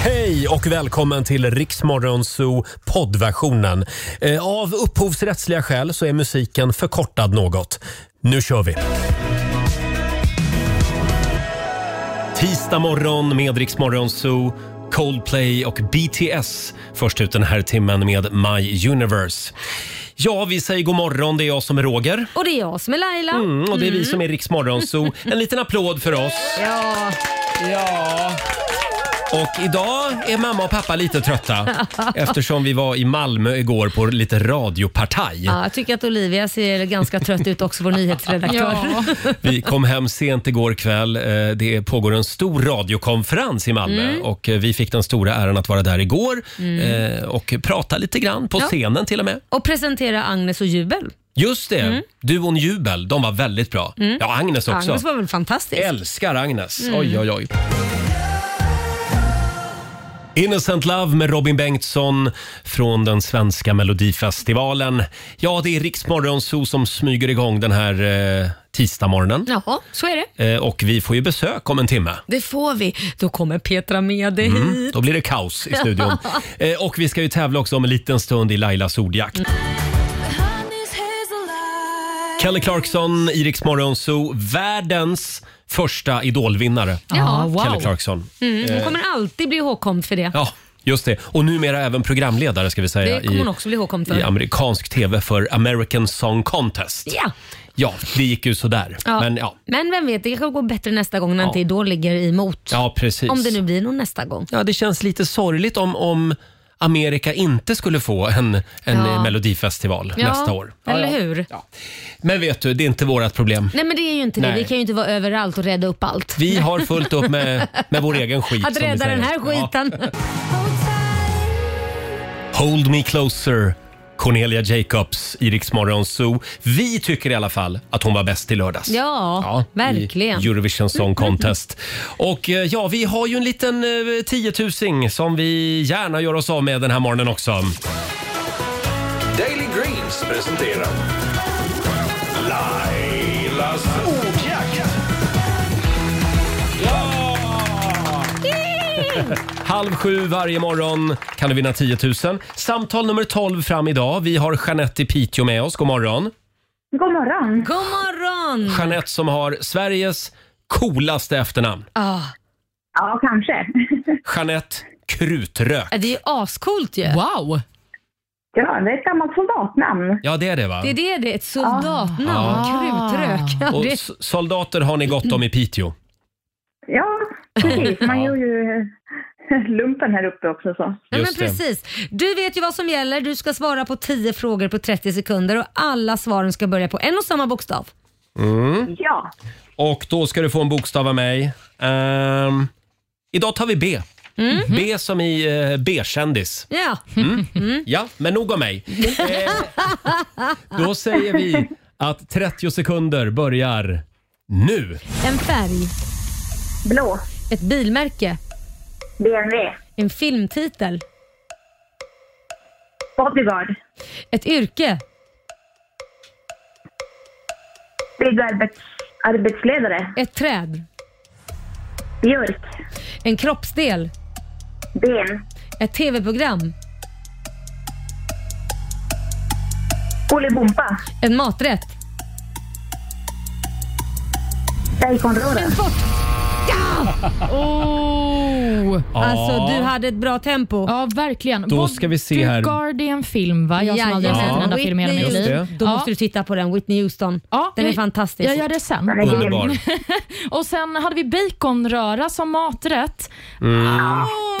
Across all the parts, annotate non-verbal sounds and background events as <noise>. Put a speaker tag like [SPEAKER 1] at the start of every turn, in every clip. [SPEAKER 1] Hej och välkommen till Riksmorgonzoo poddversionen. Eh, Av upphovsrättsliga skäl så är musiken förkortad något. Nu kör vi! Tisdag morgon med Riksmorgonzoo. Coldplay och BTS först ut den här timmen med My Universe. Ja, vi säger god morgon. Det är jag som är Roger.
[SPEAKER 2] Och det är jag som är Laila.
[SPEAKER 1] Mm, och det är vi som är Riksmorgonzoo. En liten applåd för oss.
[SPEAKER 2] Ja,
[SPEAKER 1] Ja. Och idag är mamma och pappa lite
[SPEAKER 2] <laughs>
[SPEAKER 1] trötta eftersom vi var i Malmö igår på lite radiopartaj.
[SPEAKER 2] ja, jag tycker att Olivia ser ganska trött ut också, vår nyhetsredaktör.
[SPEAKER 3] Ja.
[SPEAKER 1] Vi kom hem sent igår kväll. Eh, Det pågår en stor radiokonferens i Malmö
[SPEAKER 2] Mm.
[SPEAKER 1] och eh, vi fick den stora äran att vara där igår eh, och prata lite grann på
[SPEAKER 2] Ja.
[SPEAKER 1] scenen till och med.
[SPEAKER 2] Och presentera Agnes och Jubel.
[SPEAKER 1] Just det, duon Jubel, de var väldigt bra. Ja, Agnes också.
[SPEAKER 2] Mm. Agnes var väl fantastisk?
[SPEAKER 1] Älskar Agnes.
[SPEAKER 2] Mm.
[SPEAKER 1] Oj, oj, oj. Innocent Love med Robin Bengtsson från den svenska melodifestivalen. Ja, det är Riksmorgonzoo som smyger igång den här eh, tisdagsmorgonen.
[SPEAKER 2] Jaha, så är det.
[SPEAKER 1] Eh, och vi får ju besök om en timme.
[SPEAKER 2] Det får vi. Då kommer Petra med dig hit.
[SPEAKER 1] Då blir det kaos i
[SPEAKER 2] <laughs>
[SPEAKER 1] studion. eh, och vi ska ju tävla också om en liten stund i Lailas ordjakt.
[SPEAKER 2] Mm.
[SPEAKER 1] Kelly Clarkson, i Rix Morgonzoo, världens första idolvinnare.
[SPEAKER 2] Ja,
[SPEAKER 1] Kelly
[SPEAKER 2] wow.
[SPEAKER 1] Clarkson.
[SPEAKER 2] Mm, hon kommer alltid bli ihågkomd för det.
[SPEAKER 1] Eh. Ja, just det. Och numera även programledare ska vi säga
[SPEAKER 2] det kommer
[SPEAKER 1] i,
[SPEAKER 2] hon också bli ihågkomd
[SPEAKER 1] i
[SPEAKER 2] för.
[SPEAKER 1] amerikansk tv för American Song Contest.
[SPEAKER 2] Ja.
[SPEAKER 1] Ja, det gick ju sådär.
[SPEAKER 2] Ja.
[SPEAKER 1] Men ja,
[SPEAKER 2] Men vem vet, det kanske går bättre nästa gång när
[SPEAKER 1] Ja.
[SPEAKER 2] inte Idol ligger emot.
[SPEAKER 1] ja precis.
[SPEAKER 2] Om det nu blir någon nästa gång.
[SPEAKER 1] Ja, det känns lite sorgligt om, om Amerika inte skulle få en, en
[SPEAKER 2] Ja.
[SPEAKER 1] eh, melodifestival
[SPEAKER 2] Ja,
[SPEAKER 1] nästa år.
[SPEAKER 2] eller hur?
[SPEAKER 1] Ja. Men vet du, det är inte vårt problem.
[SPEAKER 2] Nej men det är ju inte det.
[SPEAKER 1] Nej.
[SPEAKER 2] Vi kan ju inte vara överallt och rädda upp allt.
[SPEAKER 1] Vi har fullt upp med, med vår egen skit.
[SPEAKER 2] Att
[SPEAKER 1] som vi
[SPEAKER 2] rädda den
[SPEAKER 1] säger.
[SPEAKER 2] här
[SPEAKER 1] Ja.
[SPEAKER 2] skiten.
[SPEAKER 1] Hold Me Closer, Cornelia Jacobs i Rix Morgon Zoo. Vi tycker i alla fall att hon var bäst i lördags.
[SPEAKER 2] <laughs> Ja, verkligen.
[SPEAKER 1] I Eurovision Song Contest. Och eh, ja, vi har ju en liten eh, tiotusing som vi gärna gör oss av med den här morgonen också.
[SPEAKER 4] Daily Greens presenterar Lailas ordjakt.
[SPEAKER 1] Halv sju varje morgon kan du vinna 10 000. Samtal nummer 12 fram idag. Vi har Jeanette i Piteå med oss. God morgon.
[SPEAKER 5] God morgon.
[SPEAKER 2] God morgon!
[SPEAKER 1] Jeanette som har Sveriges coolaste efternamn.
[SPEAKER 2] Ah,
[SPEAKER 5] Ja, kanske.
[SPEAKER 1] Jeanette Krutrök.
[SPEAKER 2] det är ju ascoolt ju.
[SPEAKER 3] Wow!
[SPEAKER 5] Ja, det är ett gammalt soldatnamn.
[SPEAKER 1] Ja, det är det va?
[SPEAKER 2] Det är det det är, ett soldatnamn.
[SPEAKER 1] Ah.
[SPEAKER 2] Krutrök. Ja,
[SPEAKER 1] Och
[SPEAKER 2] det,
[SPEAKER 1] s- soldater har ni gott om i Piteå.
[SPEAKER 5] Ja, precis. <laughs> Man gör
[SPEAKER 1] Ja.
[SPEAKER 5] ju lumpen här uppe också. Så.
[SPEAKER 2] ja, men
[SPEAKER 1] Just det.
[SPEAKER 2] precis. Du vet ju vad som gäller. Du ska svara på 10 frågor på 30 sekunder och alla svaren ska börja på en och samma bokstav.
[SPEAKER 5] Ja,
[SPEAKER 1] Och då ska du få en bokstav av mig. Ehm, idag tar vi B.
[SPEAKER 3] Mm.
[SPEAKER 1] B som i eh, B-kändis.
[SPEAKER 2] Ja,
[SPEAKER 3] Mm.
[SPEAKER 1] Ja, men nog om mig. Eh, då säger vi att 30 sekunder börjar nu.
[SPEAKER 2] en färg,
[SPEAKER 5] blå,
[SPEAKER 2] ett bilmärke,
[SPEAKER 5] BMW,
[SPEAKER 2] en filmtitel,
[SPEAKER 5] bodyguard,
[SPEAKER 2] ett yrke,
[SPEAKER 5] byggarbets- arbetsledare,
[SPEAKER 2] ett träd,
[SPEAKER 5] björk,
[SPEAKER 2] en kroppsdel,
[SPEAKER 5] ben,
[SPEAKER 2] ett tv-program,
[SPEAKER 5] Bolibompa,
[SPEAKER 2] en maträtt.
[SPEAKER 5] baconröra.
[SPEAKER 3] Oh.
[SPEAKER 2] Alltså du hade ett bra tempo.
[SPEAKER 3] Ja, verkligen.
[SPEAKER 1] Då ska vi se här.
[SPEAKER 3] Guardian film, va? Jag som aldrig har sett en enda film i hela mitt
[SPEAKER 1] Just
[SPEAKER 3] liv.
[SPEAKER 1] det.
[SPEAKER 2] Då måste du titta på den, Whitney Houston.
[SPEAKER 3] Ja,
[SPEAKER 2] den är
[SPEAKER 3] jag-
[SPEAKER 2] fantastisk.
[SPEAKER 3] Jag gör det sen.
[SPEAKER 5] Den är grym.
[SPEAKER 1] Underbar.
[SPEAKER 3] Och sen hade vi baconröra som maträtt.
[SPEAKER 1] Mm.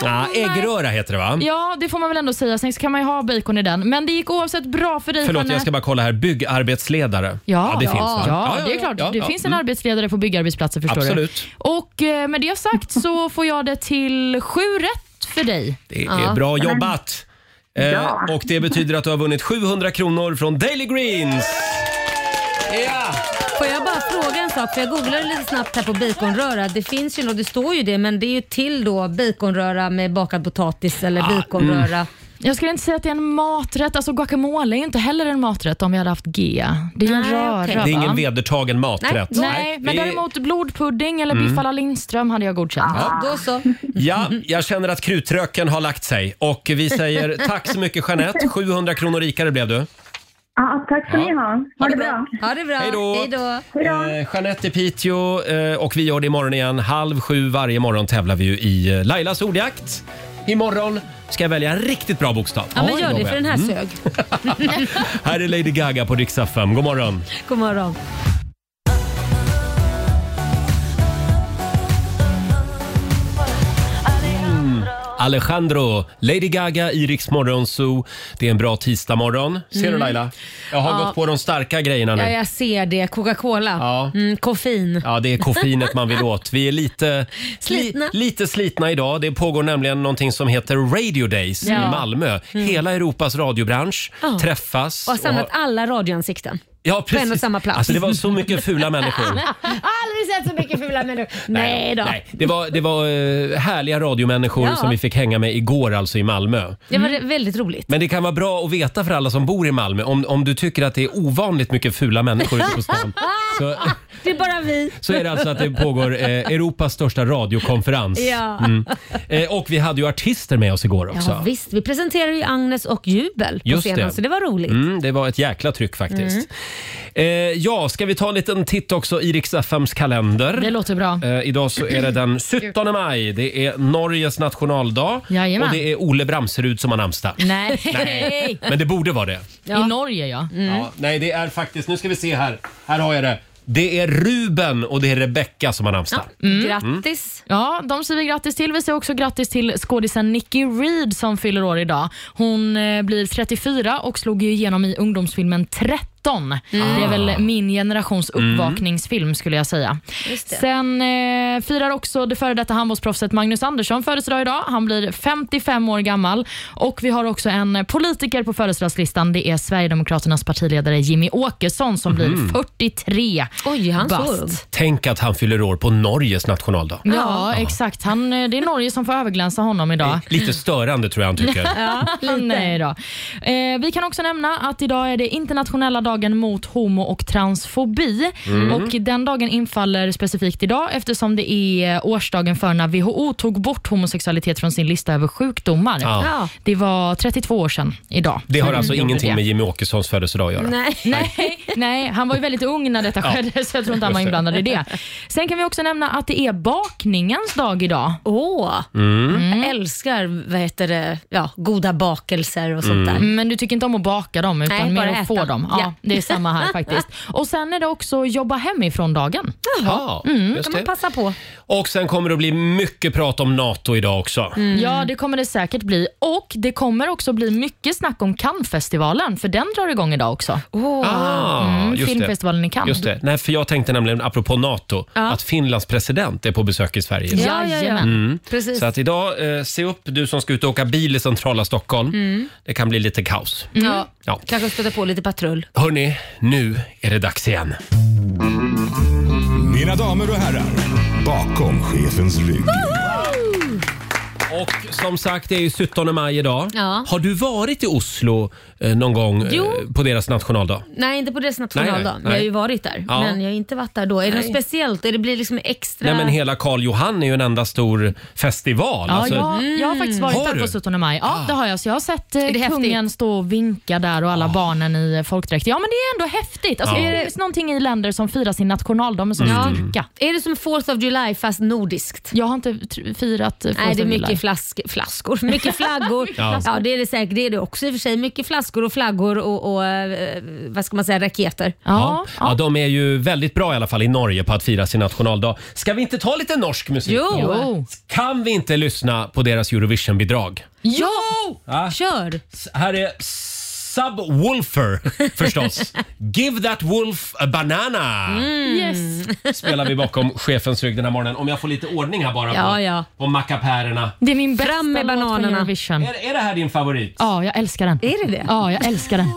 [SPEAKER 1] Ah, äggröra heter det va?
[SPEAKER 3] Ja, det får man väl ändå säga. Sen så kan man ju ha bacon i den. Men det gick oavsett bra för dig,
[SPEAKER 1] Förlåt,
[SPEAKER 3] Jeanette.
[SPEAKER 1] jag ska bara kolla här. Byggarbetsledare.
[SPEAKER 3] Ja,
[SPEAKER 1] det finns va?
[SPEAKER 3] ja, det är klart.
[SPEAKER 1] ja,
[SPEAKER 3] det
[SPEAKER 1] ja.
[SPEAKER 3] finns en
[SPEAKER 1] Mm.
[SPEAKER 3] arbetsledare på byggarbetsplatser förstår
[SPEAKER 1] Absolut.
[SPEAKER 3] du. Och eh, med det sagt så får jag det till sju rätt för dig.
[SPEAKER 1] Det är
[SPEAKER 2] Ja.
[SPEAKER 1] bra jobbat! Eh,
[SPEAKER 5] Ja.
[SPEAKER 1] Och det betyder att du har vunnit 700 kronor från Daily Greens! Ja!
[SPEAKER 2] Får jag bara fråga en sak? För jag googlade lite snabbt här på baconröra. Det finns ju något, det står ju det, men det är ju till då baconröra med bakad potatis eller baconröra
[SPEAKER 3] Jag skulle inte säga att det är en maträtt. Alltså guacamole är ju inte heller en maträtt om vi hade haft G. Det är ju en
[SPEAKER 2] Nej,
[SPEAKER 3] röra.
[SPEAKER 2] okej.
[SPEAKER 3] va?
[SPEAKER 2] Det
[SPEAKER 1] Det är ingen vedertagen maträtt.
[SPEAKER 3] Nej, men
[SPEAKER 1] vi-
[SPEAKER 3] däremot blodpudding eller
[SPEAKER 1] Mm.
[SPEAKER 3] biff alla Lindström hade jag godkänt.
[SPEAKER 2] Då så.
[SPEAKER 1] Ja, jag känner att krutröken har lagt sig och vi säger
[SPEAKER 2] <laughs>
[SPEAKER 1] tack så mycket Jeanette. 700 kronor rikare blev du.
[SPEAKER 5] Ja, tack ska ni ha. Ha det bra.
[SPEAKER 2] Ha det bra.
[SPEAKER 1] Hej då.
[SPEAKER 2] då.
[SPEAKER 5] Hej då.
[SPEAKER 1] Eh, Jeanette i Piteå eh, och vi gör det imorgon igen. Halv sju varje morgon tävlar vi ju i eh, Lailas ordjakt. Imorgon ska jag välja en riktigt bra bokstav.
[SPEAKER 2] Ja, men gör
[SPEAKER 1] lovar
[SPEAKER 2] det
[SPEAKER 1] jag.
[SPEAKER 2] för den här sög.
[SPEAKER 1] Här är Lady Gaga på Rix FM. God morgon.
[SPEAKER 2] God morgon.
[SPEAKER 1] Alejandro, Lady Gaga i Rix Morgon Zoo. Det är en bra tisdagmorgon. Ser du Laila? Jag har gått på de starka grejerna nu.
[SPEAKER 2] Mm. Ja, jag ser det. Coca-Cola.
[SPEAKER 1] Ja.
[SPEAKER 2] Mm, koffein.
[SPEAKER 1] Ja, det är koffeinet man vill åt. Vi är lite
[SPEAKER 2] Slitna.
[SPEAKER 1] Li, lite slitna idag. Det pågår nämligen någonting som heter Radio Days i
[SPEAKER 3] Ja.
[SPEAKER 1] Malmö. Hela Europas radiobransch
[SPEAKER 2] Mm. Ja.
[SPEAKER 1] träffas.
[SPEAKER 2] Och har samlat
[SPEAKER 1] har-
[SPEAKER 2] alla radioansikten.
[SPEAKER 1] ja, precis.
[SPEAKER 2] en och samma plats.
[SPEAKER 1] Alltså, det var så mycket fula
[SPEAKER 2] <laughs>
[SPEAKER 1] människor.
[SPEAKER 2] Aldrig sett så mycket fula människor. Nej då.
[SPEAKER 1] Nej, det var, det var eh, härliga radiomänniskor
[SPEAKER 2] Ja.
[SPEAKER 1] som vi fick hänga med igår alltså i Malmö.
[SPEAKER 2] Det var väldigt roligt.
[SPEAKER 1] Men det kan vara bra att veta för alla som bor i Malmö om, om du tycker att det är ovanligt mycket fula människor ute på
[SPEAKER 2] <laughs>
[SPEAKER 1] stan. Så,
[SPEAKER 2] Det är bara vi.
[SPEAKER 1] så är det alltså att det pågår eh, Europas största radiokonferens.
[SPEAKER 2] Ja.
[SPEAKER 1] Mm. Eh, och vi hade ju artister med oss igår också.
[SPEAKER 2] Ja, visst, vi presenterade ju Agnes och Jubel på
[SPEAKER 1] Just
[SPEAKER 2] scenen
[SPEAKER 1] det.
[SPEAKER 2] så det var roligt.
[SPEAKER 1] Mm, det var ett jäkla tryck faktiskt. Eh, ja, ska vi ta en liten titt också i Rix FMs kalender?
[SPEAKER 3] Det låter bra.
[SPEAKER 1] Eh, idag så är det den 17 maj. Det är Norges nationaldag
[SPEAKER 3] Jajamän.
[SPEAKER 1] och det är Ole Bramserud som har namnsdag.
[SPEAKER 2] <laughs>
[SPEAKER 3] Nej.
[SPEAKER 1] Nej, men det borde vara det.
[SPEAKER 3] I Norge ja.
[SPEAKER 1] Ja, nej, det är faktiskt, nu ska vi se här. Här har jag det. Det är Ruben och det är Rebecka som har namnsdag.
[SPEAKER 2] Mm. Grattis.
[SPEAKER 3] Ja, de säger vi grattis till. Vi säger också grattis till skådisen Nicky Reed som fyller år idag. Hon eh, blir 34 och slog ju igenom i ungdomsfilmen 13.
[SPEAKER 2] Mm.
[SPEAKER 3] Det är
[SPEAKER 2] Ah.
[SPEAKER 3] väl min generations uppvakningsfilm skulle jag säga.
[SPEAKER 2] Just det.
[SPEAKER 3] Sen eh, firar också det före detta handbollsproffset Magnus Andersson födelsedag idag. Han blir 55 år gammal. Och Vi har också en politiker på födelsedagslistan. Det är Sverigedemokraternas partiledare Jimmy Åkesson som blir 43
[SPEAKER 2] Mhm. Oj, är han så
[SPEAKER 3] bast.
[SPEAKER 2] ung?
[SPEAKER 1] Tänk att han fyller år på Norges nationaldag.
[SPEAKER 3] Ja, exakt. Han, eh, det är Norge som får överglänsa honom idag.
[SPEAKER 1] Lite störande tror jag han
[SPEAKER 2] <laughs>
[SPEAKER 1] tycker.
[SPEAKER 3] Nej då. Eh, vi kan också nämna att idag är det internationella dagen mot homo och transfobi.
[SPEAKER 1] Mm.
[SPEAKER 3] Och Den dagen infaller specifikt idag eftersom det är årsdagen för när WHO tog bort homosexualitet från sin lista över sjukdomar.
[SPEAKER 1] Ja.
[SPEAKER 2] Ja. Mm.
[SPEAKER 3] Det var 32 år sedan idag. Mm.
[SPEAKER 1] Det har
[SPEAKER 3] som
[SPEAKER 1] alltså
[SPEAKER 3] de gjorde
[SPEAKER 1] ingenting
[SPEAKER 3] det.
[SPEAKER 1] med Jimmy Åkessons födelsedag att göra.
[SPEAKER 2] Nej.
[SPEAKER 3] Nej, <laughs> nej, han var ju väldigt ung när detta skedde så jag tror inte han var
[SPEAKER 1] Just det.
[SPEAKER 3] inblandad i det. Sen kan vi också nämna att det är bakningens dag idag.
[SPEAKER 2] Åh,
[SPEAKER 1] Mm.
[SPEAKER 2] jag älskar vad heter det? Ja, goda bakelser och sånt
[SPEAKER 1] Mm.
[SPEAKER 2] där.
[SPEAKER 3] <clears throat> Men du tycker inte om att baka dem utan
[SPEAKER 2] Nej,
[SPEAKER 3] mer
[SPEAKER 2] bara
[SPEAKER 3] att
[SPEAKER 2] äta.
[SPEAKER 3] få dem. Ja,
[SPEAKER 2] Ja.
[SPEAKER 3] Det är samma
[SPEAKER 2] <laughs>
[SPEAKER 3] här faktiskt. Och Sen är det också jobba hemifrån-dagen.
[SPEAKER 1] Ja, just
[SPEAKER 2] Mm, kan
[SPEAKER 1] det.
[SPEAKER 2] man passa på.
[SPEAKER 1] Och sen kommer det att bli mycket prat om NATO idag också.
[SPEAKER 2] Mm.
[SPEAKER 3] Ja, det kommer det säkert bli. Och Det kommer också bli mycket snack om Cannesfestivalen, för den drar igång idag också.
[SPEAKER 2] Åh.
[SPEAKER 1] Ah,
[SPEAKER 3] Mm,
[SPEAKER 1] just
[SPEAKER 3] filmfestivalen
[SPEAKER 1] det.
[SPEAKER 3] i Cannes.
[SPEAKER 1] Just det. Nej, för jag tänkte nämligen apropå NATO att Finlands president är på besök i Sverige.
[SPEAKER 2] Ja, Mm, ja, ja.
[SPEAKER 3] Jajamän.
[SPEAKER 2] Precis.
[SPEAKER 1] Så att idag, eh, se upp du som ska ut och åka bil i centrala Stockholm.
[SPEAKER 2] Mm.
[SPEAKER 1] Det kan bli lite kaos.
[SPEAKER 2] ja.
[SPEAKER 1] Ja.
[SPEAKER 2] Mm. Kanske stöta på lite patrull.
[SPEAKER 1] Hörni, nu är det dags igen.
[SPEAKER 4] Mina damer och herrar, bakom chefens rygg.
[SPEAKER 1] Och som sagt, det är ju 17 maj idag.
[SPEAKER 2] Ja.
[SPEAKER 1] Har du varit i Oslo eh, någon gång eh,
[SPEAKER 2] Jo.
[SPEAKER 1] på deras nationaldag?
[SPEAKER 2] Nej, inte på deras
[SPEAKER 1] Nej,
[SPEAKER 2] nationaldag.
[SPEAKER 1] nej,
[SPEAKER 2] Jag har
[SPEAKER 1] nej.
[SPEAKER 2] ju varit där,
[SPEAKER 1] Ja.
[SPEAKER 2] men jag har inte varit där då. Är det något speciellt? Är det blir liksom extra...
[SPEAKER 1] Nej men hela Karl Johan är ju en enda stor festival.
[SPEAKER 3] Ja,
[SPEAKER 1] Alltså,
[SPEAKER 3] jag, jag har faktiskt varit
[SPEAKER 1] Har
[SPEAKER 3] där
[SPEAKER 1] du? Ah.
[SPEAKER 3] på 17 maj. Ja, det har jag. Så jag har sett eh,
[SPEAKER 2] Mm. det häftigt?
[SPEAKER 3] kungen stå och vinka där och alla barnen i eh, folkdräkt. Ja, men det är ändå häftigt. Alltså,
[SPEAKER 1] Ah. Ja. Mm.
[SPEAKER 3] Är det finns någonting i länder som firar sin nationaldag med sån styrka?
[SPEAKER 2] Är det som Fourth of July fast nordiskt?
[SPEAKER 3] Jag har inte tr- firat eh,
[SPEAKER 2] Nej,
[SPEAKER 3] Fourth
[SPEAKER 2] det är
[SPEAKER 3] of July.
[SPEAKER 2] mycket flask, flaskor. <laughs> Mycket flaggor. ja. det är det säkert. Det är det också i och för sig. Mycket flaskor och flaggor och, och eh, vad ska man säga, raketer.
[SPEAKER 1] Ja. Ja, de är ju väldigt bra i alla fall i Norge på att fira sin nationaldag. Ska vi inte ta lite norsk musik?
[SPEAKER 2] Jo!
[SPEAKER 3] Jo.
[SPEAKER 1] Kan vi inte lyssna på deras Eurovision-bidrag?
[SPEAKER 2] Jo!
[SPEAKER 1] Ja.
[SPEAKER 2] Kör!
[SPEAKER 1] S- Här är Subwoolfer förstås. Give that wolf a banana
[SPEAKER 3] Yes.
[SPEAKER 1] spelar vi bakom chefens rygg den här morgonen. Om jag får lite ordning här bara på,
[SPEAKER 2] Ja, ja.
[SPEAKER 1] på mackapärerna.
[SPEAKER 3] Det är min bästa
[SPEAKER 2] Fram med
[SPEAKER 3] låt från
[SPEAKER 2] bananerna.
[SPEAKER 3] Eurovision.
[SPEAKER 1] Är, är det här din favorit?
[SPEAKER 3] Ja, jag älskar den.
[SPEAKER 2] Är det det?
[SPEAKER 3] Ja, jag älskar den.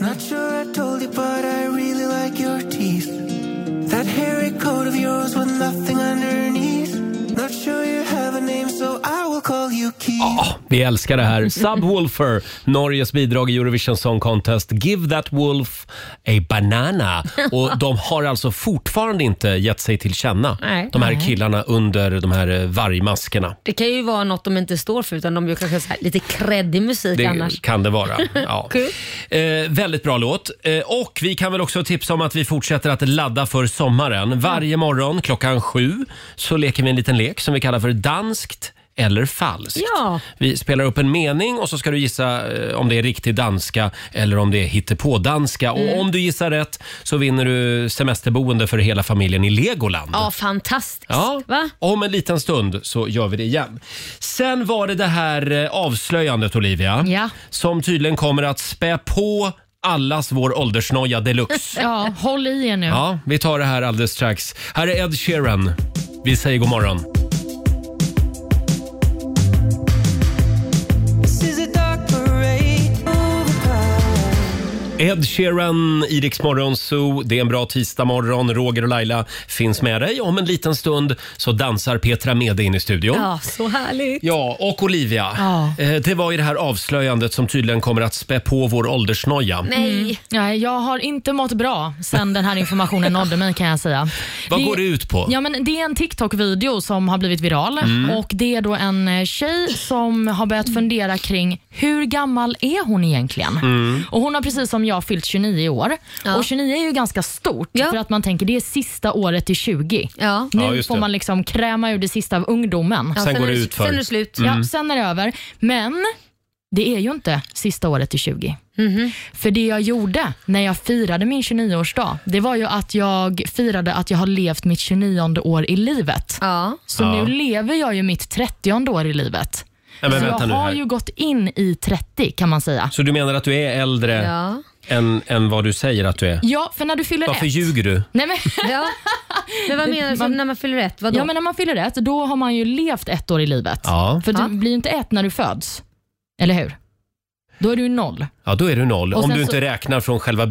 [SPEAKER 6] Not sure I told you, but I really like your teeth. That hairy coat of yours with nothing underneath. Not sure you have a name, so I will call you Keith.
[SPEAKER 1] Ja, Ah, vi älskar det här. Subwoolfer, <laughs> Norges bidrag i Eurovision Song Contest. Give that wolf a
[SPEAKER 2] <laughs>
[SPEAKER 1] banana. Och de har alltså fortfarande inte gett sig till känna,
[SPEAKER 2] Nej.
[SPEAKER 1] de här killarna under de här eh, vargmaskerna.
[SPEAKER 2] Det kan ju vara något de inte står för utan de gör kanske så här, lite creddig musik
[SPEAKER 1] Det
[SPEAKER 2] annars.
[SPEAKER 1] kan det
[SPEAKER 2] <laughs>
[SPEAKER 1] vara. Ja.
[SPEAKER 2] Kul.
[SPEAKER 1] eh, väldigt bra låt. Eh, och vi kan väl också tipsa om att vi fortsätter att ladda för sommaren.
[SPEAKER 2] Mm.
[SPEAKER 1] Varje morgon klockan sju så leker vi en liten lek som vi kallar för danskt eller falskt.
[SPEAKER 2] Ja.
[SPEAKER 1] Vi spelar upp en mening och så ska du gissa eh, om det är riktig danska eller om det är hittepådanska.
[SPEAKER 2] Mm.
[SPEAKER 1] Och om du gissar rätt så vinner du semesterboende för hela familjen i Legoland.
[SPEAKER 2] Ja, fantastiskt.
[SPEAKER 1] Ja,
[SPEAKER 2] Va?
[SPEAKER 1] om en liten stund så gör vi det igen. Sen var det det här eh, avslöjandet, Olivia,
[SPEAKER 3] Ja.
[SPEAKER 1] som tydligen kommer att spä på allas vår åldersnoja deluxe.
[SPEAKER 3] <laughs> Ja, håll i er nu.
[SPEAKER 1] Ja, vi tar det här alldeles strax. Här är Ed Sheeran. Vi säger god morgon.
[SPEAKER 6] This is a dark parade overcome.
[SPEAKER 1] Ed Sheeran, i Rix Morgon Zoo. Det är en bra tisdagmorgon. Roger och Laila finns med dig. Om en liten stund så dansar Petra Mede in i studion.
[SPEAKER 2] Ja, så härligt.
[SPEAKER 1] Ja, och Olivia.
[SPEAKER 3] Ja.
[SPEAKER 1] Eh, Det var ju det här avslöjandet som tydligen kommer att spä på vår åldersnoja.
[SPEAKER 2] Nej.
[SPEAKER 3] Nej, jag har inte mått bra sen den här informationen nådde mig kan jag säga.
[SPEAKER 1] Vad går det ut på? Mm.
[SPEAKER 3] Ja, men det är en TikTok-video som har blivit viral och det är då en eh, tjej som har börjat fundera kring hur gammal är hon egentligen?
[SPEAKER 1] Mm.
[SPEAKER 3] Och Hon har precis som jag fyllt 29 år och 29 är ju ganska stort
[SPEAKER 2] Ja.
[SPEAKER 3] för att man tänker det är sista året till 20.
[SPEAKER 2] Ja.
[SPEAKER 3] Nu
[SPEAKER 1] Ja, just
[SPEAKER 3] får
[SPEAKER 1] det.
[SPEAKER 3] man liksom kräma ur det sista av ungdomen.
[SPEAKER 2] Ja,
[SPEAKER 1] Sen går
[SPEAKER 2] är
[SPEAKER 1] det ut för.
[SPEAKER 2] Sen är det slut.
[SPEAKER 3] Ja, sen är det över. Men det är ju inte sista året till 20.
[SPEAKER 2] Mhm.
[SPEAKER 3] För det jag gjorde när jag firade min 29-årsdag, det var ju att jag firade att jag har levt mitt 29 år i livet.
[SPEAKER 2] Ja.
[SPEAKER 3] Så
[SPEAKER 1] Ja.
[SPEAKER 3] nu lever jag ju mitt 30 år i livet.
[SPEAKER 1] Nej, men
[SPEAKER 3] Så
[SPEAKER 1] vänta
[SPEAKER 3] jag
[SPEAKER 1] nu
[SPEAKER 3] har
[SPEAKER 1] här.
[SPEAKER 3] ju gått in i 30 kan man säga.
[SPEAKER 1] Så du menar att du är äldre
[SPEAKER 2] Ja.
[SPEAKER 1] än, än vad du säger att du är?
[SPEAKER 3] Ja, för när du fyller
[SPEAKER 1] Varför
[SPEAKER 3] ett.
[SPEAKER 1] ljuger du?
[SPEAKER 3] <laughs>
[SPEAKER 1] <laughs>
[SPEAKER 3] Nej, men,
[SPEAKER 2] ja. Men vad menar du Så när man fyller ett? Vadå?
[SPEAKER 3] ja, men när man fyller ett, då har man ju levt ett år i livet.
[SPEAKER 1] Ja.
[SPEAKER 3] För
[SPEAKER 2] Ja.
[SPEAKER 3] du blir ju inte ett när du föds. Eller hur? Då är du ju noll.
[SPEAKER 1] ja, då är du noll.
[SPEAKER 3] Och
[SPEAKER 1] Om
[SPEAKER 3] sen
[SPEAKER 1] du
[SPEAKER 3] så-
[SPEAKER 1] inte räknar från själva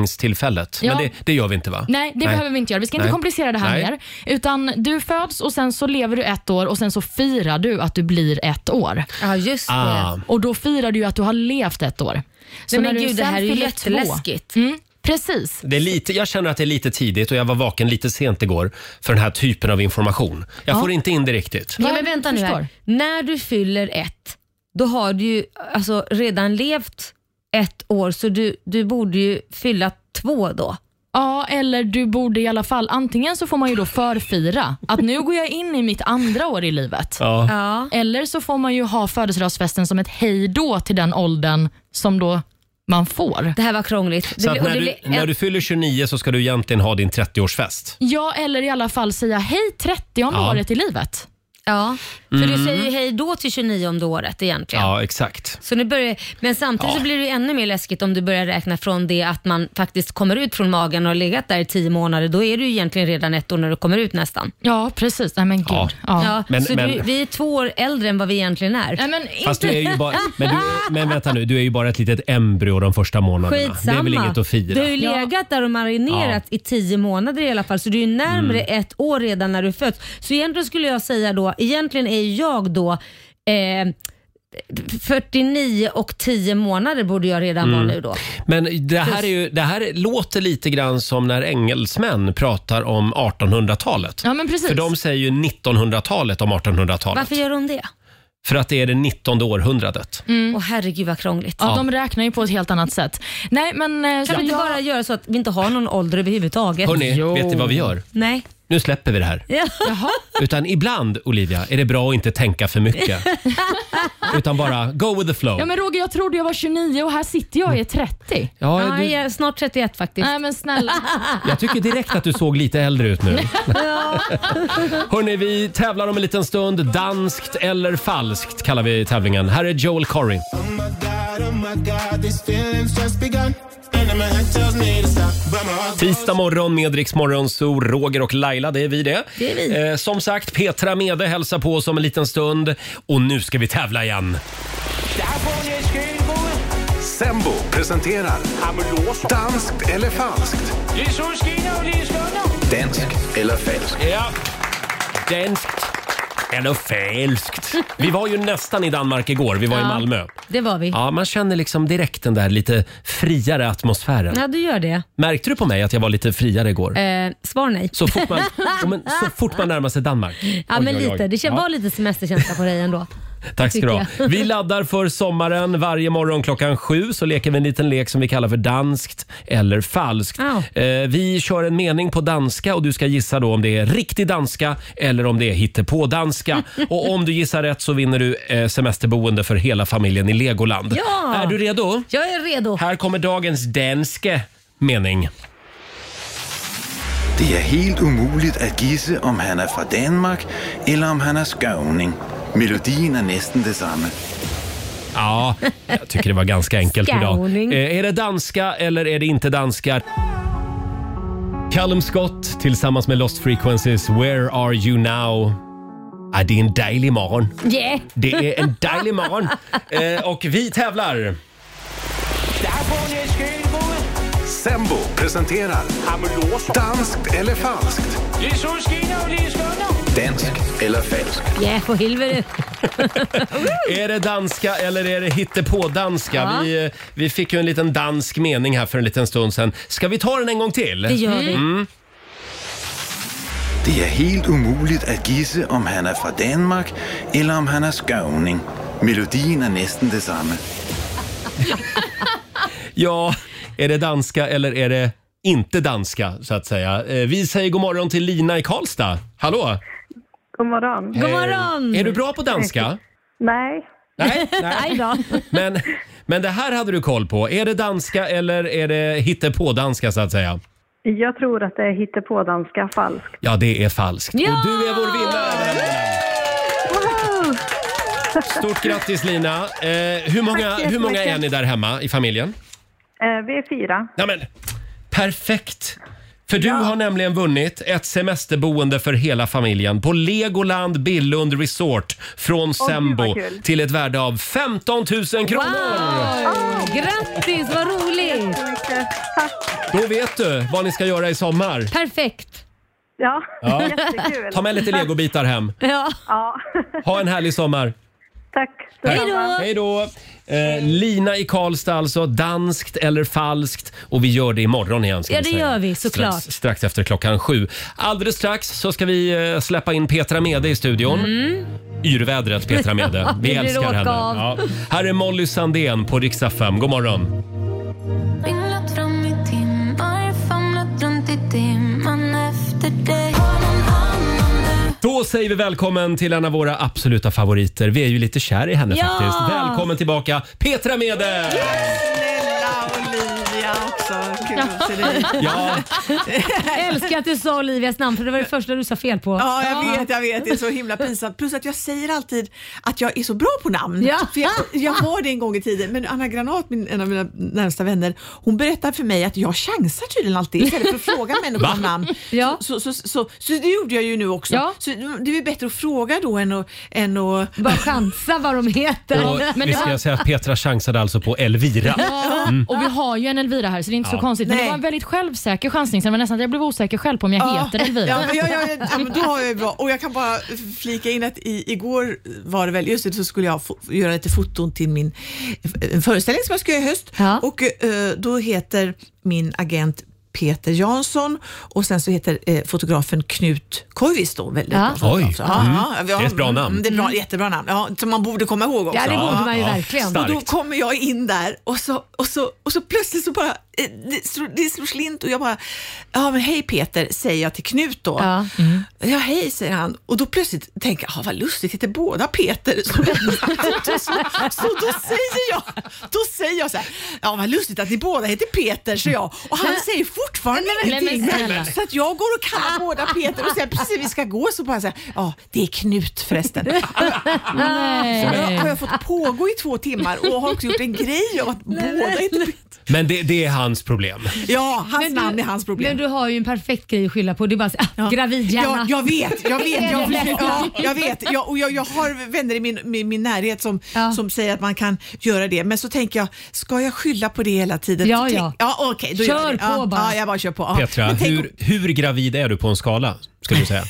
[SPEAKER 1] befruktningstillfället.
[SPEAKER 3] Ja.
[SPEAKER 1] Men det, det gör vi inte va?
[SPEAKER 3] Nej, det behöver vi inte göra. Vi ska inte
[SPEAKER 1] Nej.
[SPEAKER 3] komplicera det här
[SPEAKER 1] Nej.
[SPEAKER 3] mer. Utan du föds och sen så lever du ett år och sen så firar du att du blir ett år.
[SPEAKER 2] Ja, just det.
[SPEAKER 1] Ah.
[SPEAKER 3] Och då firar du ju att du har levt ett år. Så
[SPEAKER 2] Nej, men
[SPEAKER 3] när du
[SPEAKER 2] gud, det
[SPEAKER 3] sen
[SPEAKER 2] här är ju
[SPEAKER 3] fyller
[SPEAKER 2] jätteläskigt.
[SPEAKER 3] Två, mm, precis.
[SPEAKER 1] Det är lite, jag känner att det är lite tidigt och jag var vaken lite sent igår för den här typen av information. Jag får inte in det riktigt.
[SPEAKER 2] Ja,
[SPEAKER 3] Ja,
[SPEAKER 2] men vänta nu
[SPEAKER 3] förstår.
[SPEAKER 2] här. När du fyller ett, då har du ju alltså, redan levt ett år, så du, du borde ju fylla två då.
[SPEAKER 3] Ja, eller du borde i alla fall, antingen så får man ju då förfira att nu går jag in i mitt andra år i livet.
[SPEAKER 1] Ja.
[SPEAKER 2] Ja.
[SPEAKER 3] Eller så får man ju ha födelsedagsfesten som ett hej då till den åldern som då man får.
[SPEAKER 2] Det här var krångligt. Det
[SPEAKER 1] Så att
[SPEAKER 2] blir- och
[SPEAKER 1] när, du,
[SPEAKER 2] det blir
[SPEAKER 1] när
[SPEAKER 2] en-
[SPEAKER 1] du fyller 29 så ska du egentligen ha din 30-årsfest.
[SPEAKER 3] Ja, eller i alla fall säga hej 30 om
[SPEAKER 1] Ja.
[SPEAKER 3] året i livet.
[SPEAKER 2] Ja, för du säger ju hej då till 29 året egentligen.
[SPEAKER 1] Mm. Ja, exakt.
[SPEAKER 2] Så nu börjar, men samtidigt så blir det ju ännu mer läskigt om du börjar räkna från det att man faktiskt kommer ut från magen och har legat där i tio månader. Då är du ju egentligen redan ett år när du kommer ut nästan.
[SPEAKER 3] Ja, precis. Nej, men gud.
[SPEAKER 1] Ja.
[SPEAKER 3] Ja.
[SPEAKER 2] Ja,
[SPEAKER 1] Men-
[SPEAKER 2] så
[SPEAKER 1] men-
[SPEAKER 2] Du, vi är två år äldre än vad vi egentligen är.
[SPEAKER 3] Nej, men inte...
[SPEAKER 1] Fast du är ju bara, men, du, men vänta nu, du är ju bara ett litet embryo de första månaderna.
[SPEAKER 2] Skitsamma.
[SPEAKER 1] Det är väl inget att fira?
[SPEAKER 2] Du har ju legat där och marinerat i tio månader i alla fall, så du är ju närmare
[SPEAKER 1] Mm.
[SPEAKER 2] ett år redan när du föds. Så egentligen skulle jag säga då, egentligen är jag då eh, 49 och 10 månader borde jag redan
[SPEAKER 1] Mm.
[SPEAKER 2] vara nu då.
[SPEAKER 1] Men det här, är ju, det här låter lite grann som när engelsmän pratar om 1800-talet.
[SPEAKER 3] <laughs> Ja, men precis.
[SPEAKER 1] För de säger ju 1900-talet om 1800-talet.
[SPEAKER 2] Varför gör de det?
[SPEAKER 1] För att det är det 19 århundradet.
[SPEAKER 2] Åh herregud vad krångligt.
[SPEAKER 3] Ja, de räknar ju på ett helt annat sätt. Nej, men... eh,
[SPEAKER 2] Kan
[SPEAKER 3] ja.
[SPEAKER 2] vi inte bara göra så att vi inte har någon ålder överhuvudtaget?
[SPEAKER 1] Hörni, vet ni vad vi gör?
[SPEAKER 2] Nej.
[SPEAKER 1] Nu släpper vi det här.
[SPEAKER 2] Ja.
[SPEAKER 1] Utan ibland, Olivia, är det bra att inte tänka för mycket. Utan bara go with the flow.
[SPEAKER 3] Ja, men Roger, jag trodde jag var 29 och här sitter jag och är 30.
[SPEAKER 1] Ja,
[SPEAKER 2] Ja, jag
[SPEAKER 1] du,
[SPEAKER 2] är snart 31 faktiskt.
[SPEAKER 3] Nej, men
[SPEAKER 7] <laughs>
[SPEAKER 3] snälla.
[SPEAKER 1] jag tycker direkt att du såg lite äldre ut nu. Hörni, vi tävlar om en liten stund. Danskt eller falskt kallar vi tävlingen. Här är Joel Corey.
[SPEAKER 8] Oh my god, oh my god, these feelings just begun. And my head tells me to stop, but my heart
[SPEAKER 1] Tisdag morgon med Rix Morgon, så Roger och Laila, det är vi det.
[SPEAKER 2] Det är vi.
[SPEAKER 1] Eh, som sagt, Petra Mede hälsar på oss om en liten stund. Och nu ska vi tävla igen.
[SPEAKER 4] Sembo presenterar Danskt eller falskt? Danskt eller falskt?
[SPEAKER 1] Ja. Danskt Eller felskt. Vi var ju nästan i Danmark igår. Vi var i
[SPEAKER 2] Ja.
[SPEAKER 1] Malmö.
[SPEAKER 2] Det var vi. Ja,
[SPEAKER 1] Ja, man känner liksom direkt den där lite friare atmosfären.
[SPEAKER 2] du gör det.
[SPEAKER 1] Märkte du på mig att jag var lite friare igår?
[SPEAKER 2] Eh, svar nej.
[SPEAKER 1] Så fort
[SPEAKER 2] <laughs>
[SPEAKER 1] man, ja, men, så fort man närmar sig Danmark.
[SPEAKER 2] Ja,
[SPEAKER 1] Oj,
[SPEAKER 2] men
[SPEAKER 1] oj, oj.
[SPEAKER 2] lite. Det kän-
[SPEAKER 1] Ja.
[SPEAKER 2] var lite semesterkänsla på dig ändå.
[SPEAKER 1] Tack ska du ha.
[SPEAKER 2] tycker jag.
[SPEAKER 1] Vi laddar för sommaren. Varje morgon klockan sju så leker vi en liten lek som vi kallar för danskt eller falskt.
[SPEAKER 2] Ja.
[SPEAKER 1] Eh, vi kör en mening på danska och du ska gissa då om det är riktig danska eller om det är
[SPEAKER 2] <laughs>
[SPEAKER 1] hittepådanska. och om du gissar rätt så vinner du eh, semesterboende för hela familjen i Legoland.
[SPEAKER 2] Ja!
[SPEAKER 1] Är du redo?
[SPEAKER 2] Jag är redo.
[SPEAKER 1] Här kommer dagens danske mening.
[SPEAKER 9] Det er helt umuligt at gisse, om han er fra Danmark, eller om han er skåning. Melodien er næsten det samme.
[SPEAKER 1] Ja, jag tycker det var ganska enkelt idag.
[SPEAKER 2] Skåning.
[SPEAKER 1] Eh, är det danska eller är det inte danska? Callum Scott tillsammans med Lost Frequencies, Where Are You Now? Ah, det är en dejlig morgon.
[SPEAKER 2] Yeah.
[SPEAKER 1] Det är en dejlig morgon. Eh, och vi tävlar.
[SPEAKER 4] Sembo presenterar Danskt eller falskt?
[SPEAKER 9] Dansk eller falsk?
[SPEAKER 2] Yeah, for helvete.
[SPEAKER 1] Är det danska eller är det hittepådanska?
[SPEAKER 2] Ja.
[SPEAKER 1] Vi, eh, vi fick ju en liten dansk mening här för en liten stund sedan. Ska vi ta den en gång till?
[SPEAKER 2] Det gör vi.
[SPEAKER 9] Det er helt umuligt at gisse, om han er fra Danmark, eller om han er skåning. Melodien er næsten det samme.
[SPEAKER 1] Ja, är det danska eller är det inte danska så att säga? Eh, Vi säger god morgon till Lina i Karlstad. Hallå!
[SPEAKER 5] God morgon.
[SPEAKER 2] God
[SPEAKER 1] Eh,
[SPEAKER 2] morgon!
[SPEAKER 1] Är du bra på danska?
[SPEAKER 5] Nej,
[SPEAKER 1] Nej, nej.
[SPEAKER 2] Aj då.
[SPEAKER 1] Men, men det här hade du koll på. Är det danska eller är det hittepådanska så att säga?
[SPEAKER 5] jag tror att det är hittepådanska falskt.
[SPEAKER 1] Ja, det är falskt.
[SPEAKER 2] Ja!
[SPEAKER 1] Och du är vår vinnare! Stort grattis Lina! Eh, hur, många,
[SPEAKER 5] så
[SPEAKER 1] hur många är
[SPEAKER 5] mycket.
[SPEAKER 1] ni där hemma i familjen?
[SPEAKER 5] Eh, vi är fyra.
[SPEAKER 1] Ja, men, perfekt! För du har nämligen vunnit ett semesterboende för hela familjen på Legoland Billund Resort från Sembo
[SPEAKER 5] kul.
[SPEAKER 1] till ett värde av 15 000 kronor!
[SPEAKER 2] Wow! Grattis, vad roligt!
[SPEAKER 5] Så mycket. Tack.
[SPEAKER 1] Då vet du vad ni ska göra i sommar.
[SPEAKER 2] Perfekt.
[SPEAKER 5] Ja, jättekul.
[SPEAKER 1] Ta med lite legobitar hem.
[SPEAKER 2] Ja.
[SPEAKER 5] Ja,
[SPEAKER 1] Ha en härlig sommar.
[SPEAKER 5] tack.
[SPEAKER 2] Hej då!
[SPEAKER 1] Hej då! Eh, Lina i Karlstad alltså, danskt eller falskt. Och vi gör det imorgon igen. Ska
[SPEAKER 2] Ja,
[SPEAKER 1] vi
[SPEAKER 2] det
[SPEAKER 1] säga.
[SPEAKER 2] gör vi, såklart.
[SPEAKER 1] Strax, strax efter klockan sju. Alldeles strax så ska vi eh, släppa in Petra Mede i studion. Yrvädret Petra
[SPEAKER 2] <laughs>
[SPEAKER 1] Mede. Vi
[SPEAKER 2] Mm. det blir
[SPEAKER 1] älskar
[SPEAKER 2] åka
[SPEAKER 1] henne.
[SPEAKER 2] av.
[SPEAKER 1] Ja. Här är Molly Sandén på riksdag 5. God morgon!
[SPEAKER 10] Vinglat fram i timmar, famlat runt i dimman efter dig Har någon annan nu?
[SPEAKER 1] Då säger vi välkommen till en av våra absoluta favoriter. Vi är ju lite kär i henne
[SPEAKER 2] Ja!
[SPEAKER 1] faktiskt. Välkommen tillbaka Petra Mede!
[SPEAKER 7] Snälla Olivia också, kul att se dig.
[SPEAKER 1] Ja,
[SPEAKER 2] Jag älskar att du sa Olivias namn för det var det första du sa fel på.
[SPEAKER 7] Ja, jag vet, jag vet. Det är så himla pinsamt. Plus att jag säger alltid att jag är så bra på namn.
[SPEAKER 2] Ja.
[SPEAKER 7] För jag, jag var det en gång i tiden, men Anna Granat, min, en av mina närmsta vänner, hon berättar för mig att jag chansar tydligen alltid istället för att fråga människor om namn.
[SPEAKER 2] Ja.
[SPEAKER 7] Så, så, så, så, så det gjorde jag ju nu också.
[SPEAKER 3] Ja.
[SPEAKER 7] Så det är bättre att fråga då än att... Än att
[SPEAKER 2] Bara chansa vad de heter. <laughs>
[SPEAKER 1] och
[SPEAKER 3] men
[SPEAKER 1] vi
[SPEAKER 3] det
[SPEAKER 1] ska Mm.
[SPEAKER 3] var-
[SPEAKER 1] säga att Petra chansade alltså på Elvira.
[SPEAKER 3] Och vi har ju en Elvira här så det är inte så konstigt. Men det
[SPEAKER 7] Nej.
[SPEAKER 3] var en väldigt självsäker chansning så det var nästan att jag blev osäker själv på om jag heter Elvira.
[SPEAKER 7] Ja, men, ja, ja, ja, ja, men då har jag ju bra. Och jag kan bara flika in att i, igår var det väl, just det, så skulle jag fo- göra lite foton till min en föreställning som jag ska göra i höst.
[SPEAKER 2] Ja.
[SPEAKER 7] Och eh, då heter min agent Peter Jansson och sen så heter eh, fotografen Knut Koivisto. väldigt
[SPEAKER 2] Ja.
[SPEAKER 7] bra fotograf.
[SPEAKER 1] Oj.
[SPEAKER 7] Så, ja, ja, vi har-
[SPEAKER 1] Det är ett bra namn.
[SPEAKER 7] Mm, Det är bra, jättebra namn, ja, som man borde komma ihåg också.
[SPEAKER 2] Ja, det borde man ju
[SPEAKER 1] Ja, ja.
[SPEAKER 2] verkligen.
[SPEAKER 1] Starkt.
[SPEAKER 7] Och då kommer jag in där och så, och så, och så plötsligt så bara, eh, det, slår- det slår slint och jag bara, ja men hej Peter, säger jag till Knut då. Mm.
[SPEAKER 2] Ja.
[SPEAKER 7] Ja, hej, säger han. Och då plötsligt tänker jag, "Ah, vad lustigt, heter båda Peter? Så, så, <laughs> så då säger jag, då säger jag så här, ja vad lustigt att ni båda heter Peter, så jag. Och han säger fortfarande
[SPEAKER 3] men-
[SPEAKER 7] ingenting.
[SPEAKER 3] nej, men snälla.
[SPEAKER 7] Så att jag går och kallar båda Peter och säger precis vi ska gå, så bara säger ja det är Knut förresten.
[SPEAKER 3] <laughs> Nej.
[SPEAKER 7] Har jag, har jag fått pågå i två timmar och har också gjort en grej av att båda heter Peter.
[SPEAKER 1] Men det, det är han hans problem.
[SPEAKER 7] Ja, hans
[SPEAKER 2] Men du-
[SPEAKER 7] namn är hans problem.
[SPEAKER 2] Men du har ju en perfekt grej att skylla på. Det är bara så, ah, gravid
[SPEAKER 7] Ja,
[SPEAKER 2] hjärna.
[SPEAKER 7] jag vet, jag
[SPEAKER 2] Det är
[SPEAKER 7] vet.
[SPEAKER 2] det <laughs>
[SPEAKER 7] Jag,
[SPEAKER 2] bästa.
[SPEAKER 7] ja, jag vet. Jag, och jag, jag har vänner i min, min, min närhet som, som säger att man kan göra det. Men så tänker jag, ska jag skylla på det hela tiden?
[SPEAKER 2] Ja,
[SPEAKER 7] Så tänk-
[SPEAKER 2] ja.
[SPEAKER 7] ja okej. då gör jag
[SPEAKER 2] Kör
[SPEAKER 7] det.
[SPEAKER 2] på
[SPEAKER 7] ja,
[SPEAKER 2] bara.
[SPEAKER 7] Ja, jag bara kör på. Ja.
[SPEAKER 1] Petra,
[SPEAKER 7] Men tänk
[SPEAKER 1] hur, hur gravid är du på en skala? Skulle du
[SPEAKER 7] <laughs>
[SPEAKER 1] säga?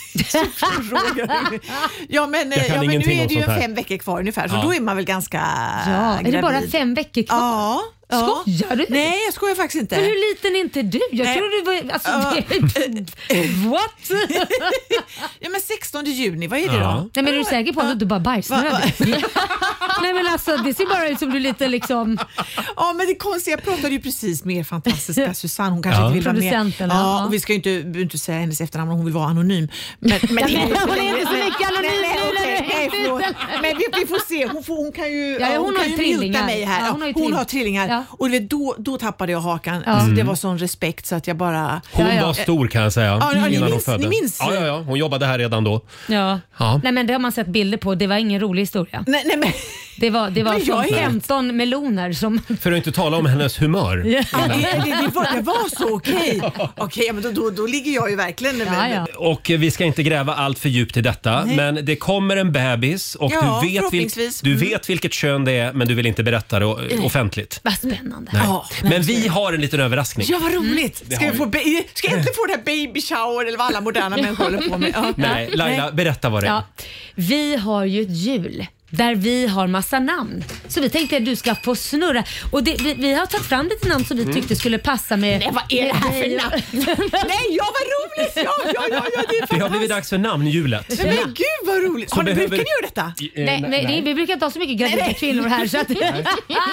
[SPEAKER 7] Ja men,
[SPEAKER 1] Jag kan
[SPEAKER 7] eh, ja, men nu
[SPEAKER 1] ingenting om
[SPEAKER 7] är det ju
[SPEAKER 1] sånt här.
[SPEAKER 7] fem veckor kvar ungefär så
[SPEAKER 1] Ja.
[SPEAKER 7] då är man väl ganska
[SPEAKER 2] Ja, är det
[SPEAKER 7] gravid.
[SPEAKER 2] bara fem veckor kvar?
[SPEAKER 7] Ja. ja.
[SPEAKER 2] Skojar du?
[SPEAKER 7] Nej jag skojar faktiskt inte.
[SPEAKER 2] Men hur liten är inte du? Jag
[SPEAKER 7] Nej.
[SPEAKER 2] tror du var... Alltså,
[SPEAKER 7] Ja.
[SPEAKER 2] det, what?
[SPEAKER 7] ja men 16 juni, vad är det
[SPEAKER 1] Ja.
[SPEAKER 7] då?
[SPEAKER 2] Nej, men är du säker på att du inte bara bajsnödig? Nej men alltså det ser bara ut som du är lite liksom...
[SPEAKER 7] Ja men det konstiga, jag pratade ju precis med
[SPEAKER 2] <laughs>
[SPEAKER 7] er fantastiska Susanne, hon kanske
[SPEAKER 1] Ja.
[SPEAKER 7] inte vill vara med.
[SPEAKER 2] Producenten, ja.
[SPEAKER 7] Ja, och vi ska ju inte, inte säga hennes efternamn, hon vill vara anonym.
[SPEAKER 2] <laughs>
[SPEAKER 7] Men, men,
[SPEAKER 2] men hon är inte så mycket anonym nu när du är
[SPEAKER 7] Nej, nej, okej, nej,
[SPEAKER 2] helt
[SPEAKER 7] förlåt.
[SPEAKER 2] ute.
[SPEAKER 7] Men vi, vi får se, hon, får, hon kan ju,
[SPEAKER 2] ja,
[SPEAKER 7] hon
[SPEAKER 2] hon har
[SPEAKER 7] kan ju
[SPEAKER 2] trillingar.
[SPEAKER 7] muta mig här.
[SPEAKER 2] Ja,
[SPEAKER 7] Ja,
[SPEAKER 2] hon
[SPEAKER 7] hon
[SPEAKER 2] har ju
[SPEAKER 7] har,
[SPEAKER 2] trill-
[SPEAKER 7] trillingar.
[SPEAKER 2] Ja. Mm.
[SPEAKER 7] Och du vet, då, då tappade jag hakan. Alltså, det var sån respekt så att jag bara...
[SPEAKER 1] Hon
[SPEAKER 2] Ja, ja.
[SPEAKER 1] var stor kan jag säga.
[SPEAKER 7] Ja, ja, ni
[SPEAKER 1] innan hon
[SPEAKER 7] minns-
[SPEAKER 1] födde.
[SPEAKER 7] ni minns.
[SPEAKER 1] Ja, ja, ja, hon jobbade här redan då.
[SPEAKER 2] Ja.
[SPEAKER 1] Ja.
[SPEAKER 2] Nej men det har man sett bilder på. Det var ingen rolig historia.
[SPEAKER 7] Nej, nej, men,
[SPEAKER 2] Det var, det var
[SPEAKER 7] Men jag
[SPEAKER 2] från
[SPEAKER 7] är-
[SPEAKER 2] 15 meloner <laughs> som...
[SPEAKER 1] För att inte tala om hennes humör.
[SPEAKER 7] <laughs> ja, det, det, det, var, det var så okej.
[SPEAKER 2] <laughs>
[SPEAKER 7] Okej, ja, men då, då, då ligger jag ju verkligen...
[SPEAKER 2] Ja, ja.
[SPEAKER 1] Och eh, vi ska inte gräva allt för djupt i detta, men det kommer en bebis och
[SPEAKER 7] Ja,
[SPEAKER 1] du, vet
[SPEAKER 7] förhoppningsvis.
[SPEAKER 1] du
[SPEAKER 7] Mm.
[SPEAKER 1] vet vilket kön det är men du vill inte berätta det eh, offentligt.
[SPEAKER 2] Vad spännande.
[SPEAKER 1] Nej.
[SPEAKER 7] Ja,
[SPEAKER 1] men vi har en liten överraskning.
[SPEAKER 7] Ja, vad roligt! Ska,
[SPEAKER 1] har
[SPEAKER 7] Mm. vi få ba- ska jag äntligen få det här baby shower eller vad alla moderna människor håller på <laughs> med? Ja.
[SPEAKER 1] Nej, Laila, berätta vad det är.
[SPEAKER 2] Ja. Vi har ju ett hjul där vi har massa namn. Så vi tänkte att du ska få snurra. Och det, vi, vi har tagit fram lite namn som vi tyckte skulle passa med... Mm. Nej, vad är det här för namn?
[SPEAKER 7] Nej, ja vad roligt! Ja, ja, ja, ja det
[SPEAKER 1] Det
[SPEAKER 7] är
[SPEAKER 1] har
[SPEAKER 7] fantastiskt.
[SPEAKER 1] blivit dags för namnhjulet.
[SPEAKER 7] Nej, men gud vad roligt! Har ni,
[SPEAKER 1] behöver-
[SPEAKER 7] Brukar ni göra detta?
[SPEAKER 1] Eh,
[SPEAKER 2] Nej, nej, det- vi brukar inte ha så mycket gravida kvinnor här. Så att,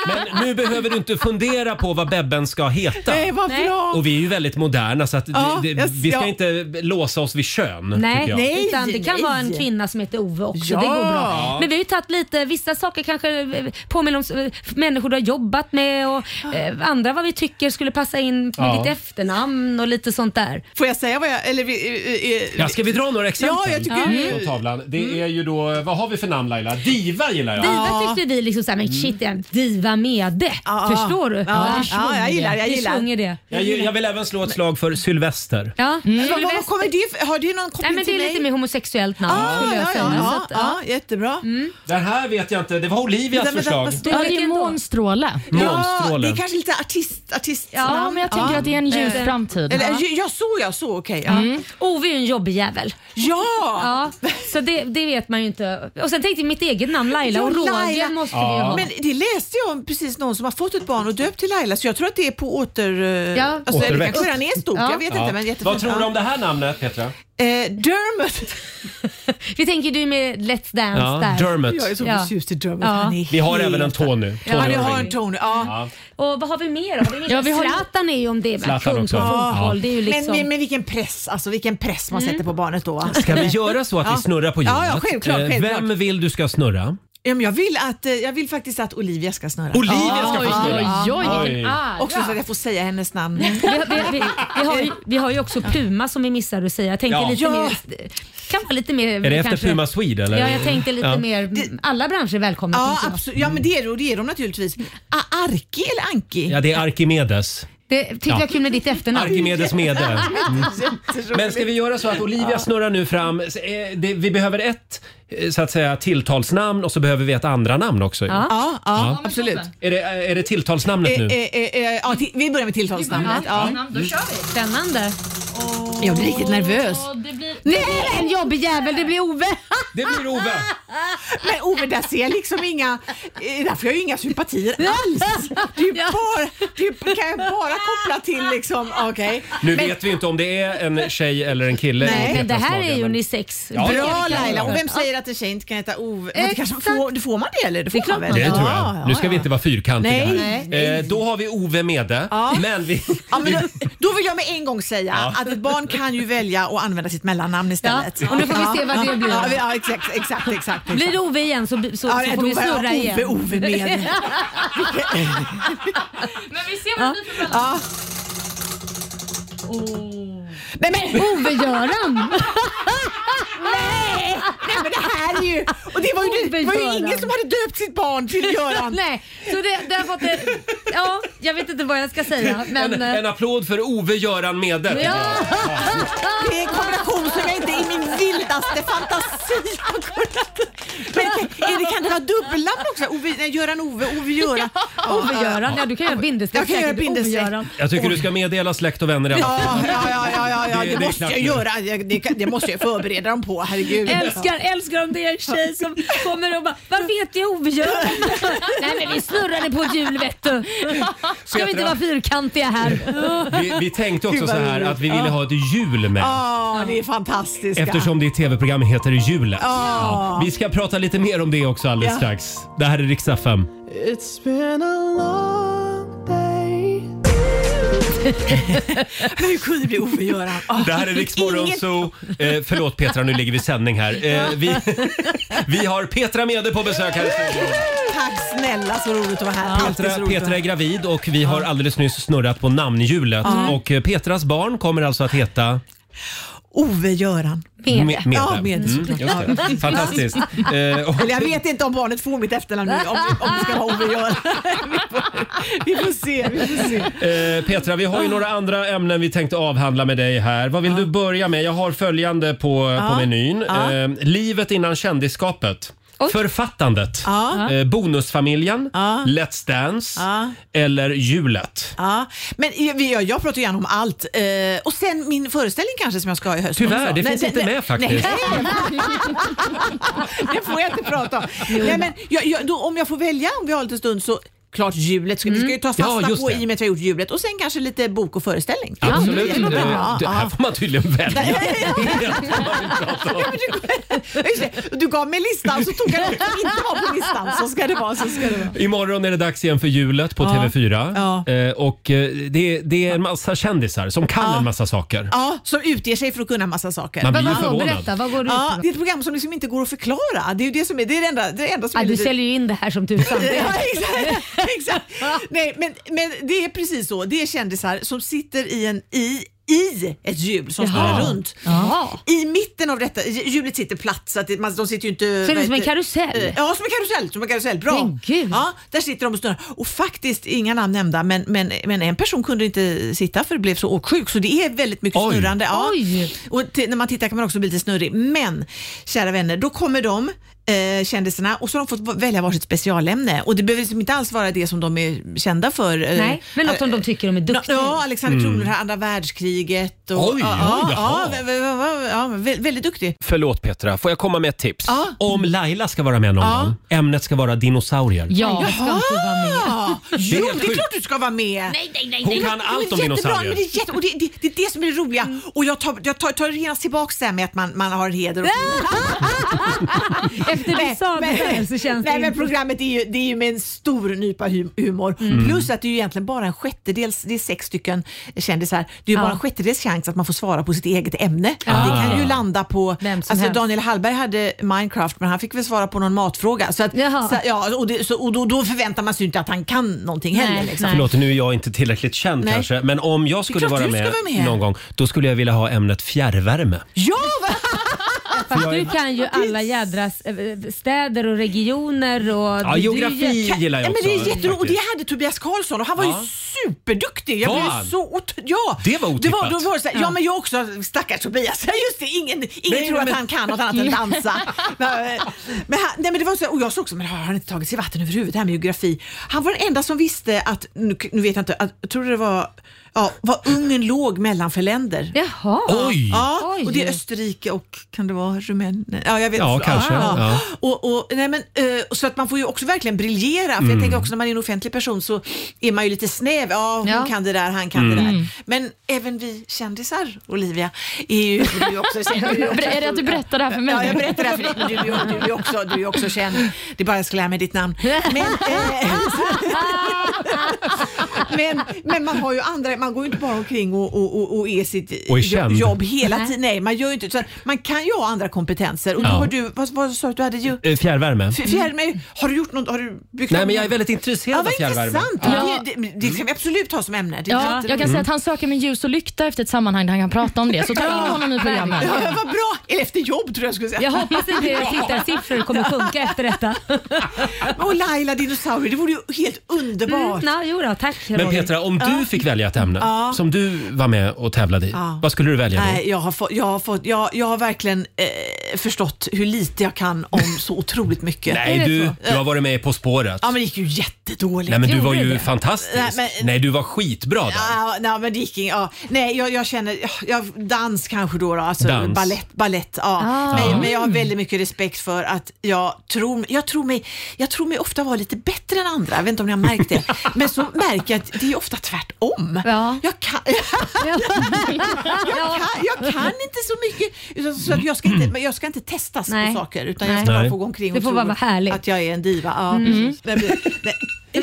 [SPEAKER 1] Men nu behöver du inte fundera på vad bebben ska heta.
[SPEAKER 7] Nej, vad
[SPEAKER 2] Nej.
[SPEAKER 7] bra!
[SPEAKER 1] Och vi är ju väldigt moderna så att
[SPEAKER 7] Ja,
[SPEAKER 1] det, det,
[SPEAKER 7] jag-
[SPEAKER 1] vi ska
[SPEAKER 7] ja.
[SPEAKER 1] inte låsa oss vid kön.
[SPEAKER 2] nej,
[SPEAKER 1] tycker jag.
[SPEAKER 7] Nej,
[SPEAKER 2] utan det kan
[SPEAKER 7] nej.
[SPEAKER 2] vara en kvinna som heter Ove också.
[SPEAKER 7] Ja.
[SPEAKER 2] Det går bra. Men vi har ju tagit lite, vissa saker kanske eh, påminner om eh, människor du har jobbat med och eh, andra vad vi tycker skulle passa in med
[SPEAKER 1] Ja.
[SPEAKER 2] ditt efternamn och lite sånt där.
[SPEAKER 7] Får jag säga vad jag... Eller, vi- eh, eh,
[SPEAKER 1] Ja, ska vi dra några exempel? Mm.
[SPEAKER 7] Ja, jag tycker- Mm.
[SPEAKER 1] På tavlan. Det är ju då, vad har vi för namn Laila? Diva gillar jag.
[SPEAKER 2] Diva tyckte vi liksom såhär, men shit det är en diva med det.
[SPEAKER 7] Mm. Ja,
[SPEAKER 2] Förstår du?
[SPEAKER 7] ja, ja, jag gillar, jag gillar.
[SPEAKER 2] Det sjunger det.
[SPEAKER 1] Jag, jag vill även slå ett slag för Sylvester.
[SPEAKER 2] Ja,
[SPEAKER 7] Mm. vad- vad, vad
[SPEAKER 2] Sylvester.
[SPEAKER 7] kommer det för- Har det någon koppling
[SPEAKER 2] Mm. Nej men det
[SPEAKER 7] till
[SPEAKER 2] är
[SPEAKER 7] mig?
[SPEAKER 2] lite mer homosexuellt namn
[SPEAKER 7] ah,
[SPEAKER 2] skulle jag
[SPEAKER 7] ja,
[SPEAKER 2] säga.
[SPEAKER 7] Ja,
[SPEAKER 2] Så
[SPEAKER 7] ja,
[SPEAKER 2] att, ja.
[SPEAKER 7] ja, jättebra.
[SPEAKER 1] Den här vet jag inte, det var Olivias
[SPEAKER 7] Vänta, vänta,
[SPEAKER 1] förslag.
[SPEAKER 7] vad står-
[SPEAKER 3] Ja,
[SPEAKER 2] vet
[SPEAKER 3] det är
[SPEAKER 2] inte.
[SPEAKER 3] månstråle.
[SPEAKER 7] Ja, det
[SPEAKER 1] Månstrålen.
[SPEAKER 7] är kanske lite artist, artist
[SPEAKER 3] Ja, men jag tänker att det är en ljus
[SPEAKER 2] Eh,
[SPEAKER 3] framtid.
[SPEAKER 7] Eller, ja. ja, så ja, så okej. Ja.
[SPEAKER 2] Ove är ju en jobbig jävel.
[SPEAKER 7] ja.
[SPEAKER 2] Mm. Ja, så det, det vet man ju inte. Och sen tänkte jag mitt eget namn Laila
[SPEAKER 7] Ja,
[SPEAKER 2] och
[SPEAKER 7] Laila.
[SPEAKER 2] Roger måste vi ju ha.
[SPEAKER 7] Men det läste jag om precis någon som har fått ett barn och döpt till Laila så jag tror att det är på åter... eh,
[SPEAKER 2] Ja.
[SPEAKER 7] Alltså, eller det
[SPEAKER 1] Återväxt.
[SPEAKER 7] kanske redan är stort,
[SPEAKER 2] Ja.
[SPEAKER 7] jag vet inte. Men jättefint.
[SPEAKER 1] Vad tror du om det här namnet Petra?
[SPEAKER 7] Eh, Dermot.
[SPEAKER 2] Vi tänker du med Let's Dance där.
[SPEAKER 7] Jag är så
[SPEAKER 2] Ja.
[SPEAKER 7] förtjust i Dermot.
[SPEAKER 2] Ja.
[SPEAKER 7] Han är
[SPEAKER 1] Vi har
[SPEAKER 7] helt-
[SPEAKER 1] även en Tony. Tony
[SPEAKER 7] Ja, vi har
[SPEAKER 1] Irving.
[SPEAKER 7] en Tony. Ja.
[SPEAKER 1] Ja.
[SPEAKER 2] Och vad har vi mer då?
[SPEAKER 3] Ja, vi har ju-
[SPEAKER 2] Zlatan är ju om det är väl
[SPEAKER 1] Zlatan
[SPEAKER 2] kung på
[SPEAKER 1] också. Ja.
[SPEAKER 2] fotboll. Det är ju liksom... Mm.
[SPEAKER 7] men, men, men vilken press, alltså vilken press man sätter på barnet då. Eh, va?
[SPEAKER 1] Ska vi göra så att vi
[SPEAKER 7] Ja.
[SPEAKER 1] snurrar på hjulet?
[SPEAKER 7] Ja, ja, självklart,
[SPEAKER 1] Eh,
[SPEAKER 7] självklart.
[SPEAKER 1] Vem vill du ska snurra?
[SPEAKER 7] Ja, men jag, vill att, eh, jag vill faktiskt att Olivia ska snurra.
[SPEAKER 1] Olivia ska
[SPEAKER 3] Oj,
[SPEAKER 1] få snurra.
[SPEAKER 3] oj, oj.
[SPEAKER 1] Oj.
[SPEAKER 2] Ah,
[SPEAKER 7] Också så att jag får säga hennes namn.
[SPEAKER 2] Vi, har- vi, vi, vi, har ju, vi har ju också Puma som vi missade att säga. Jag tänkte
[SPEAKER 1] Ja.
[SPEAKER 2] lite
[SPEAKER 1] Ja.
[SPEAKER 2] mer... kan vara lite mer...
[SPEAKER 1] Är det efter Puma Swede eller?
[SPEAKER 2] Ja, jag tänkte lite
[SPEAKER 1] Ja.
[SPEAKER 2] mer... Alla branscher är välkomna.
[SPEAKER 7] Ja,
[SPEAKER 2] tänker jag.
[SPEAKER 7] absolut. ja men det är, de- det är de naturligtvis. A- Arki eller Anki?
[SPEAKER 1] Ja, det är Arkimedes.
[SPEAKER 2] Det tyckte
[SPEAKER 1] Ja.
[SPEAKER 2] jag var kul med ditt efternamn.
[SPEAKER 1] Arkimedes mede.
[SPEAKER 7] Jätteroligt.
[SPEAKER 1] Men ska vi göra så att Olivia snurrar nu fram. Så, eh, det- Vi behöver ett eh, så att säga tilltalsnamn och så behöver vi ett andra namn också. ju.
[SPEAKER 2] Ja.
[SPEAKER 7] Ja, ja, absolut.
[SPEAKER 1] Är, det, är det tilltalsnamnet
[SPEAKER 7] Eh,
[SPEAKER 1] nu?
[SPEAKER 7] eh, eh, eh, ja, ti- vi börjar med tilltalsnamnet. Ja.
[SPEAKER 3] Då kör vi.
[SPEAKER 2] Spännande.
[SPEAKER 7] Jag blir riktigt nervös.
[SPEAKER 3] Och det blir...
[SPEAKER 2] Nej, en jobbig jävel. Det blir Ove.
[SPEAKER 1] Det blir Ove!
[SPEAKER 7] Men Ove, där ser jag liksom inga... eh, Där får jag ju inga sympatier alls. Det, är ju bara, det är ju- kan jag bara koppla till liksom... Okej.
[SPEAKER 1] Nu vet vi inte om det är en tjej eller en kille. i
[SPEAKER 7] Nej,
[SPEAKER 1] Petras
[SPEAKER 2] Men det här
[SPEAKER 1] mage,
[SPEAKER 2] är ju
[SPEAKER 1] men-
[SPEAKER 2] unisex.
[SPEAKER 1] Ja.
[SPEAKER 7] Bra Laila! Och vem säger att en tjej inte kan heta Ove? Men det kanske
[SPEAKER 2] Exakt.
[SPEAKER 7] får, det får man det eller? Det får
[SPEAKER 2] Det är klart
[SPEAKER 7] man
[SPEAKER 1] Det
[SPEAKER 7] väl?
[SPEAKER 1] tror
[SPEAKER 7] Ja,
[SPEAKER 1] jag.
[SPEAKER 7] ja,
[SPEAKER 1] Nu ska vi inte vara fyrkantiga
[SPEAKER 7] Nej,
[SPEAKER 1] här. Eh, då har vi Ove Mede.
[SPEAKER 7] Ja.
[SPEAKER 1] Men vi,
[SPEAKER 7] Ja, men då, då vill jag med en gång säga att ett barn kan ju välja att använda sitt mellannamn istället.
[SPEAKER 2] Ja, och nu får vi se vad det blir.
[SPEAKER 7] Ja, vi- ja exakt, exakt, exakt.
[SPEAKER 2] Blir
[SPEAKER 7] exakt.
[SPEAKER 2] det Ove igen så, så,
[SPEAKER 7] Ja,
[SPEAKER 2] så
[SPEAKER 7] då
[SPEAKER 2] får vi
[SPEAKER 7] var jag
[SPEAKER 2] snurra igen.
[SPEAKER 7] Ove,
[SPEAKER 2] <laughs>
[SPEAKER 7] Ove med.
[SPEAKER 3] Men vi ser vad det blir för
[SPEAKER 7] Ja. Oh. Nej, men,
[SPEAKER 2] Ove-Göran.
[SPEAKER 7] nej men det här är ju... Och det var ju, det var ju
[SPEAKER 2] Ove-Göran.
[SPEAKER 7] ingen som hade döpt sitt barn till Göran.
[SPEAKER 2] Nej, så det, det har fått ett ja, jag vet inte vad jag ska säga. Men,
[SPEAKER 7] eh,
[SPEAKER 2] eh,
[SPEAKER 1] En, en applåd för Ove-Göran Mede. tycker
[SPEAKER 2] Ja.
[SPEAKER 1] jag.
[SPEAKER 7] Det är en kombination som jag inte i min vildaste fantasi har kunnat... Men är det, kan det vara dubbelnamn också? Ove, nej, Göran Ove, Ove Göran.
[SPEAKER 2] Ove-Göran, ja du kan göra bindestreck
[SPEAKER 7] Jag kan göra
[SPEAKER 2] säkert.
[SPEAKER 7] bindestreck.
[SPEAKER 2] Ove-Göran.
[SPEAKER 1] Jag tycker du ska meddela släkt och vänner i alla fall.
[SPEAKER 7] Ja, ja, ja, ja, ja, ja.
[SPEAKER 1] Det- det
[SPEAKER 7] Det,
[SPEAKER 1] är
[SPEAKER 7] måste jag
[SPEAKER 1] knappt nu.
[SPEAKER 7] göra. Det, det, kan- det måste jag förbereda dem på, herregud.
[SPEAKER 2] Älskar, älskar om det är en tjej som kommer och bara “Vad vet jag Ove-Göran?” Nej men vi snurrade på ett hjul vet du. Ska vi inte vara fyrkantiga <laughs> här?
[SPEAKER 1] Vi, vi tänkte också
[SPEAKER 7] Gud,
[SPEAKER 1] så
[SPEAKER 7] vad
[SPEAKER 1] här
[SPEAKER 7] roligt.
[SPEAKER 1] att vi ville ha ett hjul med.
[SPEAKER 7] Ja, det är fantastiskt.
[SPEAKER 1] Eftersom ditt tv-program heter Hjulet.
[SPEAKER 7] Ja.
[SPEAKER 1] Ja, vi ska prata lite mer om det också alldeles
[SPEAKER 7] Ja.
[SPEAKER 1] strax. Det här är Rix FM.
[SPEAKER 6] It's been a long day.
[SPEAKER 7] Men hur kunde det bli Ove Göran? Ah.
[SPEAKER 1] Det här är
[SPEAKER 7] <laughs>
[SPEAKER 1] Rix Morgon Zoo. Eh, förlåt Petra, nu ligger vi i sändning här. Eh, vi, <laughs> vi har Petra Mede på besök här i
[SPEAKER 7] <laughs>
[SPEAKER 1] studion.
[SPEAKER 7] Tack snälla, så roligt att vara här. Alltid
[SPEAKER 1] Petra,
[SPEAKER 7] så roligt att
[SPEAKER 1] Petra är gravid och vi har alldeles nyss snurrat på namnhjulet. Och eh, Petras barn kommer alltså att heta
[SPEAKER 7] vara här. Ove Göran.
[SPEAKER 1] Me-
[SPEAKER 2] Med.
[SPEAKER 1] Mede.
[SPEAKER 7] Ja, Mede,
[SPEAKER 1] Mm,
[SPEAKER 7] såklart.
[SPEAKER 1] just det. Fantastiskt. Eh, och
[SPEAKER 7] Eller jag vet inte om barnet får mitt efternamn nu, om, om det ska vara Ove Göran. Vi får, vi får se, vi får se.
[SPEAKER 1] Eh, Petra, vi har ju några andra ämnen vi tänkte avhandla med dig här. Vad vill du börja med? Jag har följande på, på menyn.
[SPEAKER 7] Ja.
[SPEAKER 1] Eh, livet innan kändisskapet. Författandet.
[SPEAKER 7] Ja.
[SPEAKER 1] Eh, bonusfamiljen.
[SPEAKER 7] Ja.
[SPEAKER 1] Let's Dance.
[SPEAKER 7] Ja.
[SPEAKER 1] Eller hjulet.
[SPEAKER 7] Ja, men vi- jag, jag pratar gärna om allt. Eh, och sen min föreställning kanske som jag ska ha i höst.
[SPEAKER 1] Tyvärr,
[SPEAKER 7] också.
[SPEAKER 1] det finns inte med faktiskt.
[SPEAKER 7] Nej. <laughs> det får jag inte prata om. Nej, men jag, jag, då, om jag får välja, om vi har lite stund, så klart hjulet. Ska, Vi ska ju ta fasta
[SPEAKER 1] Mm. Ja, just
[SPEAKER 7] på
[SPEAKER 1] det.
[SPEAKER 7] i och med att vi har gjort hjulet. Och sen kanske lite bok och föreställning.
[SPEAKER 1] Absolut.
[SPEAKER 7] Det låter bra.
[SPEAKER 1] Eh, det här
[SPEAKER 7] Ja,
[SPEAKER 1] får man tydligen välja.
[SPEAKER 7] ja. Just det, Du <laughs> gav mig listan så tog jag något som inte var på listan. Så ska det vara. Så ska det vara.
[SPEAKER 1] Imorgon är det dags igen för hjulet på TV4.
[SPEAKER 7] Ja.
[SPEAKER 1] Eh, och eh, det, det är en massa kändisar som kan en massa saker.
[SPEAKER 7] Ja, som utger sig för att kunna massa saker.
[SPEAKER 1] Man blir ju
[SPEAKER 2] Vad då?
[SPEAKER 1] förvånad.
[SPEAKER 2] Berätta, vad går du ut
[SPEAKER 7] Ja, det
[SPEAKER 2] på?
[SPEAKER 7] är ett program som liksom inte går att förklara. Det är ju det som är det, är det enda, det är det enda som
[SPEAKER 2] Ja,
[SPEAKER 7] är
[SPEAKER 2] du
[SPEAKER 7] lite-
[SPEAKER 2] säljer ju in det här som tusan.
[SPEAKER 7] <laughs> Ja, exakt. exakt. Nej, men, men det är precis så. Det är kändisar som sitter i, en, i, i ett hjul som snurrar runt.
[SPEAKER 2] Ja.
[SPEAKER 7] I mitten av detta, hjulet sitter platt så att det, man, de sitter ju inte...
[SPEAKER 2] Ser
[SPEAKER 7] vad
[SPEAKER 2] ut som en
[SPEAKER 7] heter-
[SPEAKER 2] karusell.
[SPEAKER 7] Ja, som en karusell. Som en karusell. Bra.
[SPEAKER 2] Men gud.
[SPEAKER 7] Ja, där sitter de och snurrar. Och faktiskt, inga namn nämnda, men, men, men en person kunde inte sitta för blev så åksjuk. Så det är väldigt mycket
[SPEAKER 1] Oj.
[SPEAKER 7] snurrande. Ja.
[SPEAKER 2] Oj.
[SPEAKER 7] Och t- när man tittar kan man också bli lite snurrig. Men, kära vänner, då kommer de eh, kändisarna och så har de fått välja varsitt specialämne. Och det behöver liksom inte alls vara det som de är kända för. eh,
[SPEAKER 2] Nej, men något som de tycker de är
[SPEAKER 7] Ja,
[SPEAKER 2] duktiga i.
[SPEAKER 7] Ja, Alexander Kronlund, här, andra världskriget. Och,
[SPEAKER 1] Mm. Oj,
[SPEAKER 7] ja,
[SPEAKER 1] oj,
[SPEAKER 7] ja,
[SPEAKER 1] jaha.
[SPEAKER 7] ja, vä- vä- vä- ja, vä- väldigt duktig.
[SPEAKER 1] Förlåt Petra, får jag komma med ett tips?
[SPEAKER 7] Ja.
[SPEAKER 1] Om Laila ska vara med någon
[SPEAKER 7] Ja.
[SPEAKER 1] gång, ämnet ska vara dinosaurier.
[SPEAKER 3] Jag ska
[SPEAKER 7] Ja,
[SPEAKER 3] inte vara med.
[SPEAKER 7] Ah! jo,
[SPEAKER 1] helt
[SPEAKER 7] det är
[SPEAKER 1] sjukt.
[SPEAKER 7] klart du ska vara med.
[SPEAKER 2] Nej, nej, nej,
[SPEAKER 1] Hon
[SPEAKER 2] nej.
[SPEAKER 1] kan allt om
[SPEAKER 7] men jättebra, Mm.
[SPEAKER 1] dinosaurier.
[SPEAKER 7] men det, är jätte, och det, det, det är det som är det roliga. Och jag tar, jag tar, tar genast tillbaka det här med att man, man har heder och
[SPEAKER 2] Efter vi sa det här så känns det
[SPEAKER 7] <laughs> nej, men
[SPEAKER 2] inte-
[SPEAKER 7] programmet är ju, det är ju med en stor nypa hu- humor.
[SPEAKER 2] Mm.
[SPEAKER 7] Plus att det är ju egentligen bara en sjättedels, det är sex stycken kändisar, det är ju bara en sjättedels chans att man får svara på sitt eget ämne. Det kan ju landa på,
[SPEAKER 2] Vem som
[SPEAKER 7] alltså
[SPEAKER 2] helst.
[SPEAKER 7] Daniel Hallberg hade Minecraft men han fick väl svara på någon matfråga. Så att,
[SPEAKER 2] Jaha.
[SPEAKER 7] så, ja, och det, så, och då, då förväntar man sig ju inte att han kan någonting
[SPEAKER 2] Nej,
[SPEAKER 7] heller. Liksom.
[SPEAKER 2] nej.
[SPEAKER 1] Förlåt, nu är jag inte tillräckligt känd
[SPEAKER 7] Nej.
[SPEAKER 1] kanske, men om jag skulle
[SPEAKER 7] klart
[SPEAKER 1] vara
[SPEAKER 7] du ska
[SPEAKER 1] med,
[SPEAKER 7] vara med.
[SPEAKER 1] någon gång, då skulle jag vilja ha ämnet fjärrvärme.
[SPEAKER 7] Ja, vad
[SPEAKER 2] Fast du kan ju alla jädras eh, städer och regioner och...
[SPEAKER 1] Ja,
[SPEAKER 2] du-
[SPEAKER 1] geografi
[SPEAKER 2] du är ju-
[SPEAKER 1] gillar jag
[SPEAKER 7] Ja, men
[SPEAKER 1] också.
[SPEAKER 7] det är jätteroligt. Och det
[SPEAKER 1] faktiskt.
[SPEAKER 7] hade Tobias Karlsson och han var
[SPEAKER 1] Ja.
[SPEAKER 7] ju superduktig. Jag
[SPEAKER 1] Var
[SPEAKER 7] blev
[SPEAKER 1] han?
[SPEAKER 7] ju så ot- ja.
[SPEAKER 1] Det var
[SPEAKER 7] Det var,
[SPEAKER 1] otippat.
[SPEAKER 7] då var det så här, ja men jag också, stackars Tobias. <laughs> Ja, Just det, ingen, ingen
[SPEAKER 1] Nej,
[SPEAKER 7] tror att
[SPEAKER 1] men-
[SPEAKER 7] han kan något
[SPEAKER 1] <laughs>
[SPEAKER 7] annat än dansa. Nej, men, han, nej, men det var så här, och jag såg också, men har han inte tagit sig vatten över huvudet, det här med geografi. Han var den enda som visste att, nu, nu vet jag inte, att, jag tror det var, ja, vad Ungern låg mellan för länder.
[SPEAKER 2] Jaha.
[SPEAKER 1] Oj!
[SPEAKER 7] Ja,
[SPEAKER 2] Oj.
[SPEAKER 7] och det är Österrike och kan det vara Rumänien? Ja, jag vet
[SPEAKER 1] Ja,
[SPEAKER 7] inte.
[SPEAKER 1] kanske, ja.
[SPEAKER 7] Och, och, nej, men, eh, så att man får ju också verkligen briljera. För
[SPEAKER 1] Mm.
[SPEAKER 7] jag tänker också när man är en offentlig person så är man ju lite snäv. Ja, hon
[SPEAKER 2] Ja.
[SPEAKER 7] kan det där, han kan det
[SPEAKER 1] Mm.
[SPEAKER 7] där. Men även vi kändisar, Olivia, är ju du är ju också känd. Du också
[SPEAKER 3] <laughs> Är det att du berättar det <laughs> här för mig?
[SPEAKER 7] Ja, jag berättar det här för dig. men Du, är ju- du, är ju också, du är ju också känd. Det är bara jag ska lära mig ditt namn. Men, eh, <laughs> men, men man har ju andra, man går ju inte bara omkring och, och, och, och är sitt
[SPEAKER 1] Och är
[SPEAKER 7] jo-
[SPEAKER 1] känd.
[SPEAKER 7] jobb hela
[SPEAKER 2] Nej.
[SPEAKER 7] tiden. Nej, man gör ju inte så. Man kan ju ha andra kompetenser. Och då
[SPEAKER 1] Ja.
[SPEAKER 7] har du, vad, vad sa du att du hade? Ju,
[SPEAKER 1] Eh, Fjärrvärme.
[SPEAKER 7] F- Fjärrvärme, har du gjort något? Har du byggt
[SPEAKER 1] Nej,
[SPEAKER 7] något?
[SPEAKER 1] men jag är väldigt intresserad
[SPEAKER 7] ja,
[SPEAKER 1] av
[SPEAKER 7] vad
[SPEAKER 1] fjärrvärme.
[SPEAKER 7] Intressant.
[SPEAKER 1] Ja.
[SPEAKER 7] Det, det, det ska vi absolut ha som ämne. Det är
[SPEAKER 3] Ja,
[SPEAKER 7] jätte-
[SPEAKER 3] jag
[SPEAKER 2] mm.
[SPEAKER 3] kan säga att han söker med ljus och lykta efter ett sammanhang där han kan prata om det. Så ta in honom i programmet.
[SPEAKER 7] Ja, men vad bra! Eller efter jobb tror jag skulle säga.
[SPEAKER 2] Jag hoppas inte tittarsiffror kommer sjunka efter
[SPEAKER 7] <laughs>
[SPEAKER 2] detta.
[SPEAKER 7] Och Laila dinosaurier, det vore ju helt underbart.
[SPEAKER 2] Mm, no, jo då, tack
[SPEAKER 1] Men
[SPEAKER 2] Roger.
[SPEAKER 1] Petra, om du fick välja ett ämne
[SPEAKER 7] Ja.
[SPEAKER 1] som du var med och tävlade i,
[SPEAKER 7] Ja.
[SPEAKER 1] vad skulle du välja då?
[SPEAKER 7] Nej, jag har, fått, jag, har fått, jag, jag har verkligen eh, förstått hur lite jag kan om så otroligt mycket.
[SPEAKER 1] Nej, du, du har varit med På spåret.
[SPEAKER 7] Ja, men det gick ju jättedåligt.
[SPEAKER 1] Nej, men du
[SPEAKER 2] Gjorde
[SPEAKER 1] var ju
[SPEAKER 2] det?
[SPEAKER 1] fantastisk.
[SPEAKER 7] Nej,
[SPEAKER 1] Nej,
[SPEAKER 7] men-
[SPEAKER 1] du var skitbra där.
[SPEAKER 7] Ja, nej, men det gick inget. Ja. Nej, jag, jag känner, jag, dans kanske då, då alltså
[SPEAKER 1] Dans. Mm.
[SPEAKER 7] ballett. ballett ja. men, men jag har väldigt mycket respekt för att jag tror, jag, tror mig, jag tror mig ofta vara lite bättre än andra. Jag vet inte om ni har märkt det. Men så märker jag att det är ofta tvärtom.
[SPEAKER 2] Ja.
[SPEAKER 7] Jag, kan, <laughs> jag, kan, jag kan inte så mycket. utan Så att jag, ska inte, men jag ska inte testas
[SPEAKER 2] Nej.
[SPEAKER 7] på saker utan jag
[SPEAKER 2] Nej.
[SPEAKER 7] ska bara
[SPEAKER 1] Nej.
[SPEAKER 7] få gå omkring
[SPEAKER 2] Det
[SPEAKER 7] och
[SPEAKER 2] får
[SPEAKER 7] tro
[SPEAKER 2] bara vara härligt. Mm.
[SPEAKER 7] att jag är en diva. Ja, precis. Nej, men- nej.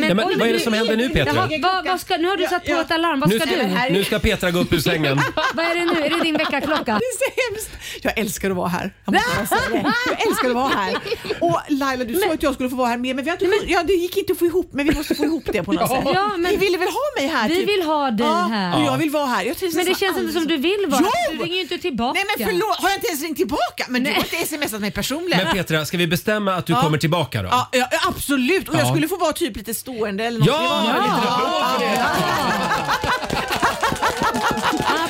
[SPEAKER 1] Nej, men,
[SPEAKER 2] oj,
[SPEAKER 1] vad är det
[SPEAKER 2] nu-
[SPEAKER 1] som händer nu Petra?
[SPEAKER 2] Jaha, vad, vad ska, nu har du satt på
[SPEAKER 7] Ja, ja.
[SPEAKER 2] ett alarm. Vad
[SPEAKER 1] Nu,
[SPEAKER 2] ska du?
[SPEAKER 7] här-
[SPEAKER 1] nu ska Petra gå upp ur sängen.
[SPEAKER 7] <laughs>
[SPEAKER 2] Vad är det nu? Är det din väckarklocka?
[SPEAKER 7] Det är så hemskt. Jag älskar att vara här. Jag, måste bara säga det. jag älskar att vara här. Och Laila, du sa att jag skulle få vara här mer, men, vi har inte, fått- ja, det gick inte att få ihop, men vi måste få ihop det på något sätt.
[SPEAKER 2] Ja, men-
[SPEAKER 7] ni ville väl ha mig här? typ?
[SPEAKER 2] Vi vill ha dig
[SPEAKER 7] ja,
[SPEAKER 2] här.
[SPEAKER 7] Och jag vill vara här. Jag trivs
[SPEAKER 2] Men det
[SPEAKER 7] nästan
[SPEAKER 2] känns inte
[SPEAKER 7] aldrig
[SPEAKER 2] som
[SPEAKER 7] så.
[SPEAKER 2] du vill vara
[SPEAKER 7] Jo!
[SPEAKER 2] Du ringer ju inte tillbaka.
[SPEAKER 7] Nej men förlåt, har jag inte ens ringt tillbaka? Men du har inte smsat mig personligen.
[SPEAKER 1] Men Petra, ska vi bestämma att du kommer tillbaka då?
[SPEAKER 7] Ja, ja, absolut, och jag
[SPEAKER 1] Ja.
[SPEAKER 7] skulle få vara typ lite stående eller något.
[SPEAKER 1] Ja,
[SPEAKER 7] Det var-
[SPEAKER 1] lite
[SPEAKER 7] ja,
[SPEAKER 1] applåd
[SPEAKER 7] ja. Det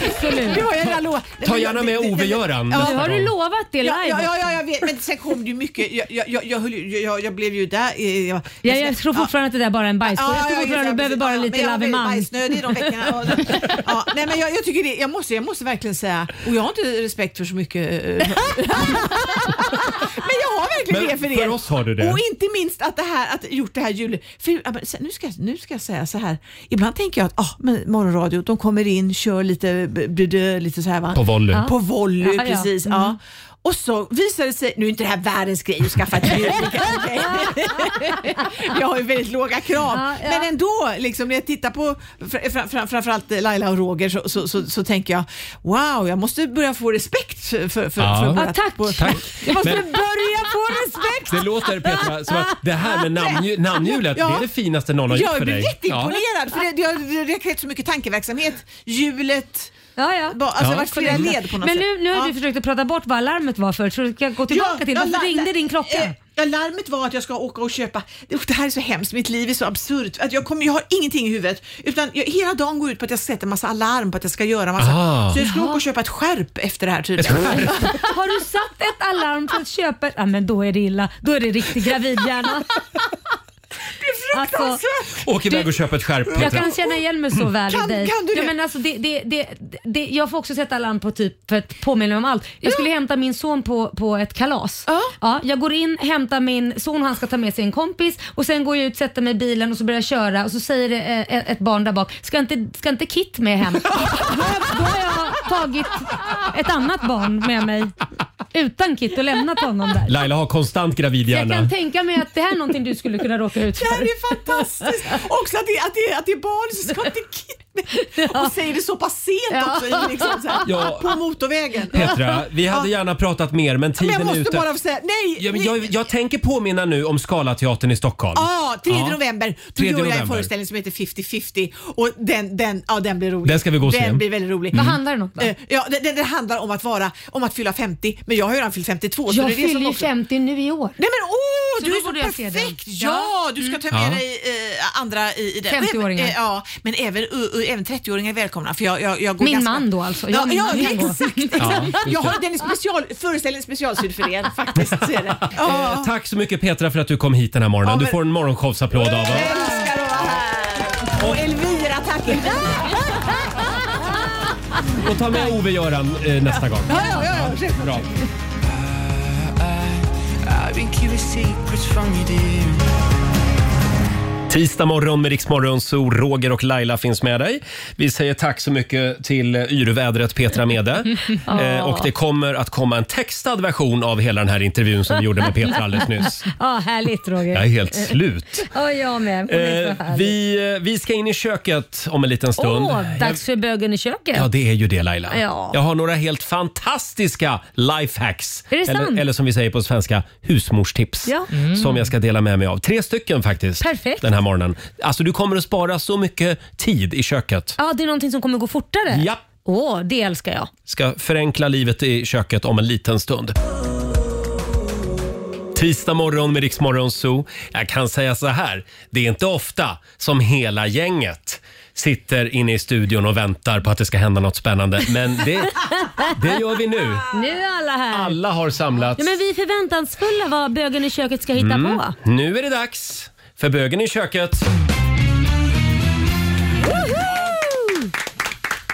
[SPEAKER 2] Absolut.
[SPEAKER 7] var jag redan lovat.
[SPEAKER 1] Ta gärna med
[SPEAKER 7] Det- det- det-
[SPEAKER 1] Ove-Göran
[SPEAKER 7] Ja.
[SPEAKER 2] Nu har du lovat det
[SPEAKER 7] Ja,
[SPEAKER 2] live.
[SPEAKER 7] ja, ja, ja, jag vet. Men sen kom det ju mycket. Jag, jag, jag, jag, höll ju- jag, jag blev ju där. eh, Jag,
[SPEAKER 2] Ja, jag tror fortfarande att det där är bara är en bajskorv. jag tror fortfarande att du behöver bara lite lavemang.
[SPEAKER 7] bajsnödig de veckorna. Och-
[SPEAKER 2] <laughs>
[SPEAKER 7] Ja, nej, men jag, jag, tycker det, jag, måste, jag måste verkligen säga, och jag har inte respekt för så mycket. eh, <laughs> men jag har verkligen
[SPEAKER 1] Men
[SPEAKER 7] det för
[SPEAKER 1] för
[SPEAKER 7] er.
[SPEAKER 1] oss har du det.
[SPEAKER 7] Och inte minst att det här, att gjort det här julet. För, ja, men sen- nu, ska, jag- nu ska jag säga så här. Ibland tänker jag att ah, men morgonradio, de kommer in, kör lite, b- b- d- lite så här va?
[SPEAKER 1] På volley. Ja.
[SPEAKER 7] På volley,
[SPEAKER 2] Ja, Mm. ja.
[SPEAKER 7] precis. Ja. Och så visar det sig, nu är inte det här världens grej att skaffa ett
[SPEAKER 2] <laughs>
[SPEAKER 7] ljud. Jag har ju väldigt låga krav.
[SPEAKER 2] Ja, ja.
[SPEAKER 7] Men ändå, liksom, när jag tittar på fr- fram- fram- framförallt Laila och Roger så, så, så, så tänker jag wow, jag måste börja få respekt för, för, för,
[SPEAKER 1] Ja.
[SPEAKER 7] för
[SPEAKER 1] Ja,
[SPEAKER 7] vårat-
[SPEAKER 2] tack.
[SPEAKER 7] vår-
[SPEAKER 1] Tack.
[SPEAKER 7] Jag måste
[SPEAKER 1] Men-
[SPEAKER 7] börja få respekt!
[SPEAKER 1] Det låter Petra som att det här med namnju- namnhjulet,
[SPEAKER 7] Ja.
[SPEAKER 1] det är det finaste någon har gjort
[SPEAKER 7] Jag
[SPEAKER 1] för
[SPEAKER 7] blir
[SPEAKER 1] dig.
[SPEAKER 7] jätteimponerad för det, det har det har krävt så mycket tankeverksamhet. Hjulet,
[SPEAKER 2] Ja, ja.
[SPEAKER 7] ba-
[SPEAKER 1] Ja.
[SPEAKER 7] alltså det har varit flera led på något
[SPEAKER 2] Men
[SPEAKER 7] sätt.
[SPEAKER 2] nu, nu har
[SPEAKER 7] Ja.
[SPEAKER 2] du försökt att prata bort vad alarmet var för, så du ska gå tillbaka till
[SPEAKER 7] ja,
[SPEAKER 2] varför
[SPEAKER 7] la-
[SPEAKER 2] ringde
[SPEAKER 7] la-
[SPEAKER 2] din
[SPEAKER 7] eh,
[SPEAKER 2] klocka?
[SPEAKER 7] Ja, larmet var att jag ska åka och köpa. Oh, det här är så hemskt, mitt liv är så absurt. Att jag, kommer, jag har ingenting i huvudet. Utan jag, hela dagen går ut på att jag sätter massa alarm på att jag ska göra massa.
[SPEAKER 1] Ah.
[SPEAKER 7] Så jag ska åka och köpa ett skärp efter det här tydligen.
[SPEAKER 2] <laughs> Har du satt ett alarm för att köpa ett... Ja, men då är det illa. Då är det riktig
[SPEAKER 7] <laughs>
[SPEAKER 2] gravidhjärna. Alltså, det är
[SPEAKER 1] <laughs>
[SPEAKER 2] fruktansvärt.
[SPEAKER 1] Åk iväg och köp ett skärp
[SPEAKER 2] Jag
[SPEAKER 1] Petra.
[SPEAKER 2] kan känna igen mig så väl
[SPEAKER 7] Kan-
[SPEAKER 2] i dig.
[SPEAKER 7] kan du
[SPEAKER 2] ja,
[SPEAKER 7] det?
[SPEAKER 2] men alltså det, det, det, det, jag får också sätta alarm på typ för att påminna om allt. Jag skulle hämta min son på, på ett kalas.
[SPEAKER 7] Ja.
[SPEAKER 2] jag går in, hämtar min son, han ska ta med sig en kompis och sen går jag ut, sätter mig i bilen och så börjar jag köra och så säger det, eh, ett barn där bak, ska inte, ska inte Kit med
[SPEAKER 7] <laughs>
[SPEAKER 2] hem? då, har jag- då har jag tagit ett annat barn med mig utan Kit och lämnat honom där.
[SPEAKER 1] Laila har konstant gravid
[SPEAKER 2] Jag kan
[SPEAKER 1] hjärna.
[SPEAKER 2] tänka mig att det här är någonting du skulle kunna råka ut
[SPEAKER 7] Det här
[SPEAKER 2] för.
[SPEAKER 7] är fantastiskt! Också att det, att det, att det är barn som ska till kidney. Och säger det så pass sent också. i Liksom, så här,
[SPEAKER 1] Ja.
[SPEAKER 7] På motorvägen.
[SPEAKER 1] Petra, vi hade gärna pratat mer men
[SPEAKER 7] Men
[SPEAKER 1] tiden
[SPEAKER 7] jag
[SPEAKER 1] är
[SPEAKER 7] måste
[SPEAKER 1] ute.
[SPEAKER 7] bara få säga, nej!
[SPEAKER 1] Ja, men
[SPEAKER 7] ni-
[SPEAKER 1] jag, jag tänker påminna nu om Scalateatern i Stockholm.
[SPEAKER 7] Ja, 3
[SPEAKER 1] Ja.
[SPEAKER 7] november. Då
[SPEAKER 1] 3
[SPEAKER 7] gör jag en
[SPEAKER 1] november.
[SPEAKER 7] föreställning som heter 50-50 och den, den, ja, den blir rolig.
[SPEAKER 1] Den ska vi gå och
[SPEAKER 7] den
[SPEAKER 1] se. Mm.
[SPEAKER 7] blir väldigt rolig.
[SPEAKER 2] Vad handlar den om då?
[SPEAKER 7] Eh, Ja, det, det, det handlar om att vara, om att fylla 50, men jag har ju redan fyllt 52. så
[SPEAKER 2] Jag
[SPEAKER 7] det är det
[SPEAKER 2] fyller
[SPEAKER 7] som
[SPEAKER 2] ju
[SPEAKER 7] också-
[SPEAKER 2] 50 nu i år.
[SPEAKER 7] Nej men åh,
[SPEAKER 2] Så
[SPEAKER 7] du
[SPEAKER 2] då
[SPEAKER 7] är så
[SPEAKER 2] borde jag se
[SPEAKER 7] perfekt!
[SPEAKER 2] den.
[SPEAKER 7] Ja, du ska ta med
[SPEAKER 1] Ja.
[SPEAKER 7] dig eh, andra i, i den.
[SPEAKER 2] 50-åringar.
[SPEAKER 7] Eh, Ja, men även, eh, eh, även 30-åringar är välkomna. För jag, jag, jag går
[SPEAKER 2] Min
[SPEAKER 7] ganska...
[SPEAKER 2] man då alltså. Jag
[SPEAKER 7] Ja,
[SPEAKER 2] och min
[SPEAKER 7] ja,
[SPEAKER 2] man kan gå.
[SPEAKER 7] exakt. exakt.
[SPEAKER 1] Ja, just
[SPEAKER 7] jag har
[SPEAKER 1] det.
[SPEAKER 7] den är special, föreställningen specialsydd för er faktiskt.
[SPEAKER 2] <laughs>
[SPEAKER 7] Så är det.
[SPEAKER 1] Eh,
[SPEAKER 7] Ja.
[SPEAKER 1] Tack så mycket Petra för att du kom hit den här morgonen.
[SPEAKER 7] Ja, men-
[SPEAKER 1] Du får en morgonshowsapplåd av oss.
[SPEAKER 7] Jag älskar att vara här. Och Elvira, tack Elvira.
[SPEAKER 1] Och ta med Ove-Göran eh, nästa gång.
[SPEAKER 7] Ja, ja, ja, ja.
[SPEAKER 1] Bra. Tisdag morgon med Riksmorgon, så Roger och Laila finns med dig. Vi säger tack så mycket till eh, yrvädret Petra Mede.
[SPEAKER 2] Ja.
[SPEAKER 1] eh, och det kommer att komma en textad version av hela den här intervjun som vi gjorde med Petra alldeles nyss.
[SPEAKER 2] <laughs> Ja, härligt Roger.
[SPEAKER 1] Jag är helt slut.
[SPEAKER 2] Ja, jag med. Det är så
[SPEAKER 1] Eh,
[SPEAKER 2] härligt.
[SPEAKER 1] vi, eh, vi ska in i köket om en liten stund.
[SPEAKER 2] Åh,
[SPEAKER 1] Jag-
[SPEAKER 2] dags för bögen i köket.
[SPEAKER 1] Ja, det är ju det Laila.
[SPEAKER 2] Ja.
[SPEAKER 1] Jag har några helt fantastiska lifehacks.
[SPEAKER 2] Är det sant?
[SPEAKER 1] eller, eller som vi säger på svenska, husmorstips.
[SPEAKER 2] Ja. Mm.
[SPEAKER 1] Som jag ska dela med mig av. Tre stycken faktiskt.
[SPEAKER 2] Perfekt.
[SPEAKER 1] Den här morgonen. Alltså du kommer att spara så mycket tid i köket.
[SPEAKER 2] Ja, det är någonting som kommer gå fortare.
[SPEAKER 1] Ja.
[SPEAKER 2] Åh, det älskar jag.
[SPEAKER 1] Ska förenkla livet i köket om en liten stund. Tisdag morgon med Riksmorgon Zoo. Jag kan säga så här, det är inte ofta som hela gänget sitter inne i studion och väntar på att det ska hända något spännande. Men det, det gör vi nu.
[SPEAKER 2] Nu är alla här.
[SPEAKER 1] Alla har samlats.
[SPEAKER 2] Ja, men vi är förväntansfulla vad bögen i köket ska hitta
[SPEAKER 1] Mm.
[SPEAKER 2] på.
[SPEAKER 1] Nu är det dags för bögen i köket.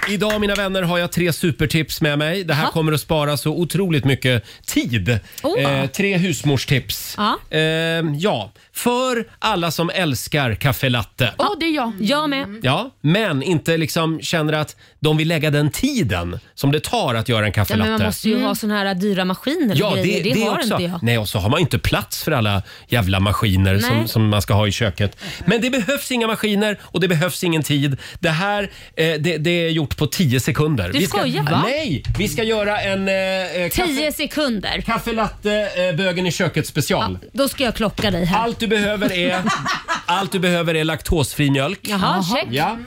[SPEAKER 1] Idag mina vänner har jag tre supertips med mig. Det här kommer att spara så otroligt mycket tid. Eh,
[SPEAKER 11] Oh.
[SPEAKER 1] tre husmorstips.
[SPEAKER 2] Ja.
[SPEAKER 1] Eh, ja, för alla som älskar kaffe latte.
[SPEAKER 2] Åh, det är jag. Jag med.
[SPEAKER 1] Ja, men inte liksom känner att de vill lägga den tiden som det tar att göra en kaffe
[SPEAKER 2] Ja, men
[SPEAKER 1] latte.
[SPEAKER 2] man måste ju ha såna här dyra maskiner och
[SPEAKER 1] Ja, det,
[SPEAKER 2] Mm. grejer.
[SPEAKER 1] det,
[SPEAKER 2] har
[SPEAKER 1] också.
[SPEAKER 2] inte jag.
[SPEAKER 1] Nej, och så har man ju inte plats för alla jävla maskiner som,
[SPEAKER 2] Nej.
[SPEAKER 1] som man ska ha i köket. Men det behövs inga maskiner och det behövs ingen tid. Det här eh, det, det är gjort på 10 sekunder.
[SPEAKER 2] Du
[SPEAKER 1] ska,
[SPEAKER 2] skojar, va?
[SPEAKER 1] Nej, vi ska göra en eh, eh,
[SPEAKER 2] Tio sekunder.
[SPEAKER 1] Kaffe latte, eh, bögen i köket special.
[SPEAKER 2] Då ska jag klocka dig här.
[SPEAKER 1] Allt du behöver är, allt du behöver är laktosfri mjölk.
[SPEAKER 2] Jaha, check.
[SPEAKER 1] Ja.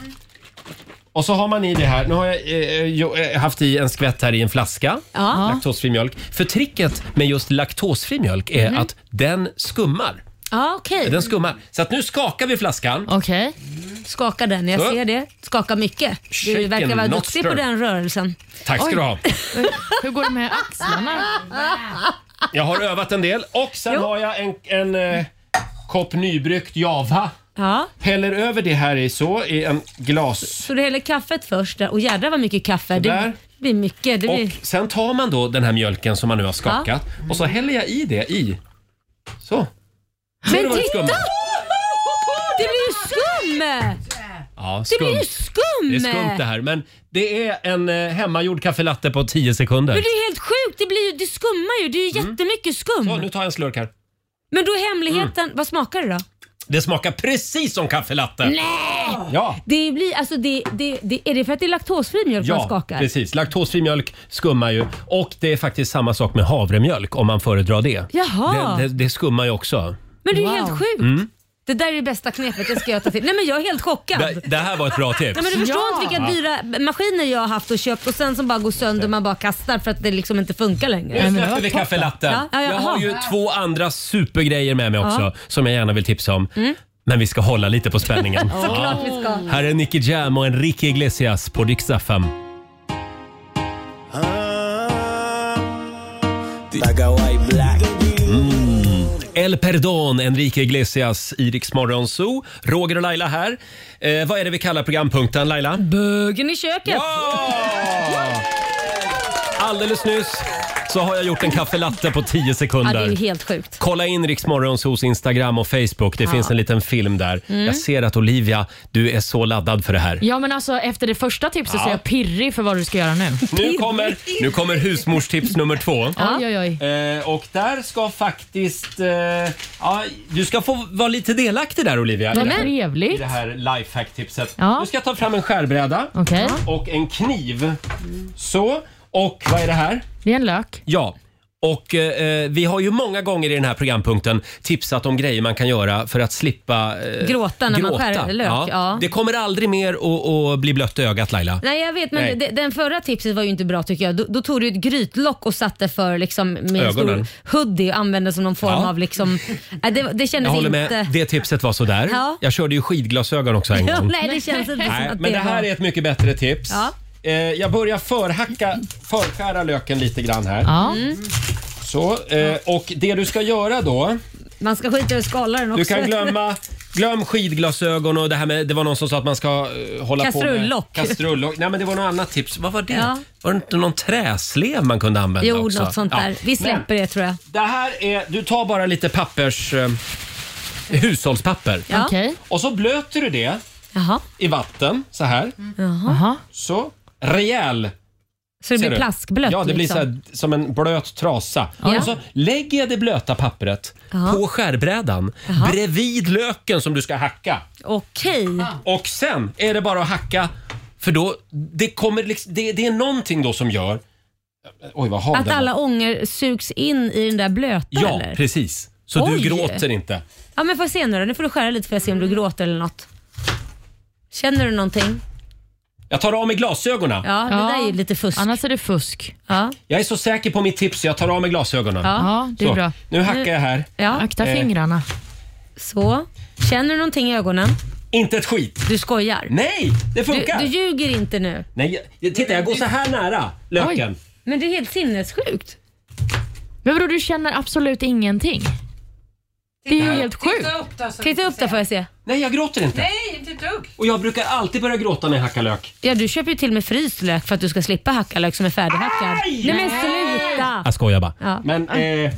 [SPEAKER 1] Och så har man i det här, nu har jag eh, jo, eh, haft i en skvätt här i en flaska,
[SPEAKER 2] Ja.
[SPEAKER 1] laktosfri mjölk. För tricket med just laktosfri mjölk är
[SPEAKER 2] Mhm.
[SPEAKER 1] att den skummar.
[SPEAKER 2] Ja, okej.
[SPEAKER 1] Den skummar. Så att nu skakar vi flaskan.
[SPEAKER 2] Okej. Skaka den, jag
[SPEAKER 1] Så.
[SPEAKER 2] ser det. Skaka mycket.
[SPEAKER 1] Shaken,
[SPEAKER 2] Du verkar vara
[SPEAKER 1] not
[SPEAKER 2] duktig på
[SPEAKER 1] stirred.
[SPEAKER 2] den rörelsen.
[SPEAKER 1] Tack ska du ha.
[SPEAKER 2] Hur går det med axlarna?
[SPEAKER 1] Jag har övat en del. Och sen har jag en, en eh, kopp nybryggt java.
[SPEAKER 2] Ja.
[SPEAKER 1] Häller över det här i så, i en glas...
[SPEAKER 2] Så du häller kaffet först där. Och jädrar vad mycket kaffe.
[SPEAKER 1] Sådär.
[SPEAKER 2] Det blir mycket. Det blir...
[SPEAKER 1] Och sen tar man då den här mjölken som man nu har skakat och så häller jag i det i. Så. Ser du
[SPEAKER 2] Men
[SPEAKER 1] vad det
[SPEAKER 2] titta!
[SPEAKER 1] skummar?
[SPEAKER 2] Det blir ju skum!
[SPEAKER 1] Ja,
[SPEAKER 2] Det
[SPEAKER 1] skum.
[SPEAKER 2] blir ju skum!
[SPEAKER 1] Det är skumt det här, men det är en eh, hemmagjord kaffelatte på 10 sekunder.
[SPEAKER 2] Men det är helt sjukt, det, blir ju, det skummar ju. Det är ju jättemycket skum.
[SPEAKER 1] Så, Mm. nu Mm. tar jag en slurk här.
[SPEAKER 2] Men då är hemligheten, vad smakar det då?
[SPEAKER 1] Det smakar precis som kaffelatte.
[SPEAKER 2] Nej!
[SPEAKER 1] Ja.
[SPEAKER 2] Det blir, alltså det, det, det, är det för att det är laktosfri mjölk man
[SPEAKER 1] Ja,
[SPEAKER 2] skakar?
[SPEAKER 1] precis. Laktosfri mjölk skummar ju. Och det är faktiskt samma sak med havremjölk om man föredrar det.
[SPEAKER 2] Jaha.
[SPEAKER 1] Det, det, det skummar ju också.
[SPEAKER 2] Men det är ju helt sjukt.
[SPEAKER 1] Mm.
[SPEAKER 2] Det där är det bästa knepet, det ska jag ta till. Nej men jag är helt chockad.
[SPEAKER 1] Det, det här var ett bra tips.
[SPEAKER 2] Nej, men du förstår inte vilka dyra maskiner jag har haft och köpt och sen som bara går sönder och man bara kastar för att det liksom inte funkar längre.
[SPEAKER 1] Nu släpper vi kaffelatten.
[SPEAKER 2] Ja, ja,
[SPEAKER 1] jag har
[SPEAKER 2] jaha.
[SPEAKER 1] ju två andra supergrejer med mig också
[SPEAKER 2] Ja.
[SPEAKER 1] som jag gärna vill tipsa om.
[SPEAKER 2] Mm.
[SPEAKER 1] Men vi ska hålla lite på
[SPEAKER 2] <laughs>
[SPEAKER 1] spänningen.
[SPEAKER 2] Såklart vi ska.
[SPEAKER 1] Här är Nicky Jam och Enrique Iglesias på Dix FM. Mm. El Perdón, Enrique Iglesias, i Rix Morgon Zoo. Roger och Laila här. Eh, vad är det vi kallar programpunkten, Laila?
[SPEAKER 2] Bögen i köket.
[SPEAKER 1] Alldeles nyss så har jag gjort en kaffelatte på 10
[SPEAKER 2] Ja,
[SPEAKER 1] sekunder.
[SPEAKER 2] det är ju helt sjukt.
[SPEAKER 1] Kolla in Riksmorgons hos Instagram och Facebook. Det
[SPEAKER 3] Ja.
[SPEAKER 1] finns en liten film där.
[SPEAKER 3] Mm.
[SPEAKER 1] Jag ser att Olivia, du är så laddad för det här.
[SPEAKER 3] Ja, men alltså efter det första tipset
[SPEAKER 1] Ja.
[SPEAKER 3] så är jag pirrig för vad du ska göra nu.
[SPEAKER 1] Nu kommer, nu kommer husmorstips nummer två.
[SPEAKER 3] Oj, oj, oj.
[SPEAKER 1] Eh, och där ska faktiskt... Eh, ja, du ska få vara lite delaktig där Olivia. i
[SPEAKER 3] Vad
[SPEAKER 1] det här-
[SPEAKER 3] trevligt.
[SPEAKER 1] I det här lifehack-tipset.
[SPEAKER 3] Ja.
[SPEAKER 1] Du ska ta fram en skärbräda
[SPEAKER 3] Okej.
[SPEAKER 1] och en kniv. Så. Och vad är det här?
[SPEAKER 3] Det är en lök.
[SPEAKER 1] Ja. Och eh, vi har ju många gånger i den här programpunkten tipsat om grejer man kan göra för att slippa eh,
[SPEAKER 2] Gråta när man skär lök, ja.
[SPEAKER 1] Det kommer aldrig mer att- att bli blött i ögat Laila.
[SPEAKER 2] Nej jag vet men
[SPEAKER 1] Nej.
[SPEAKER 2] de- den förra tipset var ju inte bra tycker jag. Då, då tog du ett grytlock och satte för liksom med en
[SPEAKER 1] Ögonen.
[SPEAKER 2] stor hoodie och använde som någon form
[SPEAKER 1] Ja.
[SPEAKER 2] av liksom, <laughs> Nej, det, det
[SPEAKER 1] Jag
[SPEAKER 2] kändes
[SPEAKER 1] håller
[SPEAKER 2] inte...
[SPEAKER 1] med, det tipset var sådär.
[SPEAKER 2] Ja.
[SPEAKER 1] Jag körde ju skidglasögon också en
[SPEAKER 2] <laughs> Ja,
[SPEAKER 1] gång.
[SPEAKER 2] nej, det känns inte som
[SPEAKER 1] Nej,
[SPEAKER 2] att
[SPEAKER 1] men det
[SPEAKER 2] det
[SPEAKER 1] här
[SPEAKER 2] var-
[SPEAKER 1] är ett mycket bättre tips.
[SPEAKER 2] Ja.
[SPEAKER 1] Eh, jag börjar förhacka, förskära löken lite grann här.
[SPEAKER 2] Mm.
[SPEAKER 1] Så, eh, och det du ska göra då,
[SPEAKER 2] Man ska skita i att skala den också.
[SPEAKER 1] du kan glömma Glöm skidglasögon och det här med, det var någon som sa att man ska eh, hålla
[SPEAKER 2] Kastrullock.
[SPEAKER 1] på med... Kastrullock. Nej men det var något annat tips. Vad var det?
[SPEAKER 2] Ja.
[SPEAKER 1] Var det inte någon träslev man kunde använda
[SPEAKER 2] <laughs> Jo,
[SPEAKER 1] också?
[SPEAKER 2] något sånt
[SPEAKER 1] Ja.
[SPEAKER 2] där. Vi
[SPEAKER 1] Men-
[SPEAKER 2] släpper det tror jag.
[SPEAKER 1] Det här är, du tar bara lite pappers... eh, hushållspapper.
[SPEAKER 2] Ja. Okej.
[SPEAKER 1] Och så blöter du det
[SPEAKER 2] Jaha.
[SPEAKER 1] i vatten så här.
[SPEAKER 2] Jaha.
[SPEAKER 1] Så. Rejäl.
[SPEAKER 2] Så Mm. det
[SPEAKER 1] Ser
[SPEAKER 2] blir
[SPEAKER 1] du?
[SPEAKER 2] plaskblött?
[SPEAKER 1] Ja, det blir
[SPEAKER 2] liksom.
[SPEAKER 1] så här, som en blöt trasa.
[SPEAKER 2] Ja.
[SPEAKER 1] Och så lägger jag det blöta pappret
[SPEAKER 2] Ja.
[SPEAKER 1] på skärbrädan
[SPEAKER 2] Jaha.
[SPEAKER 1] bredvid löken som du ska hacka.
[SPEAKER 2] Okej.
[SPEAKER 1] Och sen är det bara att hacka för då, det kommer liksom, det, det är någonting då som gör... Oj, vad har
[SPEAKER 2] Att alla ånger sugs in i den där blöta
[SPEAKER 1] Ja,
[SPEAKER 2] eller?
[SPEAKER 1] precis. Så
[SPEAKER 2] Oj.
[SPEAKER 1] du gråter inte.
[SPEAKER 2] Ja men får jag se nu då? Nu får du skära lite för att se om du gråter eller något. Känner du någonting?
[SPEAKER 1] Jag tar av mig glasögonen.
[SPEAKER 2] Ja, det där är ju lite fusk. Annars
[SPEAKER 3] är det fusk.
[SPEAKER 2] Ja.
[SPEAKER 1] Jag är så säker på mitt tips så jag tar av mig glasögonen.
[SPEAKER 2] Ja. Ja, det är
[SPEAKER 1] så,
[SPEAKER 2] bra.
[SPEAKER 1] Nu hackar
[SPEAKER 2] Nu-
[SPEAKER 1] jag här.
[SPEAKER 2] Ja.
[SPEAKER 1] Akta Eh. fingrarna.
[SPEAKER 2] Så. Känner du någonting i ögonen?
[SPEAKER 1] Inte ett skit.
[SPEAKER 2] Du skojar?
[SPEAKER 1] Nej, det funkar.
[SPEAKER 2] Du, du ljuger inte nu.
[SPEAKER 1] Nej, jag- titta jag går så här nära löken.
[SPEAKER 2] Men det är helt sinnessjukt.
[SPEAKER 3] Men vadå, du känner absolut ingenting? Det är ju helt sjukt.
[SPEAKER 2] Titta upp då, Alltså, Titta upp då får jag se.
[SPEAKER 1] Nej, jag gråter inte.
[SPEAKER 2] Nej, inte ett dugg.
[SPEAKER 1] Och jag brukar alltid börja gråta när jag hackar lök.
[SPEAKER 2] Ja, du köper ju till och med fryst lök för att du ska slippa hacka lök som är färdighackad. Nej men sluta!
[SPEAKER 1] Jag skojar bara.
[SPEAKER 2] Ja.
[SPEAKER 1] Men eh,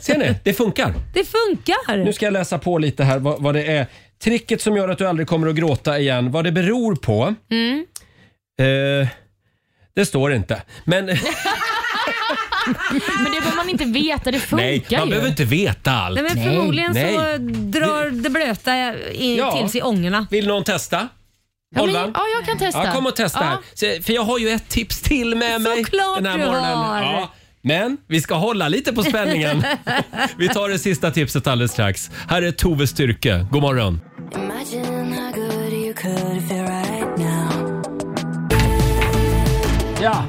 [SPEAKER 1] ser ni, det funkar.
[SPEAKER 2] Det funkar!
[SPEAKER 1] Nu ska jag läsa på lite här vad, vad det är. Tricket som gör att du aldrig kommer att gråta igen, vad det beror på.
[SPEAKER 2] Mm.
[SPEAKER 1] Eh, det står inte. Men
[SPEAKER 3] Men det behöver man inte veta, det
[SPEAKER 1] <laughs>
[SPEAKER 3] funkar
[SPEAKER 1] nej, man
[SPEAKER 3] ju.
[SPEAKER 1] behöver inte veta allt.
[SPEAKER 2] Nej, men förmodligen så
[SPEAKER 1] Nej.
[SPEAKER 2] drar det blöta i,
[SPEAKER 1] Ja.
[SPEAKER 2] till sig ångorna.
[SPEAKER 1] Vill någon testa?
[SPEAKER 2] Ja, men-
[SPEAKER 1] Olvan?
[SPEAKER 2] ja, jag kan testa.
[SPEAKER 1] Ja, kom och testa
[SPEAKER 2] Ja.
[SPEAKER 1] här. Se, För jag har ju ett tips till med mig
[SPEAKER 2] Såklart
[SPEAKER 1] den här
[SPEAKER 2] du
[SPEAKER 1] morgonen.
[SPEAKER 2] har.
[SPEAKER 1] Ja, men vi ska hålla lite på
[SPEAKER 2] <laughs>
[SPEAKER 1] spänningen. vi tar det sista tipset alldeles strax. Här är Tove Styrke. God morgon.
[SPEAKER 10] Imagine how good you could feel right now.
[SPEAKER 1] Ja.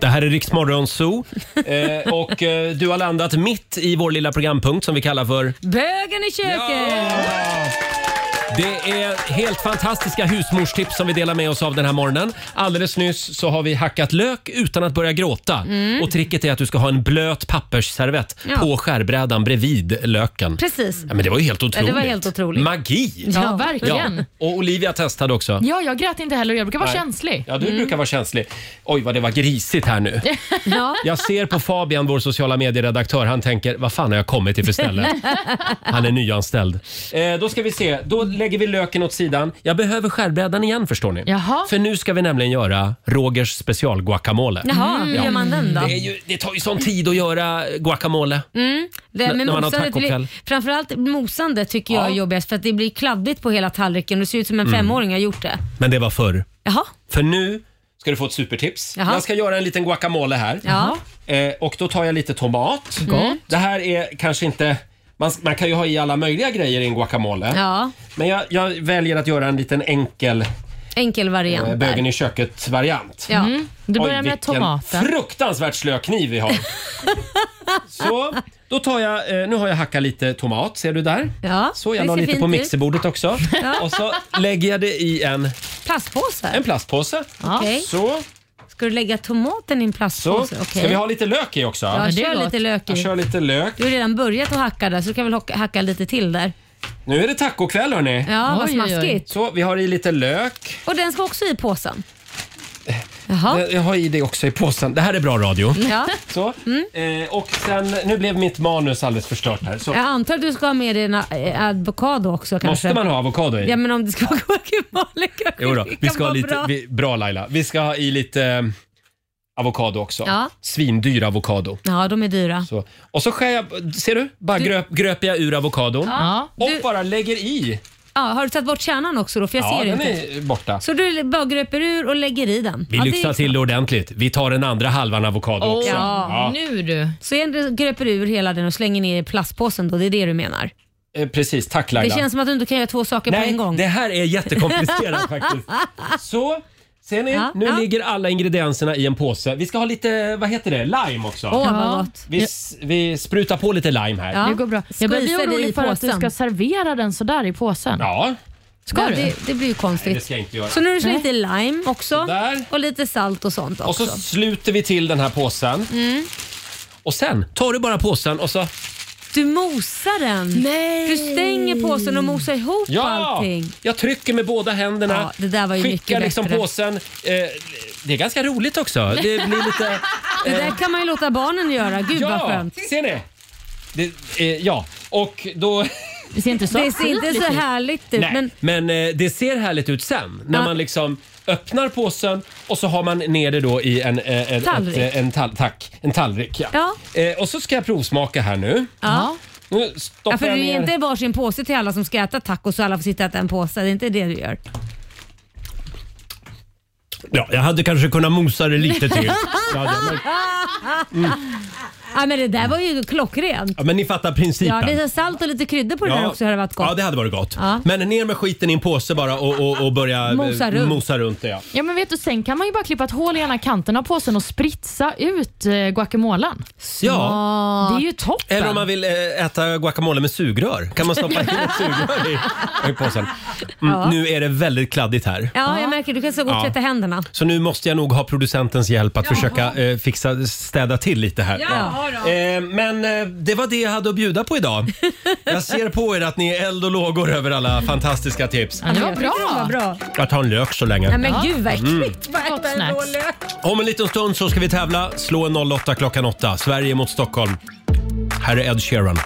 [SPEAKER 1] Det här är Riksmorgon
[SPEAKER 3] <laughs>
[SPEAKER 1] Zoo eh, och eh, du har landat mitt i vår lilla programpunkt som vi kallar för
[SPEAKER 2] Bögen i köket!
[SPEAKER 1] Det är helt fantastiska husmorstips som vi delar med oss av den här morgonen. Alldeles nyss så har vi hackat lök utan att börja gråta.
[SPEAKER 2] Mm.
[SPEAKER 1] Och tricket är att du ska ha en blöt pappersservett
[SPEAKER 2] Ja.
[SPEAKER 1] på skärbrädan bredvid löken.
[SPEAKER 2] Precis.
[SPEAKER 1] Ja, men det var ju helt
[SPEAKER 3] Ja, det var
[SPEAKER 1] otroligt.
[SPEAKER 3] helt otroligt.
[SPEAKER 1] Magi!
[SPEAKER 3] Ja, verkligen.
[SPEAKER 1] Ja, Och Olivia testade också.
[SPEAKER 3] Ja, jag grät inte heller. Jag brukar vara
[SPEAKER 1] Nej.
[SPEAKER 3] känslig. Mm.
[SPEAKER 1] Ja, du brukar vara känslig. Oj, vad det var grisigt här nu.
[SPEAKER 3] ja.
[SPEAKER 1] Jag ser på Fabian, vår sociala medieredaktör. Han tänker, vad fan har jag kommit till för ställe? Han är nyanställd. Eh, då ska vi se. Då lägger vi löken åt sidan. Jag behöver skärbrädan igen förstår ni.
[SPEAKER 3] Jaha.
[SPEAKER 1] För nu ska vi nämligen göra Rogers specialguacamole.
[SPEAKER 2] Jaha, hur gör man den då?
[SPEAKER 1] Det, är ju, det tar ju sån tid att göra guacamole.
[SPEAKER 2] Mm, det,
[SPEAKER 1] N-
[SPEAKER 2] men
[SPEAKER 1] när man har
[SPEAKER 2] mosandet
[SPEAKER 1] tacokväll.
[SPEAKER 2] blir, framförallt mosandet tycker jag är jobbigast för att det blir kladdigt på hela tallriken. Det ser ut som en
[SPEAKER 1] Mm.
[SPEAKER 2] femåring har gjort det.
[SPEAKER 1] Men det var förr.
[SPEAKER 2] Jaha.
[SPEAKER 1] För nu ska du få ett supertips.
[SPEAKER 2] Jaha.
[SPEAKER 1] Jag ska göra en liten guacamole här.
[SPEAKER 2] Ja.
[SPEAKER 1] Eh, och då tar jag lite tomat.
[SPEAKER 2] Gott.
[SPEAKER 1] Det här är kanske inte... Man, man kan ju ha i alla möjliga grejer i en guacamole.
[SPEAKER 2] Ja,
[SPEAKER 1] Men jag, jag väljer att göra en liten enkel
[SPEAKER 2] enkel variant.
[SPEAKER 1] eh,
[SPEAKER 2] där.
[SPEAKER 1] bögen i köket-variant.
[SPEAKER 2] Ja. Mm. Du börjar med
[SPEAKER 1] vilken
[SPEAKER 2] tomaten.
[SPEAKER 1] fruktansvärt slö kniv vi
[SPEAKER 2] <laughs>
[SPEAKER 1] har. Så, då tar jag, eh, nu har jag hackat lite tomat, ser du där?
[SPEAKER 2] Ja,
[SPEAKER 1] Så, jag
[SPEAKER 2] det
[SPEAKER 1] la
[SPEAKER 2] ser
[SPEAKER 1] lite
[SPEAKER 2] fint
[SPEAKER 1] på
[SPEAKER 2] ut.
[SPEAKER 1] mixerbordet också.
[SPEAKER 2] <laughs> Ja.
[SPEAKER 1] Och så lägger jag det i en,
[SPEAKER 2] Plastpåse?
[SPEAKER 1] en plastpåse.
[SPEAKER 2] Okej.
[SPEAKER 1] Så,
[SPEAKER 2] Ska du lägga tomaten i en
[SPEAKER 1] så.
[SPEAKER 2] plastpåse? Okej.
[SPEAKER 1] Ska vi ha lite lök i också?
[SPEAKER 2] Ja, kör lite lök
[SPEAKER 1] Jag
[SPEAKER 2] i.
[SPEAKER 1] kör lite lök.
[SPEAKER 2] Du har redan börjat att hacka där så du kan väl hocka- hacka lite till där.
[SPEAKER 1] Nu är det tacokväll hörni.
[SPEAKER 2] Ja, vad Oj, oj, oj. smaskigt.
[SPEAKER 1] Så, vi har i lite lök.
[SPEAKER 2] Och den ska också
[SPEAKER 1] <laughs>
[SPEAKER 2] i påsen.
[SPEAKER 1] Jag- Jag har i det också i påsen. Det här är bra radio.
[SPEAKER 2] Ja.
[SPEAKER 1] Så.
[SPEAKER 2] Mm.
[SPEAKER 1] Eh, och sen, nu blev mitt manus alldeles förstört här. Så.
[SPEAKER 2] Jag antar att du ska ha med dig en eh, avokado också kanske?
[SPEAKER 1] Måste man ha avokado i?
[SPEAKER 2] Ja men om det ska vara <laughs> guacamole kanske
[SPEAKER 1] Jo då,
[SPEAKER 2] det
[SPEAKER 1] vi
[SPEAKER 2] kan
[SPEAKER 1] ska ha
[SPEAKER 2] vara
[SPEAKER 1] lite,
[SPEAKER 2] bra.
[SPEAKER 1] bra. Vi, bra Laila. Vi ska ha i lite eh, avokado också.
[SPEAKER 2] Ja.
[SPEAKER 1] Svindyr avokado.
[SPEAKER 2] Ja, de är dyra.
[SPEAKER 1] Så. Och så skär jag, ser du? Bara gröp, gröper jag ur avokadon
[SPEAKER 2] Ja.
[SPEAKER 1] och bara lägger i.
[SPEAKER 2] Ja, har du tagit bort kärnan också då? För jag
[SPEAKER 1] ja,
[SPEAKER 2] ser
[SPEAKER 1] den
[SPEAKER 2] inte.
[SPEAKER 1] är borta.
[SPEAKER 2] Så du bara gröper ur och lägger i den?
[SPEAKER 1] Vi
[SPEAKER 2] ja, det är
[SPEAKER 1] lyxar till det ordentligt. Vi tar den andra halvan avokado
[SPEAKER 2] Åh,
[SPEAKER 1] också.
[SPEAKER 2] ja.
[SPEAKER 3] Nu du.
[SPEAKER 2] Så egentligen gröper du ur hela den och slänger ner i plastpåsen då? Det är det du menar?
[SPEAKER 1] Eh, precis, tack Laila.
[SPEAKER 2] Det känns som att du inte kan göra två saker på
[SPEAKER 1] Nej,
[SPEAKER 2] en gång.
[SPEAKER 1] det här är
[SPEAKER 2] <laughs>
[SPEAKER 1] jättekomplicerat faktiskt. Så, ser ni?
[SPEAKER 2] Ja,
[SPEAKER 1] nu
[SPEAKER 2] ja.
[SPEAKER 1] ligger alla ingredienserna i en påse. Vi ska ha lite, vad heter det, lime också.
[SPEAKER 3] Åh, vad Ja. gott.
[SPEAKER 1] Vi, s- vi sprutar på lite lime här.
[SPEAKER 3] Det går bra. Jag börjar bli
[SPEAKER 2] Squeezar det i
[SPEAKER 3] orolig för att du
[SPEAKER 2] påsen.
[SPEAKER 3] ska servera den sådär i påsen.
[SPEAKER 1] Ja.
[SPEAKER 3] Ska
[SPEAKER 2] Ja,
[SPEAKER 3] du?
[SPEAKER 2] det- det blir ju konstigt.
[SPEAKER 1] Nej, det ska jag inte göra.
[SPEAKER 2] Så nu har du
[SPEAKER 1] Nej.
[SPEAKER 2] slängt i lime också och lite salt och sånt
[SPEAKER 1] Och
[SPEAKER 2] också.
[SPEAKER 1] så sluter vi till den här påsen.
[SPEAKER 2] mm.
[SPEAKER 1] Och sen tar du bara påsen och så...
[SPEAKER 2] Du mosar den. Nej. Du stänger påsen och mosar ihop
[SPEAKER 1] Ja!
[SPEAKER 2] allting.
[SPEAKER 1] Jag trycker med båda händerna.
[SPEAKER 2] Ja, det där var ju
[SPEAKER 1] skickar
[SPEAKER 2] mycket
[SPEAKER 1] liksom
[SPEAKER 2] bättre.
[SPEAKER 1] påsen. Eh, det är ganska roligt också. Det blir lite...
[SPEAKER 2] Det där kan man ju låta barnen göra. Gud <laughs> vad
[SPEAKER 1] ja,
[SPEAKER 2] skönt.
[SPEAKER 1] ser ni? Det, eh, ja, och då...
[SPEAKER 3] Det ser inte så
[SPEAKER 2] Det ser inte så
[SPEAKER 3] aptitligt ut.
[SPEAKER 2] härligt ut.
[SPEAKER 1] Nej,
[SPEAKER 2] Men
[SPEAKER 1] men, eh, det ser härligt ut sen när
[SPEAKER 2] Ja.
[SPEAKER 1] man liksom öppnar påsen och så har man ner det då i en, eh, en,
[SPEAKER 2] Tallrik.
[SPEAKER 1] ett, eh, en, tall, tack, en tallrik. Ja.
[SPEAKER 2] Ja.
[SPEAKER 1] Eh, och så ska jag provsmaka här nu.
[SPEAKER 2] Ja.
[SPEAKER 1] Nu
[SPEAKER 2] Ja,
[SPEAKER 1] stoppar
[SPEAKER 2] för
[SPEAKER 1] jag
[SPEAKER 2] du
[SPEAKER 1] ner.
[SPEAKER 2] är inte varsin påse till alla som ska äta tacos och alla får sitta och äta en påse. Det är inte det du gör.
[SPEAKER 1] Ja, jag hade kanske kunnat mosa det lite
[SPEAKER 2] <laughs>
[SPEAKER 1] till. Ja, ja, men,
[SPEAKER 2] Ja, men det där var ju klockrent.
[SPEAKER 1] ja, men ni fattar principen.
[SPEAKER 2] Ja, lite salt och lite kryddor på det där också hade varit gott.
[SPEAKER 1] Ja, det hade varit gott.
[SPEAKER 2] Ja.
[SPEAKER 1] Men ner med skiten i en påse bara och, och, och börja eh,
[SPEAKER 3] Mosa runt.
[SPEAKER 1] mosa runt det. Ja.
[SPEAKER 3] Ja, men vet du, sen kan man ju bara klippa ett hål i ena kanten av påsen och spritsa ut eh, guacamolan.
[SPEAKER 1] Ja.
[SPEAKER 3] Det är ju toppen.
[SPEAKER 1] Eller om man vill eh, äta guacamole med sugrör. Kan man stoppa in ett sugrör i, i påsen? Mm,
[SPEAKER 2] Ja.
[SPEAKER 1] Nu är det väldigt kladdigt här.
[SPEAKER 2] Ja, jag märker. Du kan så gå och
[SPEAKER 1] Ja.
[SPEAKER 2] tvätta händerna.
[SPEAKER 1] Så nu måste jag nog ha producentens hjälp att försöka eh, fixa, städa till lite här.
[SPEAKER 2] Ja,
[SPEAKER 1] Ja. Eh, men eh, det var det jag hade att bjuda på idag. Jag ser på er att ni är eld och lågor över alla fantastiska tips.
[SPEAKER 3] Ja, det var
[SPEAKER 2] Jag tyckte det var
[SPEAKER 3] bra.
[SPEAKER 2] bra.
[SPEAKER 1] Jag tar en lök så länge.
[SPEAKER 2] Nej, men gud vad
[SPEAKER 1] Mm.
[SPEAKER 2] äckligt. Vad
[SPEAKER 3] Gott
[SPEAKER 2] äter en
[SPEAKER 3] snacks.
[SPEAKER 2] rå lök?
[SPEAKER 1] Om en liten stund så ska vi tävla. Slå en 08 klockan 8. Sverige mot Stockholm. Här är Ed Sheeran.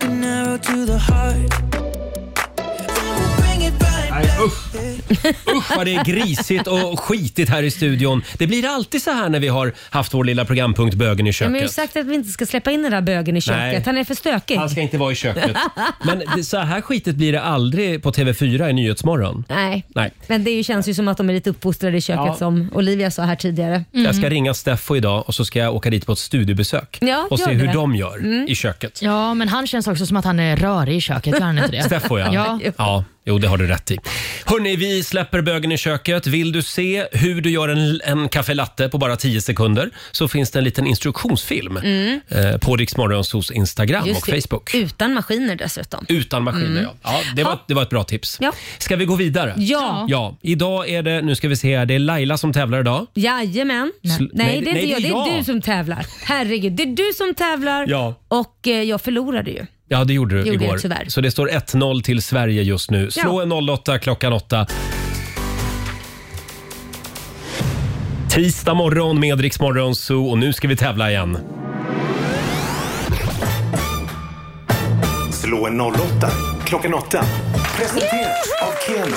[SPEAKER 6] An arrow to the heart. Ooh, bring it right
[SPEAKER 1] Nej, usch. usch vad det är grisigt och skitigt här i studion. Det blir alltid så här när vi har haft vår lilla programpunkt Bögen i
[SPEAKER 2] Ja, men jag har ju
[SPEAKER 1] köket.
[SPEAKER 2] sagt att vi inte ska släppa in den där bögen i köket.
[SPEAKER 1] Nej.
[SPEAKER 2] Han är för stökig.
[SPEAKER 1] Han ska inte vara i köket. Men det- så här skitigt blir det aldrig på TV4 i Nyhetsmorgon.
[SPEAKER 2] Nej.
[SPEAKER 1] Nej.
[SPEAKER 2] Men det är ju- känns ju som att de är lite uppfostrade i köket
[SPEAKER 1] Ja.
[SPEAKER 2] som Olivia sa här tidigare.
[SPEAKER 1] Jag ska ringa Steffo idag och så ska jag åka dit på ett studiebesök
[SPEAKER 2] Mhm. Ja,
[SPEAKER 1] och
[SPEAKER 2] gör
[SPEAKER 1] se hur
[SPEAKER 2] det. Mm.
[SPEAKER 1] de gör i köket.
[SPEAKER 3] Ja, men han känns också som att han är rörig i köket. Gör han inte det?
[SPEAKER 1] Steffo
[SPEAKER 2] <laughs>
[SPEAKER 1] ja.
[SPEAKER 3] Ja.
[SPEAKER 1] ja. Jo, det har du rätt i. Hörni, vi släpper bögen i köket. Vill du se hur du gör en, en kaffe latte på bara 10 sekunder så finns det en liten instruktionsfilm eh, på Rix Morgonzos Instagram
[SPEAKER 2] Mm. Just
[SPEAKER 1] och
[SPEAKER 2] det.
[SPEAKER 1] Facebook.
[SPEAKER 2] Utan maskiner dessutom.
[SPEAKER 1] Utan maskiner, ja. ja det, var, det var ett bra tips.
[SPEAKER 2] Ja.
[SPEAKER 1] Ska vi gå vidare?
[SPEAKER 2] Ja.
[SPEAKER 1] Ja, idag är det, nu ska vi se här, det är Laila som tävlar idag.
[SPEAKER 2] Jajamän. Nej,
[SPEAKER 1] Sl- nej,
[SPEAKER 2] det är
[SPEAKER 1] nej,
[SPEAKER 2] inte jag.
[SPEAKER 1] det
[SPEAKER 2] Det
[SPEAKER 1] är
[SPEAKER 2] är
[SPEAKER 1] jag.
[SPEAKER 2] du som tävlar. Herregud, det är du som tävlar
[SPEAKER 1] Ja.
[SPEAKER 2] och eh, jag förlorade ju.
[SPEAKER 1] Ja, det gjorde du
[SPEAKER 2] Gjorde jag
[SPEAKER 1] igår.
[SPEAKER 2] tyvärr.
[SPEAKER 1] Så det står 1-0 till Sverige just nu. Slå
[SPEAKER 2] Ja.
[SPEAKER 1] en 08 klockan 8. Tisdag morgon med Rix Morgon Zoo och nu ska vi tävla igen.
[SPEAKER 4] Slå en 08 klockan 8. Presenteras av Keno.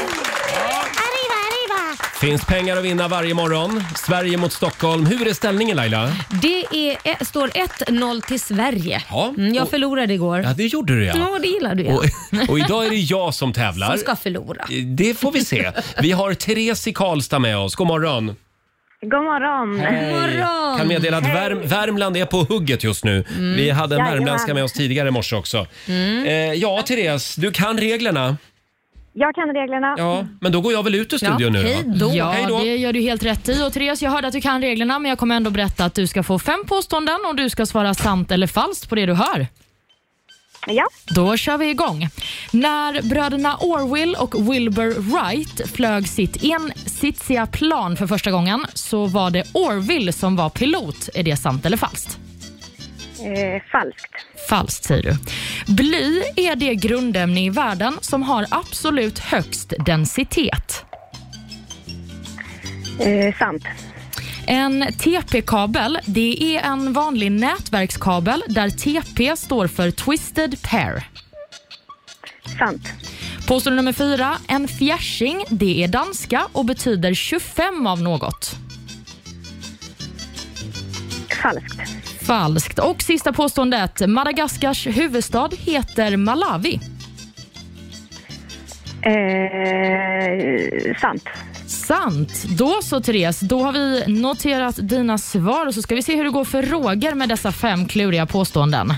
[SPEAKER 1] Finns pengar att vinna varje morgon. Sverige mot Stockholm. Hur är ställningen Laila?
[SPEAKER 2] Det är, eh, står 1-0 till Sverige.
[SPEAKER 1] Ja.
[SPEAKER 2] Mm, jag
[SPEAKER 1] Och-
[SPEAKER 2] förlorade igår.
[SPEAKER 1] Ja, det gjorde du ja.
[SPEAKER 2] Ja, det gillar du ju.
[SPEAKER 1] Och, och <laughs> idag är det jag som tävlar.
[SPEAKER 2] Mm. Som ska förlora.
[SPEAKER 1] Det får vi se. Vi har Therese i Karlstad med oss. God morgon.
[SPEAKER 5] God morgon.
[SPEAKER 2] Morgon.
[SPEAKER 1] Kan meddela att Värm Värmland är på hugget just nu.
[SPEAKER 3] Mm.
[SPEAKER 1] Vi hade en
[SPEAKER 5] Jajamän.
[SPEAKER 1] värmländska med oss tidigare i morse också. Eh, ja, Therese, du kan reglerna.
[SPEAKER 5] Jag kan reglerna.
[SPEAKER 1] Ja, men då går jag väl ut ur studion nu
[SPEAKER 2] hej
[SPEAKER 1] då.
[SPEAKER 2] då.
[SPEAKER 3] Ja,
[SPEAKER 1] Hej då.
[SPEAKER 3] det gör du helt rätt i. Och Therese, jag hörde att du kan reglerna, men jag kommer ändå berätta att du ska få fem påståenden och du ska svara sant eller falskt på det du hör.
[SPEAKER 5] Ja.
[SPEAKER 3] Då kör vi igång. När bröderna Orwell och Wilbur Wright flög sitt ensitsiga plan för första gången så var det Orville som var pilot. Är det sant eller falskt?
[SPEAKER 5] Eh, falskt.
[SPEAKER 3] Falskt säger du. Bly är det grundämne i världen som har absolut högst densitet.
[SPEAKER 5] Eh, sant.
[SPEAKER 3] En TP-kabel det är en vanlig nätverkskabel där TP står för Twisted Pair.
[SPEAKER 5] Sant.
[SPEAKER 3] Påstående nummer fyra. En fjärsing det är danska och betyder 25 av något.
[SPEAKER 5] Falskt.
[SPEAKER 3] Falskt. Och sista påståendet. Madagaskars huvudstad heter Malawi.
[SPEAKER 5] Eh, sant.
[SPEAKER 3] Sant. Då så, Therese. Då har vi noterat dina svar och så ska vi se hur det går för Roger med dessa fem kluriga påståenden.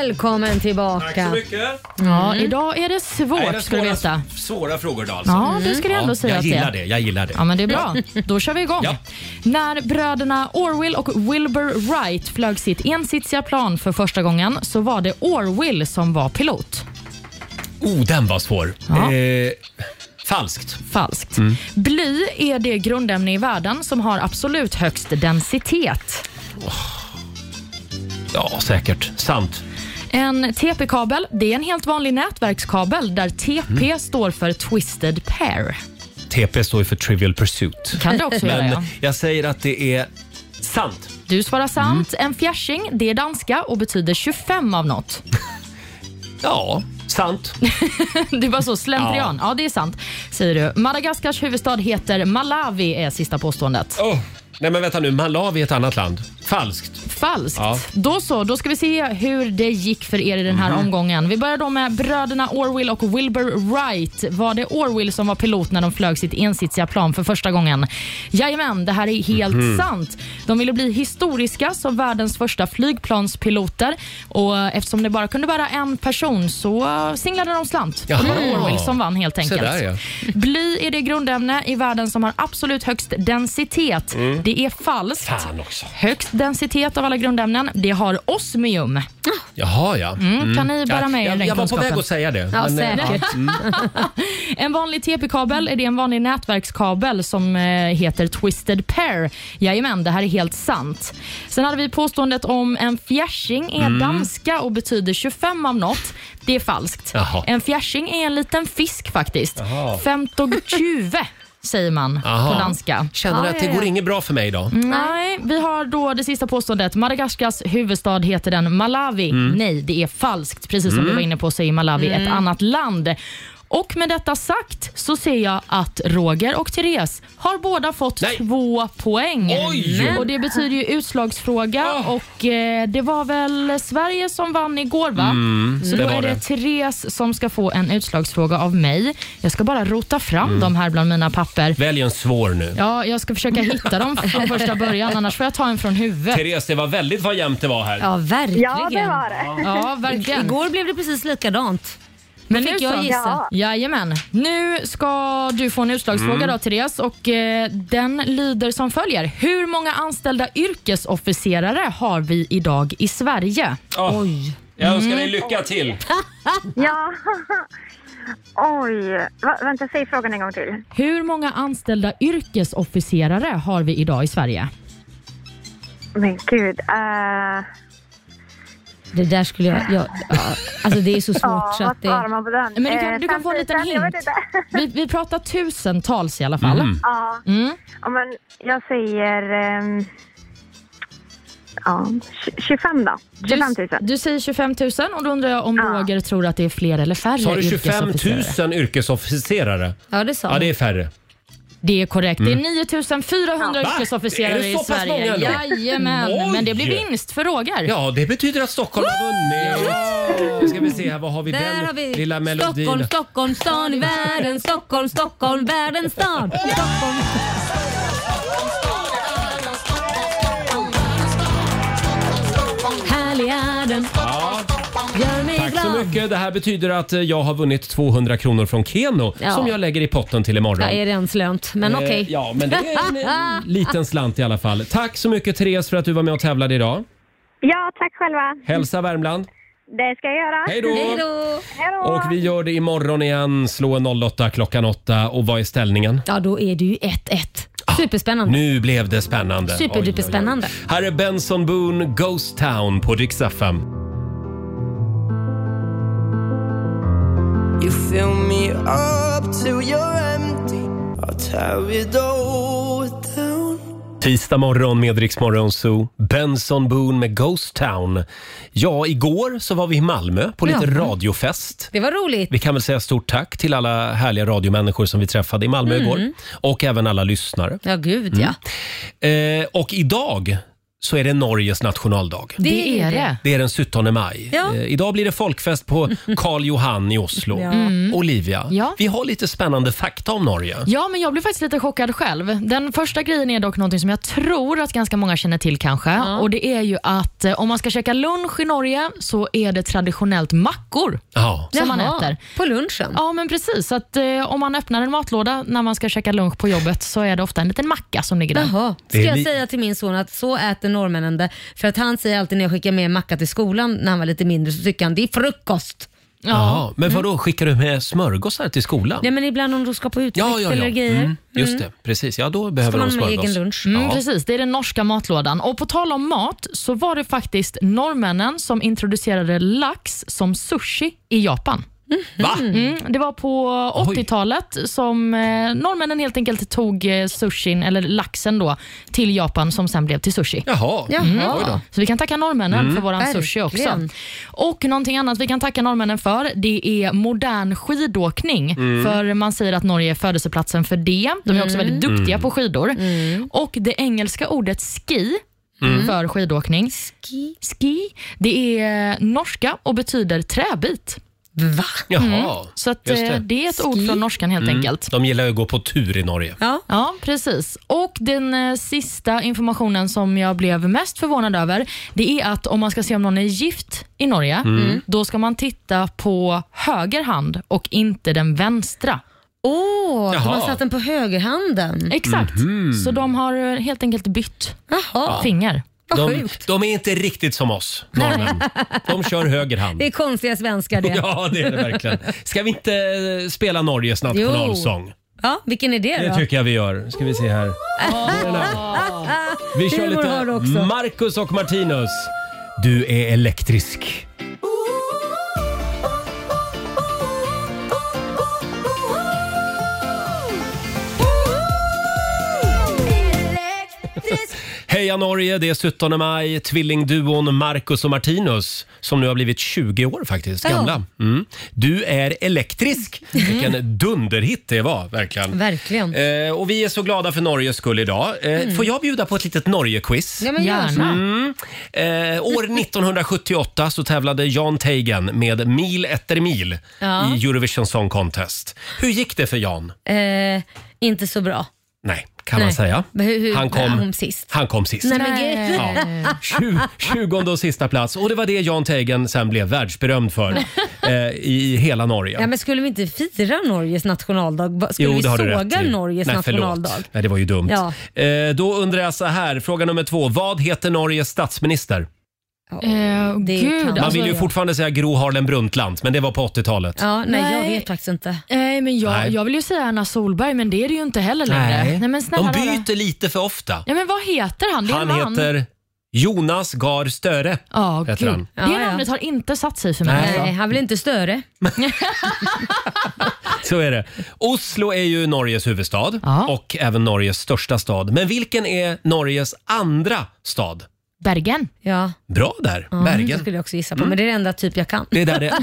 [SPEAKER 2] Välkommen tillbaka.
[SPEAKER 1] mycket.
[SPEAKER 3] Ja, idag är det svårt, ska du veta.
[SPEAKER 1] svåra frågor idag alltså.
[SPEAKER 3] Ja, det ska du ändå säga
[SPEAKER 1] jag
[SPEAKER 3] att det är.
[SPEAKER 1] gillar det. Jag gillar det.
[SPEAKER 3] Ja, men det
[SPEAKER 1] <laughs>
[SPEAKER 3] är bra. Då kör vi igång.
[SPEAKER 1] Ja.
[SPEAKER 3] När bröderna Orwell och Wilbur Wright flög sitt ensitsiga plan för första gången så var det Orwell som var pilot.
[SPEAKER 1] Oh, den var svår.
[SPEAKER 3] Ja.
[SPEAKER 1] Eh, falskt.
[SPEAKER 3] Falskt.
[SPEAKER 1] Mm.
[SPEAKER 3] Bly är det grundämne i världen som har absolut högst densitet.
[SPEAKER 1] Ja, säkert. Sant.
[SPEAKER 3] En TP-kabel det är en helt vanlig nätverkskabel där TP
[SPEAKER 1] Mm.
[SPEAKER 3] står för Twisted Pair.
[SPEAKER 1] TP står ju för Trivial Pursuit.
[SPEAKER 3] Kan
[SPEAKER 1] <laughs>
[SPEAKER 3] du också göra,
[SPEAKER 1] Men
[SPEAKER 3] ja.
[SPEAKER 1] jag säger att det är sant.
[SPEAKER 3] Du svarar
[SPEAKER 1] Mm.
[SPEAKER 3] sant. En fjärsing det är danska och betyder 25 av något.
[SPEAKER 1] Ja,
[SPEAKER 3] <laughs>
[SPEAKER 1] Sant.
[SPEAKER 3] du var så slentrian. Ja. det är sant, säger du. Madagaskars huvudstad heter Malawi, är sista påståendet.
[SPEAKER 1] Oh. Nej men vänta nu, Malawi är ett annat land. Falskt.
[SPEAKER 3] Falskt.
[SPEAKER 1] Ja.
[SPEAKER 3] Då så, då ska vi se hur det gick för er i den här
[SPEAKER 1] Mhm.
[SPEAKER 3] omgången. Vi börjar då med bröderna Orwell och Wilbur Wright. Var det Orwell som var pilot när de flög sitt ensitsiga plan för första gången? Jajamän, det här är helt
[SPEAKER 10] Mhm.
[SPEAKER 3] sant. De ville bli historiska som världens första flygplanspiloter och eh, eftersom det bara kunde vara en person så eh, singlade de slant. Och det var
[SPEAKER 10] Jaha.
[SPEAKER 3] Orwell som vann helt
[SPEAKER 10] Se
[SPEAKER 3] enkelt.
[SPEAKER 10] där, ja.
[SPEAKER 3] Bly är det grundämne i världen som har absolut högst densitet.
[SPEAKER 10] Mm.
[SPEAKER 3] Det är falskt.
[SPEAKER 1] Fan också.
[SPEAKER 3] Högst densitet av alla grundämnen, det har osmium.
[SPEAKER 1] Jaha ja.
[SPEAKER 3] Mm, kan ni bära
[SPEAKER 1] ja,
[SPEAKER 3] med er
[SPEAKER 1] jag,
[SPEAKER 3] den
[SPEAKER 1] jag var på
[SPEAKER 3] kunskapen?
[SPEAKER 1] väg att säga det.
[SPEAKER 3] Ja,
[SPEAKER 1] men, eh,
[SPEAKER 3] säkert.
[SPEAKER 1] mm.
[SPEAKER 3] En vanlig TP-kabel är det en vanlig nätverkskabel som eh, heter Twisted Pair. Jajamän, det här är helt sant. Sen hade vi påståendet om en fjärsing är
[SPEAKER 10] Mm.
[SPEAKER 3] danska och betyder 25 av något. Det är falskt.
[SPEAKER 10] Jaha.
[SPEAKER 3] En fjärsing är en liten fisk faktiskt.
[SPEAKER 1] Jaha.
[SPEAKER 3] Femtogtjuve säger man
[SPEAKER 1] Jaha.
[SPEAKER 3] på danska.
[SPEAKER 1] Känner att det går inget bra för mig idag?
[SPEAKER 3] Mm. Nej, vi har då det sista påståendet. Madagaskars huvudstad heter den Malawi.
[SPEAKER 1] Mm.
[SPEAKER 3] Nej, det är falskt. Precis som
[SPEAKER 1] Mm.
[SPEAKER 3] vi var inne på så är Malawi
[SPEAKER 1] Mm.
[SPEAKER 3] ett annat land. Och med detta sagt så ser jag att Roger och Therese har båda fått två poäng.
[SPEAKER 10] Oj!
[SPEAKER 3] Och det betyder ju utslagsfråga och eh, det var väl Sverige som vann igår va?
[SPEAKER 10] Mm,
[SPEAKER 3] så
[SPEAKER 10] det
[SPEAKER 3] då
[SPEAKER 10] var
[SPEAKER 3] är det
[SPEAKER 10] det.
[SPEAKER 3] Therese som ska få en utslagsfråga av mig. Jag ska bara rota fram
[SPEAKER 1] Mm.
[SPEAKER 3] dem här bland mina papper.
[SPEAKER 1] Välj en svår nu.
[SPEAKER 3] Ja, jag ska försöka hitta dem
[SPEAKER 2] <laughs>
[SPEAKER 3] från första början, annars får jag ta en från huvudet.
[SPEAKER 1] Therese, det var väldigt vad jämnt det var här.
[SPEAKER 2] Ja, verkligen.
[SPEAKER 3] Ja, det var det. Ja, verkligen.
[SPEAKER 2] Igår blev det precis likadant.
[SPEAKER 3] Men
[SPEAKER 2] fick
[SPEAKER 3] nu
[SPEAKER 2] jag
[SPEAKER 3] så.
[SPEAKER 2] gissa.
[SPEAKER 3] Jajamän. Nu ska du få en utslagsfråga
[SPEAKER 2] Mm.
[SPEAKER 3] då, Therese. Och, eh, den lyder som följer. Hur många anställda yrkesofficerare har vi idag i Sverige?
[SPEAKER 1] Åh, Ah. Jag önskar dig
[SPEAKER 3] Mm.
[SPEAKER 1] lycka till.
[SPEAKER 5] ja. <laughs> Oj. Va, vänta, säg frågan en gång till.
[SPEAKER 3] Hur många anställda yrkesofficerare har vi idag i Sverige?
[SPEAKER 5] Men gud. eh,
[SPEAKER 2] Det där skulle jag... jag ja, alltså det är så svårt
[SPEAKER 5] Ja,
[SPEAKER 2] så
[SPEAKER 5] vad
[SPEAKER 2] att det...
[SPEAKER 5] svarar man på den?
[SPEAKER 3] Men du
[SPEAKER 5] Eh,
[SPEAKER 3] kan, du kan få en liten
[SPEAKER 5] samtidigt, jag vet
[SPEAKER 3] hint. Vi, vi pratar tusentals i alla fall.
[SPEAKER 5] Mm. Ja.
[SPEAKER 3] Mm.
[SPEAKER 5] <laughs> Ja, men jag säger... ehm, ja, tj- 25 då. 25 000.
[SPEAKER 3] Du, du säger 25 000 och då undrar jag om Roger tror att det är fler eller färre
[SPEAKER 1] Sa du 25
[SPEAKER 3] yrkesofficerare.
[SPEAKER 1] 000 yrkesofficerare?
[SPEAKER 3] Ja, det sa
[SPEAKER 1] Ja, det
[SPEAKER 3] hon.
[SPEAKER 1] är färre.
[SPEAKER 3] Det är korrekt.
[SPEAKER 1] Mm.
[SPEAKER 3] Det är 9400
[SPEAKER 1] Va? Är
[SPEAKER 3] yrkesofficerare
[SPEAKER 1] det
[SPEAKER 3] i
[SPEAKER 1] så pass många
[SPEAKER 3] Sverige.
[SPEAKER 1] ändå?
[SPEAKER 3] Jajamän,
[SPEAKER 1] Oj!
[SPEAKER 3] men det blir vinst för Roger.
[SPEAKER 1] Ja, det betyder att Stockholm har vunnit. Nu ska vi se här, vad har vi
[SPEAKER 2] Där
[SPEAKER 1] den
[SPEAKER 2] har vi
[SPEAKER 1] lilla melodin?
[SPEAKER 2] Stockholm, Stockholm, stan i världen. Stockholm, Stockholm, världens stad. Stockholm. Härlig är den.
[SPEAKER 1] Ja.
[SPEAKER 2] Gör mig
[SPEAKER 1] Tack så
[SPEAKER 2] glad.
[SPEAKER 1] mycket. Det här betyder att eh, jag har vunnit 200 kronor från Keno
[SPEAKER 2] Ja.
[SPEAKER 1] som jag lägger i potten till imorgon.
[SPEAKER 2] Ja, är det ens lönt? Men
[SPEAKER 1] Eh,
[SPEAKER 2] okej.
[SPEAKER 1] ja, men det är
[SPEAKER 2] <laughs>
[SPEAKER 1] Liten slant i alla fall. Tack så mycket Therese för att du var med och tävlade idag.
[SPEAKER 5] Ja, tack själva.
[SPEAKER 1] Hälsa Värmland.
[SPEAKER 5] Det ska jag göra.
[SPEAKER 1] Hej då. Hej
[SPEAKER 5] Hej då.
[SPEAKER 1] Och vi gör det imorgon igen. Slå en 08 klockan 8. Och vad är ställningen?
[SPEAKER 2] Ja, då är det ju 1-1. Superspännande.
[SPEAKER 1] Ah, Nu blev det spännande. Oj, oj, oj.
[SPEAKER 2] Superduperspännande.
[SPEAKER 1] Här är Benson Boone, Ghost Town på Dix FM.
[SPEAKER 6] You fill me up till you're empty. I'll tear it all down.
[SPEAKER 1] Tisdag morgon med Rix Morgon Zoo. Benson Boone med Ghost Town. Ja, igår så var vi i Malmö på lite
[SPEAKER 2] Ja.
[SPEAKER 1] radiofest.
[SPEAKER 2] Det var roligt.
[SPEAKER 1] Vi kan väl säga stort tack till alla härliga radiomänniskor som vi träffade i Malmö
[SPEAKER 2] Mm.
[SPEAKER 1] igår. Och även alla lyssnare.
[SPEAKER 2] Ja, gud
[SPEAKER 1] Mm.
[SPEAKER 2] ja.
[SPEAKER 1] Eh, och idag så är det Norges nationaldag.
[SPEAKER 2] Det Det är det.
[SPEAKER 1] Det är den 17 maj.
[SPEAKER 2] Ja.
[SPEAKER 1] Eh, idag blir det folkfest
[SPEAKER 2] <laughs>
[SPEAKER 1] på Karl Johan i Oslo.
[SPEAKER 3] Ja. Mm.
[SPEAKER 1] Olivia,
[SPEAKER 3] Ja.
[SPEAKER 1] vi har lite spännande fakta om Norge.
[SPEAKER 3] Ja, men jag blev faktiskt lite chockad själv. Den första grejen är dock någonting som jag tror att ganska många känner till kanske. Och Det är ju att eh, om man ska käka lunch i Norge så är det traditionellt mackor
[SPEAKER 1] Ja.
[SPEAKER 3] som man
[SPEAKER 2] Jaha,
[SPEAKER 3] äter.
[SPEAKER 2] På lunchen?
[SPEAKER 3] Ja, men precis. Så Att, eh, om man öppnar en matlåda när man ska käka lunch på jobbet så är det ofta en liten macka som ligger där.
[SPEAKER 2] Jaha. Ska
[SPEAKER 3] Det är
[SPEAKER 2] jag
[SPEAKER 3] li-
[SPEAKER 2] säga till min son att så äter norrmännen det? För att han säger alltid när jag skickar med en macka till skolan när han var lite mindre så tycker han det är frukost.
[SPEAKER 1] Jaha, men vadå,
[SPEAKER 3] Mm.
[SPEAKER 1] skickar du med smörgåsar till skolan?
[SPEAKER 2] Nej men ibland om de ska på utflykt
[SPEAKER 1] Ja, ja, ja.
[SPEAKER 2] eller grejer.
[SPEAKER 1] Mm, just
[SPEAKER 2] Mm.
[SPEAKER 1] det, precis. Ja, då behöver de smörgås.
[SPEAKER 3] Mm,
[SPEAKER 1] Ja.
[SPEAKER 3] Precis, det är den norska matlådan. Och På tal om mat så var det faktiskt norrmännen som introducerade lax som sushi i Japan.
[SPEAKER 1] Va?
[SPEAKER 3] Mm, det var på 80-talet som eh, norrmännen helt enkelt tog eh, sushin, eller laxen då, till Japan som sen blev till sushi.
[SPEAKER 1] Jaha.
[SPEAKER 2] Jaha. Mm. Oj då.
[SPEAKER 3] Så vi kan tacka norrmännen
[SPEAKER 2] Mm.
[SPEAKER 3] för våran sushi också.
[SPEAKER 2] Verkligen.
[SPEAKER 3] Och någonting annat vi kan tacka norrmännen för, det är modern skidåkning.
[SPEAKER 2] Mm.
[SPEAKER 3] För man säger att Norge är födelseplatsen för det. De är också
[SPEAKER 2] Mm.
[SPEAKER 3] väldigt duktiga
[SPEAKER 2] Mm.
[SPEAKER 3] på skidor. Och det engelska ordet ski
[SPEAKER 2] Mm.
[SPEAKER 3] för skidåkning, ski. det är norska och betyder träbit. Va?
[SPEAKER 1] Jaha,
[SPEAKER 3] Så att,
[SPEAKER 1] just
[SPEAKER 3] eh,
[SPEAKER 1] det.
[SPEAKER 3] det. är ett ord från norskan helt
[SPEAKER 2] Mm.
[SPEAKER 3] enkelt.
[SPEAKER 1] De gillar ju att gå på tur i Norge.
[SPEAKER 2] Ja.
[SPEAKER 3] ja, precis. Och den eh, sista informationen som jag blev mest förvånad över, det är att om man ska se om någon är gift i Norge,
[SPEAKER 1] Mm.
[SPEAKER 3] då ska man titta på höger hand och inte den vänstra.
[SPEAKER 2] Åh, de har
[SPEAKER 3] Jaha.
[SPEAKER 2] satt den på högerhanden.
[SPEAKER 3] Exakt.
[SPEAKER 1] Mhm.
[SPEAKER 3] Så de har eh, helt enkelt bytt
[SPEAKER 2] Jaha.
[SPEAKER 3] finger.
[SPEAKER 1] De, de är inte riktigt som oss, norrmän. De kör höger hand.
[SPEAKER 2] Det är konstiga svenskar det.
[SPEAKER 1] Ja, det är det verkligen. Ska vi inte eh, spela Norges nationalsång?
[SPEAKER 2] Ja, vilken är det då?
[SPEAKER 1] Det tycker jag vi gör. Ska vi se
[SPEAKER 2] <laughs>
[SPEAKER 1] här. Vi kör
[SPEAKER 2] Humor har du också.
[SPEAKER 1] lite Marcus och Martinus. Du är elektrisk. Heja Norge, det är 17 maj. Tvillingduon Marcus och Martinus som nu har blivit 20 år faktiskt,
[SPEAKER 2] Ja. Mhm.
[SPEAKER 1] gamla. Mm. Du är elektrisk. Vilken dunderhit det var, verkligen.
[SPEAKER 2] Verkligen.
[SPEAKER 1] Eh, och vi är så glada för Norges skull idag. Eh,
[SPEAKER 2] Mm.
[SPEAKER 1] Får jag bjuda på ett litet Norge-quiz?
[SPEAKER 2] Ja, men gör Gärna. så.
[SPEAKER 1] Mm. Eh,
[SPEAKER 2] <laughs>
[SPEAKER 1] år 1978 så tävlade Jan Teigen med Mil efter mil
[SPEAKER 2] Ja.
[SPEAKER 1] i Eurovision Song Contest. Hur gick det för Jan?
[SPEAKER 2] Eh, inte så bra.
[SPEAKER 1] Nej, kan man
[SPEAKER 2] Nej.
[SPEAKER 1] säga.
[SPEAKER 2] Men hur- hur-
[SPEAKER 1] han, kom,
[SPEAKER 2] kom sist.
[SPEAKER 1] han kom sist.
[SPEAKER 2] Nej, men gud.
[SPEAKER 1] Ja. Tju- Tjugonde och sista plats. Och det var det Jan Teigen sen blev världsberömd
[SPEAKER 3] <laughs>
[SPEAKER 1] för eh, i hela Norge.
[SPEAKER 2] Ja, men skulle vi inte fira Norges nationaldag? Va- Skulle vi såga Norges
[SPEAKER 1] Nej, förlåt.
[SPEAKER 2] nationaldag?
[SPEAKER 1] Nej, det var ju dumt.
[SPEAKER 2] Ja.
[SPEAKER 1] Eh, då undrar jag så här, fråga nummer två. Vad heter Norges statsminister?
[SPEAKER 3] Eh,
[SPEAKER 2] det
[SPEAKER 3] gud,
[SPEAKER 2] kan-
[SPEAKER 1] Man vill ju fortfarande säga Gro Harlem Brundtland, men det var på 80-talet.
[SPEAKER 2] Ja, nej, jag
[SPEAKER 3] Nej.
[SPEAKER 2] vet faktiskt inte.
[SPEAKER 3] Nej, men jag,
[SPEAKER 1] Nej.
[SPEAKER 3] jag vill ju säga Anna Solberg, men det är det ju inte heller längre. Nej. men snälla
[SPEAKER 1] De
[SPEAKER 3] rara.
[SPEAKER 1] byter lite för ofta.
[SPEAKER 3] Ja, men vad heter han? Det är
[SPEAKER 1] Han
[SPEAKER 3] en man.
[SPEAKER 1] heter Jonas Gahr Støre.
[SPEAKER 3] Ja,
[SPEAKER 1] heter
[SPEAKER 3] gud.
[SPEAKER 1] han.
[SPEAKER 3] Det namnet har inte satt sig för mig.
[SPEAKER 1] Nej.
[SPEAKER 3] alltså.
[SPEAKER 2] Han vill inte störe.
[SPEAKER 1] Så är det. Oslo är ju Norges huvudstad och även Norges största stad. Men vilken är Norges andra stad?
[SPEAKER 3] Bergen.
[SPEAKER 2] Ja.
[SPEAKER 1] Bra där,
[SPEAKER 2] Ja, Mm. Det
[SPEAKER 1] Bergen.
[SPEAKER 2] skulle jag också gissa på,
[SPEAKER 1] Mm.
[SPEAKER 2] men det är det enda typ jag kan.
[SPEAKER 1] Det är, där det,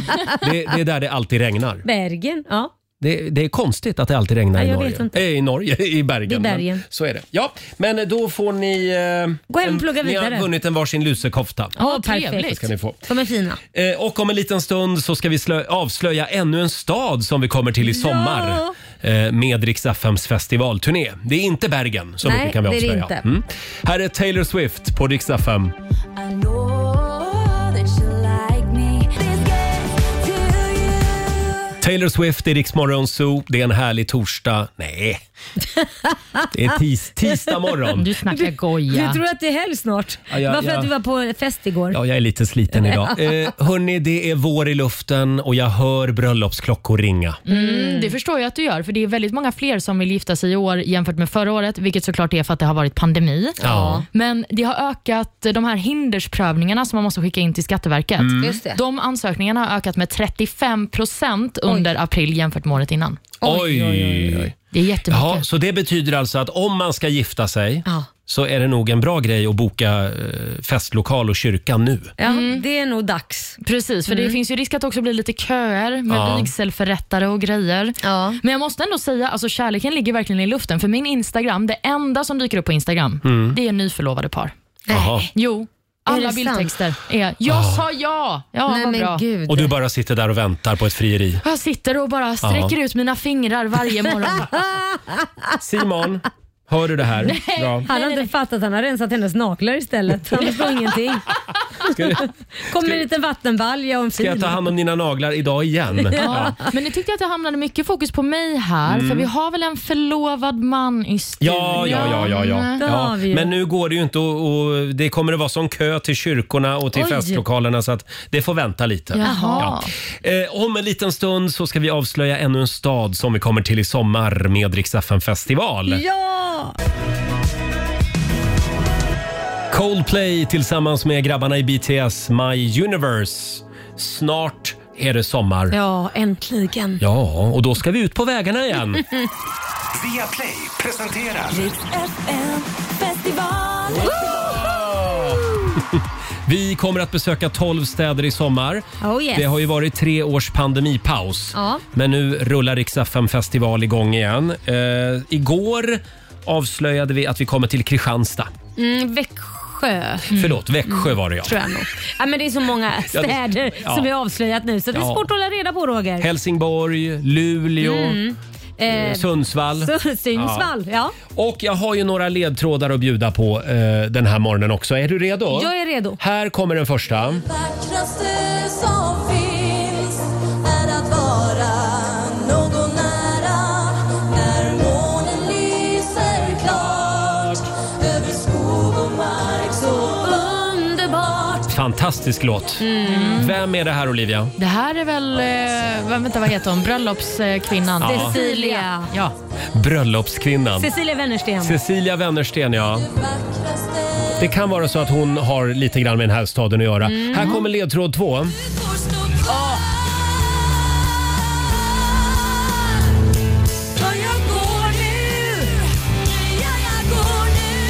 [SPEAKER 1] det, det är där det alltid regnar.
[SPEAKER 2] Bergen, ja.
[SPEAKER 1] Det, det är konstigt att det alltid regnar
[SPEAKER 2] Ja,
[SPEAKER 1] i
[SPEAKER 2] jag
[SPEAKER 1] Norge.
[SPEAKER 2] vet inte.
[SPEAKER 1] Eh, I Norge, i
[SPEAKER 2] I
[SPEAKER 1] Bergen.
[SPEAKER 2] Bergen.
[SPEAKER 1] Men Så är det. Ja, men då får ni... eh,
[SPEAKER 2] Gå hem och
[SPEAKER 1] en-
[SPEAKER 2] plugga
[SPEAKER 1] Ni
[SPEAKER 2] vidare.
[SPEAKER 1] har vunnit en varsin lusekofta.
[SPEAKER 2] Ja,
[SPEAKER 1] Det
[SPEAKER 2] perfekt.
[SPEAKER 1] ska ni få.
[SPEAKER 2] De är fina.
[SPEAKER 1] Eh, Och om en liten stund så ska vi slö- avslöja ännu en stad som vi kommer till i sommar. eh, Med Rix FMs festivalturné. Det är inte Bergen, så
[SPEAKER 10] Nej,
[SPEAKER 1] mycket kan vi
[SPEAKER 10] det är det
[SPEAKER 1] avslöja. Mm.
[SPEAKER 10] inte.
[SPEAKER 1] Här är Taylor Swift på Rix FM.
[SPEAKER 10] I know that you like me. This gets to you.
[SPEAKER 1] Taylor Swift i Rix Morgon Zoo. Det är en härlig torsdag.
[SPEAKER 10] <laughs>
[SPEAKER 1] Nej, det är tis- tisdag morgon.
[SPEAKER 3] Du snackar goja.
[SPEAKER 2] Du tror att det är helg snart?
[SPEAKER 1] Ja, ja,
[SPEAKER 2] Bara för
[SPEAKER 1] ja.
[SPEAKER 2] att du var på fest igår?
[SPEAKER 1] Ja, jag är lite sliten idag. <laughs> Eh, hörni, det är vår i luften och jag hör bröllopsklockor ringa.
[SPEAKER 3] Mm, det förstår jag att du gör, för det är väldigt många fler som vill gifta sig i år jämfört med förra året, vilket såklart är för att det har varit pandemi.
[SPEAKER 1] Ja.
[SPEAKER 3] Men det har ökat, eh, de här hindersprövningarna som man måste skicka in till Skatteverket.
[SPEAKER 1] Mm. Just det.
[SPEAKER 3] De ansökningarna har ökat med 35 procent under april jämfört med året innan.
[SPEAKER 1] Oj, oj, oj.
[SPEAKER 3] Det är jättemycket.
[SPEAKER 1] Ja, så det betyder alltså att om man ska gifta sig
[SPEAKER 2] Ja.
[SPEAKER 1] så är det nog en bra grej att boka eh, festlokal och kyrka nu.
[SPEAKER 2] Ja, det är nog dags.
[SPEAKER 3] Precis, för det
[SPEAKER 2] Mm.
[SPEAKER 3] finns ju risk att det också blir lite köer med
[SPEAKER 1] Ja.
[SPEAKER 3] vigselförrättare och grejer. Men jag måste ändå säga, alltså kärleken ligger verkligen i luften. För min Instagram, det enda som dyker upp på Instagram,
[SPEAKER 1] Mm.
[SPEAKER 3] det är nyförlovade par.
[SPEAKER 1] Jaha.
[SPEAKER 3] Jo, alla
[SPEAKER 2] det
[SPEAKER 3] bildtexter är “Jag
[SPEAKER 1] Ah.
[SPEAKER 3] sa ja”. Ja,
[SPEAKER 2] Nej,
[SPEAKER 3] vad
[SPEAKER 2] men
[SPEAKER 3] bra.
[SPEAKER 2] gud.
[SPEAKER 1] Och du bara sitter där och väntar på ett <laughs> frieri.
[SPEAKER 3] Jag sitter och bara sträcker
[SPEAKER 1] Ja.
[SPEAKER 3] ut mina
[SPEAKER 2] <laughs>
[SPEAKER 3] fingrar varje morgon.
[SPEAKER 1] Simon, hör du det här? Bra.
[SPEAKER 2] Han har inte fattat, han har rensat hennes naglar istället. Han <laughs> förstår ingenting.
[SPEAKER 1] Ska, du-
[SPEAKER 2] Kom med en liten vattenbalja och en
[SPEAKER 1] ska jag
[SPEAKER 2] fil.
[SPEAKER 1] ta hand om dina naglar idag igen?
[SPEAKER 3] Ja.
[SPEAKER 1] Ja.
[SPEAKER 3] Men ni tyckte att det hamnade mycket fokus på mig här,
[SPEAKER 1] Mm.
[SPEAKER 3] för vi har väl en förlovad man i studion?
[SPEAKER 1] Ja, ja, ja, ja, ja.
[SPEAKER 3] Det
[SPEAKER 1] ja.
[SPEAKER 3] Mm. har vi ju.
[SPEAKER 1] Men nu går det ju inte och, och det kommer att vara sån kö till kyrkorna och till
[SPEAKER 3] Oj.
[SPEAKER 1] festlokalerna så att det får vänta lite.
[SPEAKER 3] Jaha.
[SPEAKER 1] Eh, om en liten stund så ska vi avslöja ännu en stad som vi kommer till i sommar med Rix FM festival.
[SPEAKER 2] Ja!
[SPEAKER 1] Coldplay tillsammans med grabbarna i BTS My Universe. Snart är det sommar.
[SPEAKER 2] Ja, äntligen.
[SPEAKER 1] Ja, och då ska vi ut på vägarna
[SPEAKER 3] <laughs>
[SPEAKER 1] igen.
[SPEAKER 4] Via Play presenterar
[SPEAKER 10] Festival.
[SPEAKER 1] Vi kommer att besöka 12 städer i sommar.
[SPEAKER 2] Oh, yes.
[SPEAKER 1] Det har ju varit tre års pandemipaus.
[SPEAKER 2] Ja.
[SPEAKER 1] Men nu rullar Rix FM festival igång igen. Eh, igår avslöjade vi att vi kommer till Kristianstad.
[SPEAKER 2] Mm, Växjö.
[SPEAKER 1] Förlåt, Växjö var det ja.
[SPEAKER 2] Mm. Tror jag nog. Ja, men det är så många städer
[SPEAKER 1] ja.
[SPEAKER 2] som vi har avslöjat nu så det är
[SPEAKER 1] Ja.
[SPEAKER 2] svårt att hålla reda på Roger.
[SPEAKER 1] Helsingborg, Luleå,
[SPEAKER 2] Mm.
[SPEAKER 1] eh,
[SPEAKER 2] Eh,
[SPEAKER 1] Sundsvall.
[SPEAKER 2] Sun- Sundsvall, ja.
[SPEAKER 1] Och jag har ju några ledtrådar att bjuda på eh, den här morgonen också. Är du redo?
[SPEAKER 2] Jag är redo.
[SPEAKER 1] Här kommer den första.
[SPEAKER 10] vackraste som finns är att vara någon nära när månen lyser klart över skog och mark så underbart
[SPEAKER 1] Fantastisk låt.
[SPEAKER 2] Mm.
[SPEAKER 1] Vem är det här Olivia?
[SPEAKER 3] Det här är väl, eh, vad- vänta vad heter hon, bröllopskvinnan?
[SPEAKER 1] Ja.
[SPEAKER 2] Cecilia.
[SPEAKER 3] Ja.
[SPEAKER 1] Bröllopskvinnan.
[SPEAKER 2] Cecilia Wennersten.
[SPEAKER 1] Cecilia Wennersten, ja. Det kan vara så att hon har lite grann med den här staden att göra.
[SPEAKER 2] Mm.
[SPEAKER 1] Här kommer ledtråd två.
[SPEAKER 10] Så jag går nu Ja, jag går nu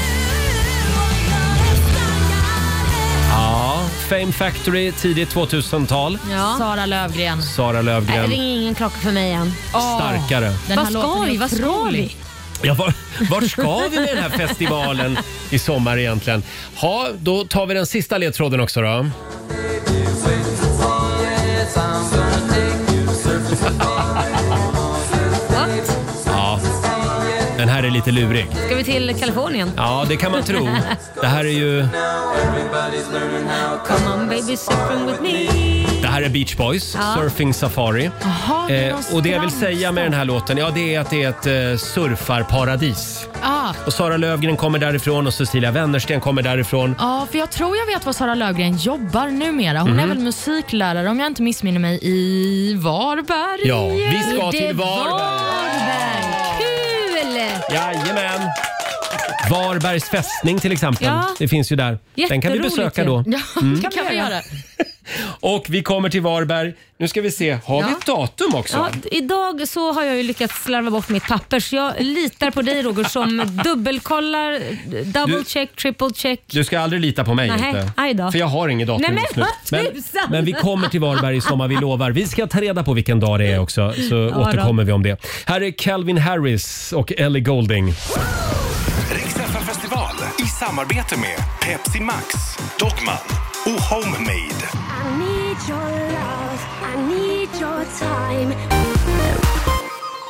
[SPEAKER 10] och jag är starkare
[SPEAKER 1] Ja, Fame Factory, tidigt 2000-tal.
[SPEAKER 2] Ja.
[SPEAKER 3] Sara Lövgren.
[SPEAKER 1] Sara
[SPEAKER 2] Nej, det
[SPEAKER 1] Löfgren,
[SPEAKER 2] ringer Äh, ingen klocka för mig än.
[SPEAKER 1] starkare.
[SPEAKER 3] Den
[SPEAKER 2] Vad
[SPEAKER 3] här
[SPEAKER 2] ska
[SPEAKER 3] låten är
[SPEAKER 2] vi? Vad ska
[SPEAKER 3] otrolig.
[SPEAKER 2] vi?
[SPEAKER 1] Ja, var, vart ska vi med den här festivalen i sommar egentligen? Ja, då tar vi den sista ledtråden också då.
[SPEAKER 2] What?
[SPEAKER 1] Ja, den här är lite lurig.
[SPEAKER 2] Ska vi till Kalifornien?
[SPEAKER 1] Ja, det kan man tro. Det här är ju...
[SPEAKER 2] Come on baby, surfing with me.
[SPEAKER 1] Det här är Beach Boys, Surfing Safari.
[SPEAKER 3] Jaha, det är någon
[SPEAKER 1] Eh, och det jag vill
[SPEAKER 3] strand.
[SPEAKER 1] säga med den här låten, ja det är att det är ett eh, surfarparadis.
[SPEAKER 3] Ah.
[SPEAKER 1] Och Sara Lövgren kommer därifrån och Cecilia Wennersten kommer därifrån.
[SPEAKER 3] Ja, för jag tror jag vet var Sara Lövgren jobbar numera. Hon
[SPEAKER 1] Mhm.
[SPEAKER 3] är väl musiklärare om jag inte missminner mig i Varberg.
[SPEAKER 1] Ja, vi ska
[SPEAKER 2] Det
[SPEAKER 1] till Varberg.
[SPEAKER 2] Varberg. Kul!
[SPEAKER 1] Jajamän! Varbergs fästning till exempel.
[SPEAKER 2] Ja.
[SPEAKER 1] Det finns ju där. Den kan vi
[SPEAKER 2] Jätteroligt
[SPEAKER 1] besöka
[SPEAKER 2] ju.
[SPEAKER 1] då.
[SPEAKER 3] Ja,
[SPEAKER 1] Mm.
[SPEAKER 3] kan, vi göra.
[SPEAKER 1] Och vi kommer till Varberg. Nu ska vi se, har vi ett datum också?
[SPEAKER 2] Ja, d- idag så har jag ju lyckats slarva bort mitt papper så jag litar på dig
[SPEAKER 1] <laughs>
[SPEAKER 2] Roger som dubbelkollar, double
[SPEAKER 1] Du-
[SPEAKER 2] check, triple check.
[SPEAKER 1] Du ska aldrig lita på mig
[SPEAKER 2] Nej,
[SPEAKER 1] inte.
[SPEAKER 2] aj då.
[SPEAKER 1] För jag har inget datum
[SPEAKER 2] Nej, men
[SPEAKER 1] just nu.
[SPEAKER 2] vad tusan!
[SPEAKER 1] men vi kommer till Varberg i sommar, vi lovar. Vi ska ta reda på vilken dag det är också, så
[SPEAKER 2] då.
[SPEAKER 1] återkommer vi om det. Här är Calvin Harris och Ellie Golding.
[SPEAKER 4] Rix FM festival i samarbete med Pepsi Max, Dogman och Homemade.
[SPEAKER 10] I need your love, I need your time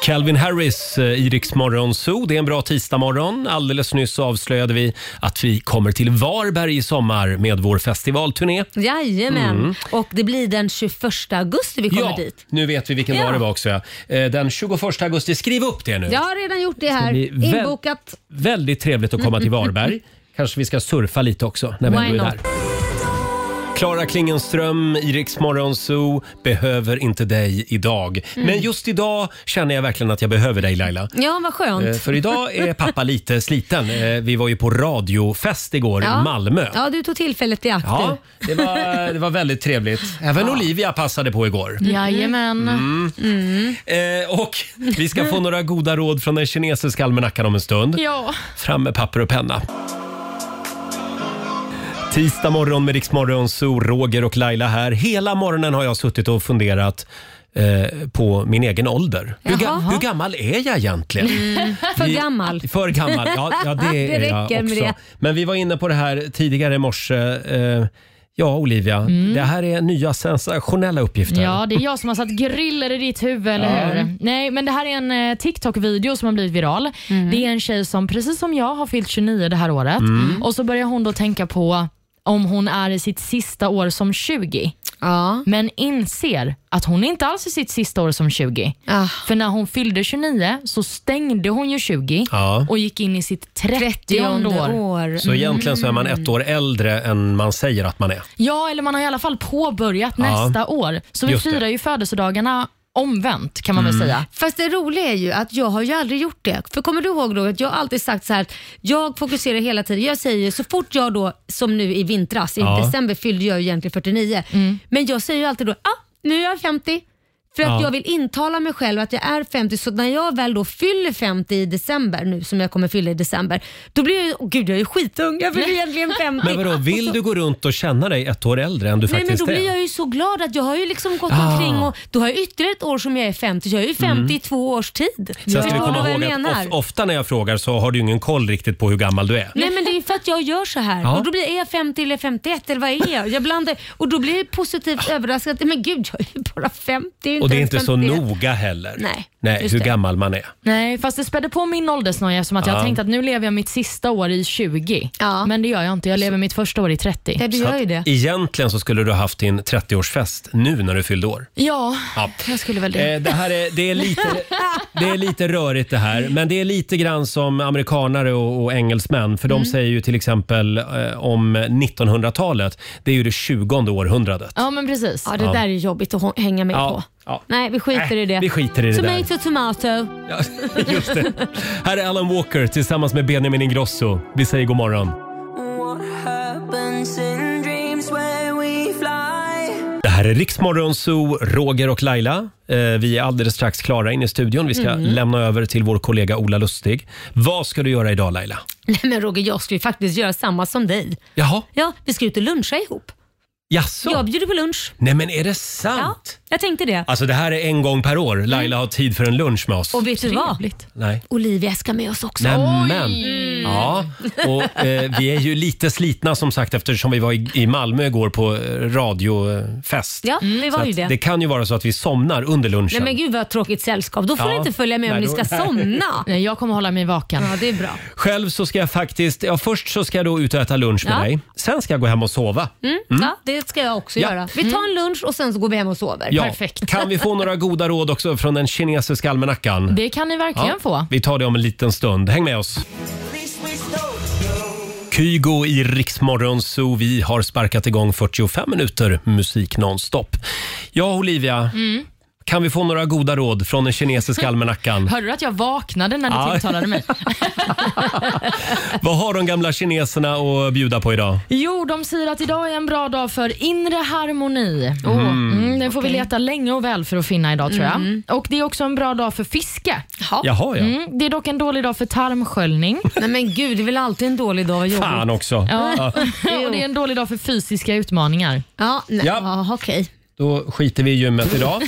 [SPEAKER 1] Calvin Harris eh, i Rix Morgon Zoo. Det är en bra tisdagmorgon. Alldeles nyss så avslöjade vi att vi kommer till Varberg i sommar med vår festivalturné.
[SPEAKER 2] Jajamän. Och det blir den 21 augusti vi kommer
[SPEAKER 1] Mm. Ja,
[SPEAKER 2] dit.
[SPEAKER 1] nu vet vi vilken
[SPEAKER 2] Ja.
[SPEAKER 1] dag det var också. ja. Eh, Den 21 augusti. Skriv upp det nu.
[SPEAKER 2] Jag har redan gjort det här.
[SPEAKER 1] Det blir väl-
[SPEAKER 2] Inbokat.
[SPEAKER 1] Väldigt trevligt att
[SPEAKER 2] <laughs>
[SPEAKER 1] komma till Varberg. Kanske vi ska surfa lite också när vi
[SPEAKER 2] Why
[SPEAKER 1] ändå är
[SPEAKER 2] not?
[SPEAKER 1] där. Klara Klingenström, Iriks Morgonzoo, behöver inte dig idag.
[SPEAKER 2] Mm.
[SPEAKER 1] Men just idag känner jag verkligen att jag behöver dig Laila.
[SPEAKER 2] Ja, vad skönt.
[SPEAKER 1] Eh, För idag är pappa lite sliten. Eh, Vi var ju på radiofest igår
[SPEAKER 2] ja.
[SPEAKER 1] i Malmö.
[SPEAKER 2] Ja, du tog tillfället i akt
[SPEAKER 1] Ja,
[SPEAKER 2] du.
[SPEAKER 1] det var, det var väldigt trevligt. Även Olivia passade på igår.
[SPEAKER 2] Mm.
[SPEAKER 3] Mm. Jajamän.
[SPEAKER 1] Mm. Eh, och vi ska få några goda råd från den kinesiska almanackan om en stund.
[SPEAKER 3] Ja.
[SPEAKER 1] Fram med papper och penna. Tisdag morgon med Riksmorgon, så Roger och Laila här. Hela morgonen har jag suttit och funderat eh, på min egen ålder. Hur, ga-
[SPEAKER 2] Jaha. Mm.
[SPEAKER 1] hur gammal är jag egentligen?
[SPEAKER 2] För
[SPEAKER 1] Vi- <laughs>
[SPEAKER 2] gammal.
[SPEAKER 1] För gammal, ja, ja det,
[SPEAKER 2] <laughs> Det
[SPEAKER 1] är jag
[SPEAKER 2] räcker
[SPEAKER 1] också.
[SPEAKER 2] med det.
[SPEAKER 1] Men vi var inne på det här tidigare i morse. Eh, ja, Olivia,
[SPEAKER 2] Mm.
[SPEAKER 1] det här är nya sensationella uppgifter.
[SPEAKER 3] ja, det är jag som har satt griller i ditt huvud, eller hur? Nej, men det här är en eh, TikTok-video som har blivit viral. Det är en tjej som, precis som jag, har fyllt 29 det här året.
[SPEAKER 1] Mm.
[SPEAKER 3] Och så börjar hon då tänka på om hon är i sitt sista år som 20.
[SPEAKER 2] Ja.
[SPEAKER 3] men inser att hon inte alls är sitt sista år som 20.
[SPEAKER 2] Ah.
[SPEAKER 3] För när hon fyllde 29 så stängde hon ju 20
[SPEAKER 1] Ja.
[SPEAKER 3] och gick in i sitt 30
[SPEAKER 2] Tionde
[SPEAKER 3] år.
[SPEAKER 2] år.
[SPEAKER 1] Så egentligen så är man
[SPEAKER 2] Mm.
[SPEAKER 1] ett år äldre än man säger att man är.
[SPEAKER 3] Ja, eller man har i alla fall påbörjat
[SPEAKER 1] Ja.
[SPEAKER 3] nästa år. Så vi
[SPEAKER 1] Just det. Mm.
[SPEAKER 3] firar ju födelsedagarna omvänt kan man väl säga.
[SPEAKER 2] Fast det roliga är ju att jag har ju aldrig gjort det. För kommer du ihåg då att jag har alltid sagt så här att jag fokuserar hela tiden. Jag säger ju så fort jag då, som nu i vintras, i
[SPEAKER 1] Ja. Mm.
[SPEAKER 2] december fyllde jag ju egentligen 49. Men jag säger ju alltid då, ah, nu är jag 50. För att
[SPEAKER 1] Ja.
[SPEAKER 2] jag vill intala mig själv att jag är 50, så när jag väl då fyller 50 i december, nu som jag kommer fylla i december, då blir jag ju, åh gud jag är ju skitung,
[SPEAKER 1] <laughs>
[SPEAKER 2] jag blir egentligen 50.
[SPEAKER 1] Men vadå, vill du gå runt och känna dig ett år äldre än du
[SPEAKER 2] Nej men
[SPEAKER 1] faktiskt
[SPEAKER 2] då blir
[SPEAKER 1] är?
[SPEAKER 2] jag ju så glad att jag har ju liksom gått
[SPEAKER 1] Ah.
[SPEAKER 2] omkring och då har jag ytterligare ett år som jag är 50, så jag är ju 50 i
[SPEAKER 1] Mm.
[SPEAKER 2] två års tid.
[SPEAKER 1] Sen ska vi
[SPEAKER 2] Förstår du
[SPEAKER 1] komma
[SPEAKER 2] vad
[SPEAKER 1] ihåg
[SPEAKER 2] jag menar?
[SPEAKER 1] att of, ofta när jag frågar så har du ju ingen koll riktigt på hur gammal du är.
[SPEAKER 2] Nej men det är för att jag gör så här.
[SPEAKER 1] Ja.
[SPEAKER 2] Och då blir, är jag 50 eller 51 eller vad är jag? jag blandar, och då blir jag positivt överraskad. Men gud, jag är ju bara 50. jag ju
[SPEAKER 1] Ah. Och det är inte
[SPEAKER 2] ens
[SPEAKER 1] så
[SPEAKER 2] 51.
[SPEAKER 1] noga heller.
[SPEAKER 2] Nej,
[SPEAKER 1] Nej,
[SPEAKER 3] just
[SPEAKER 1] hur
[SPEAKER 3] det.
[SPEAKER 1] gammal man är.
[SPEAKER 3] Nej, fast det spädde på min åldersnoja som att
[SPEAKER 1] Ja.
[SPEAKER 3] jag tänkte att nu lever jag mitt sista år i 20. Men det gör jag inte. Jag lever mitt första år i 30.
[SPEAKER 2] Ja,
[SPEAKER 1] Så att Egentligen så skulle du ha haft din 30-årsfest nu när du fyllde år.
[SPEAKER 3] Ja,
[SPEAKER 1] Ja.
[SPEAKER 3] jag skulle väl det.
[SPEAKER 1] Eh, det, här är, det, är lite, det är lite rörigt det här, men det är lite grann som amerikanare och, och engelsmän. För de säger ju till exempel eh, om 1900-talet, det är ju det 20 århundradet.
[SPEAKER 2] Ja men precis. Ja det
[SPEAKER 1] Ja.
[SPEAKER 2] där är jobbigt att hå- hänga med
[SPEAKER 1] Ja,
[SPEAKER 2] på.
[SPEAKER 1] ja.
[SPEAKER 2] Nej vi skiter
[SPEAKER 1] Äh,
[SPEAKER 2] i det.
[SPEAKER 1] vi skiter i det där.
[SPEAKER 2] tomato, tomato.
[SPEAKER 1] Ja, <laughs> just det. Här är Alan Walker tillsammans med Benjamin Ingrosso. Vi säger god morgon.
[SPEAKER 6] Happens in dreams where we fly.
[SPEAKER 1] Det här är Riksmorgon Zoo, Roger och Laila. Eh, vi är alldeles strax klara in i studion. Vi ska
[SPEAKER 2] Mm.
[SPEAKER 1] lämna över till vår kollega Ola Lustig. Vad ska du göra idag Laila?
[SPEAKER 2] Nej men Roger, jag ska ju faktiskt göra samma som dig.
[SPEAKER 1] Jaha?
[SPEAKER 2] Ja, vi ska ut och luncha ihop.
[SPEAKER 1] Jaså?
[SPEAKER 2] Jag bjuder på lunch.
[SPEAKER 1] Nej men är det sant?
[SPEAKER 2] Jag tänkte det.
[SPEAKER 1] Alltså det här är en gång per år. Laila har tid för en lunch med oss.
[SPEAKER 2] Mm. Och vet du vad?
[SPEAKER 1] Nej.
[SPEAKER 2] Olivia ska med oss också.
[SPEAKER 1] Nämen. Ja, och eh, vi är ju lite slitna som sagt eftersom vi var i, i Malmö igår på eh, radiofest.
[SPEAKER 2] Ja, vi
[SPEAKER 1] Mm. Så
[SPEAKER 2] var ju
[SPEAKER 1] att
[SPEAKER 2] det.
[SPEAKER 1] Det kan ju vara så att vi somnar under lunchen.
[SPEAKER 2] Nej men gud vad tråkigt sällskap. Då får
[SPEAKER 1] Ja.
[SPEAKER 2] ni inte följa med om
[SPEAKER 1] Nej,
[SPEAKER 2] ni
[SPEAKER 1] då-
[SPEAKER 2] ska
[SPEAKER 1] nej.
[SPEAKER 2] somna.
[SPEAKER 1] <laughs>
[SPEAKER 3] Nej, jag kommer hålla mig vaken.
[SPEAKER 2] Ja, det är bra.
[SPEAKER 1] Själv så ska jag faktiskt, ja först så ska jag då ut och äta lunch med
[SPEAKER 2] Ja.
[SPEAKER 1] dig. Sen ska jag gå hem och sova.
[SPEAKER 2] Mm, Ja, det ska jag också
[SPEAKER 1] Ja. Mm.
[SPEAKER 2] göra. Vi tar en lunch och sen så går vi hem och sover.
[SPEAKER 1] Ja. Kan vi få några goda råd också från den kinesiska almanackan?
[SPEAKER 3] Det kan ni verkligen
[SPEAKER 1] Ja,
[SPEAKER 3] få.
[SPEAKER 1] Vi tar det om en liten stund. Häng med oss. Kygo i Riksmorgon Zoo. Vi har sparkat igång 45 minuter musik nonstop. Ja, Olivia.
[SPEAKER 3] Mm.
[SPEAKER 1] Kan vi få några goda råd från den
[SPEAKER 2] <laughs>
[SPEAKER 1] kinesiska almanackan?
[SPEAKER 3] Hörde du att jag vaknade när du
[SPEAKER 1] Ja.
[SPEAKER 3] tilltalade mig?
[SPEAKER 1] <laughs> Vad har de gamla kineserna att bjuda på idag?
[SPEAKER 3] Jo, de säger att idag är en bra dag för inre harmoni.
[SPEAKER 1] Mm.
[SPEAKER 3] Mm, den får vi leta länge och väl för att finna idag tror jag.
[SPEAKER 2] Mm.
[SPEAKER 3] Och Det är också en bra dag för fiske.
[SPEAKER 1] Jaha, ja.
[SPEAKER 3] Mm, det är dock en dålig dag för tarmsköljning.
[SPEAKER 2] Nej men gud, det är väl alltid en dålig dag. Jobbigt. <laughs>
[SPEAKER 1] Fan också.
[SPEAKER 3] Ja.
[SPEAKER 1] Ja.
[SPEAKER 3] <laughs> och det är en dålig dag för fysiska utmaningar.
[SPEAKER 2] Ja, nej.
[SPEAKER 1] Ja.
[SPEAKER 2] ja okej.
[SPEAKER 1] Då skiter vi i gymmet idag.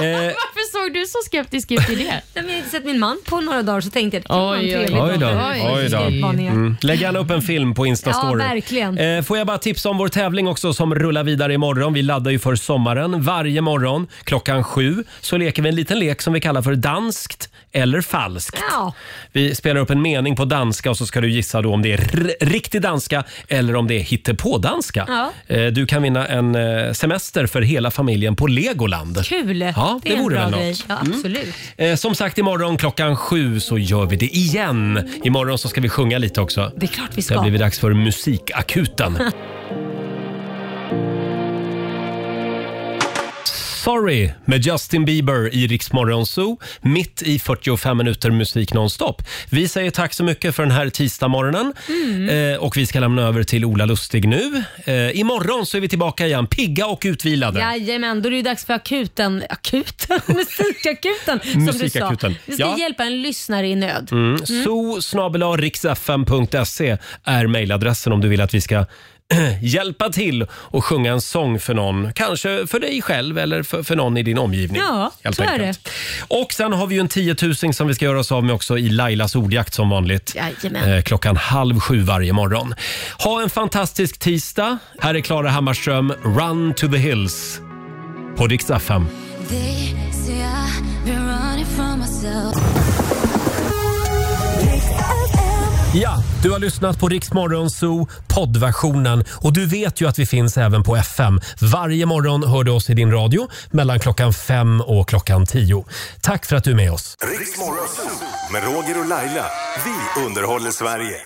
[SPEAKER 1] Eh,
[SPEAKER 3] Varför såg du så skeptisk ut i det?
[SPEAKER 2] Nej, men jag har inte sett min man på några dagar så tänkte jag att det kan vara en
[SPEAKER 3] Oj, oj,
[SPEAKER 1] Oj
[SPEAKER 2] trevlig
[SPEAKER 1] då.
[SPEAKER 2] dag.
[SPEAKER 1] Oj då.
[SPEAKER 2] Utmaningar.
[SPEAKER 1] Mm. Lägg gärna upp en film på Insta
[SPEAKER 2] Ja,
[SPEAKER 1] Story.
[SPEAKER 2] verkligen.
[SPEAKER 1] Eh, får jag bara tipsa om vår tävling också som rullar vidare imorgon. Vi laddar ju för sommaren. Varje morgon klockan sju så leker vi en liten lek som vi kallar för danskt eller falskt.
[SPEAKER 2] Ja.
[SPEAKER 1] Vi spelar upp en mening på danska och så ska du gissa då om det är r- riktig danska eller om det är hittepådanska.
[SPEAKER 2] Ja.
[SPEAKER 1] Eh, du kan vinna en eh, semester för hela familjen på Legoland.
[SPEAKER 2] Kul!
[SPEAKER 1] Ja, det,
[SPEAKER 2] är en
[SPEAKER 1] vore
[SPEAKER 2] bra
[SPEAKER 1] väl något.
[SPEAKER 2] grej. Ja,
[SPEAKER 1] Mm.
[SPEAKER 2] absolut.
[SPEAKER 1] Eh, som sagt, imorgon klockan sju så gör vi det igen. Imorgon så ska vi sjunga lite också.
[SPEAKER 2] Det är klart vi
[SPEAKER 1] Det
[SPEAKER 2] ska.
[SPEAKER 1] har blivit dags för
[SPEAKER 2] <laughs>
[SPEAKER 1] musikakuten. Sorry med Justin Bieber i Rix Morgon Zoo. Mitt i 45 minuter musik nonstop. Vi säger tack så mycket för den här tisdagsmorgonen.
[SPEAKER 2] Mm.
[SPEAKER 1] Eh, och vi ska lämna över till Ola Lustig nu. Eh, imorgon så är vi tillbaka igen, pigga och utvilade.
[SPEAKER 2] Jajamän, då är det ju dags för akuten, akuten, <laughs> musikakuten som
[SPEAKER 1] Musikakuten,
[SPEAKER 2] du sa. Vi ska
[SPEAKER 1] ja.
[SPEAKER 2] hjälpa en lyssnare i nöd.
[SPEAKER 1] Mm. zoo riksfm.se är mejladressen om du vill att vi ska <clears throat> hjälpa till och sjunga en sång för någon. Kanske för dig själv eller för, för någon i din omgivning.
[SPEAKER 2] Ja,
[SPEAKER 1] helt
[SPEAKER 2] så är
[SPEAKER 1] enkelt. Och sen har vi ju en tiotusing som vi ska göra oss av med också i Lailas ordjakt som vanligt.
[SPEAKER 2] Jajamän.
[SPEAKER 1] Eh, klockan halv sju varje morgon. Ha en fantastisk tisdag. Här är Klara Hammarström, Run to the Hills på Rix FM.
[SPEAKER 10] They say I've been running from myself.
[SPEAKER 1] Ja, du har lyssnat på Rix Morgon Zoo poddversionen och du vet ju att vi finns även på FM. Varje morgon hör du oss i din radio mellan klockan fem och klockan tio. Tack för att du är med oss.
[SPEAKER 4] Riks Morgonzoo med Roger och Laila. Vi underhåller Sverige.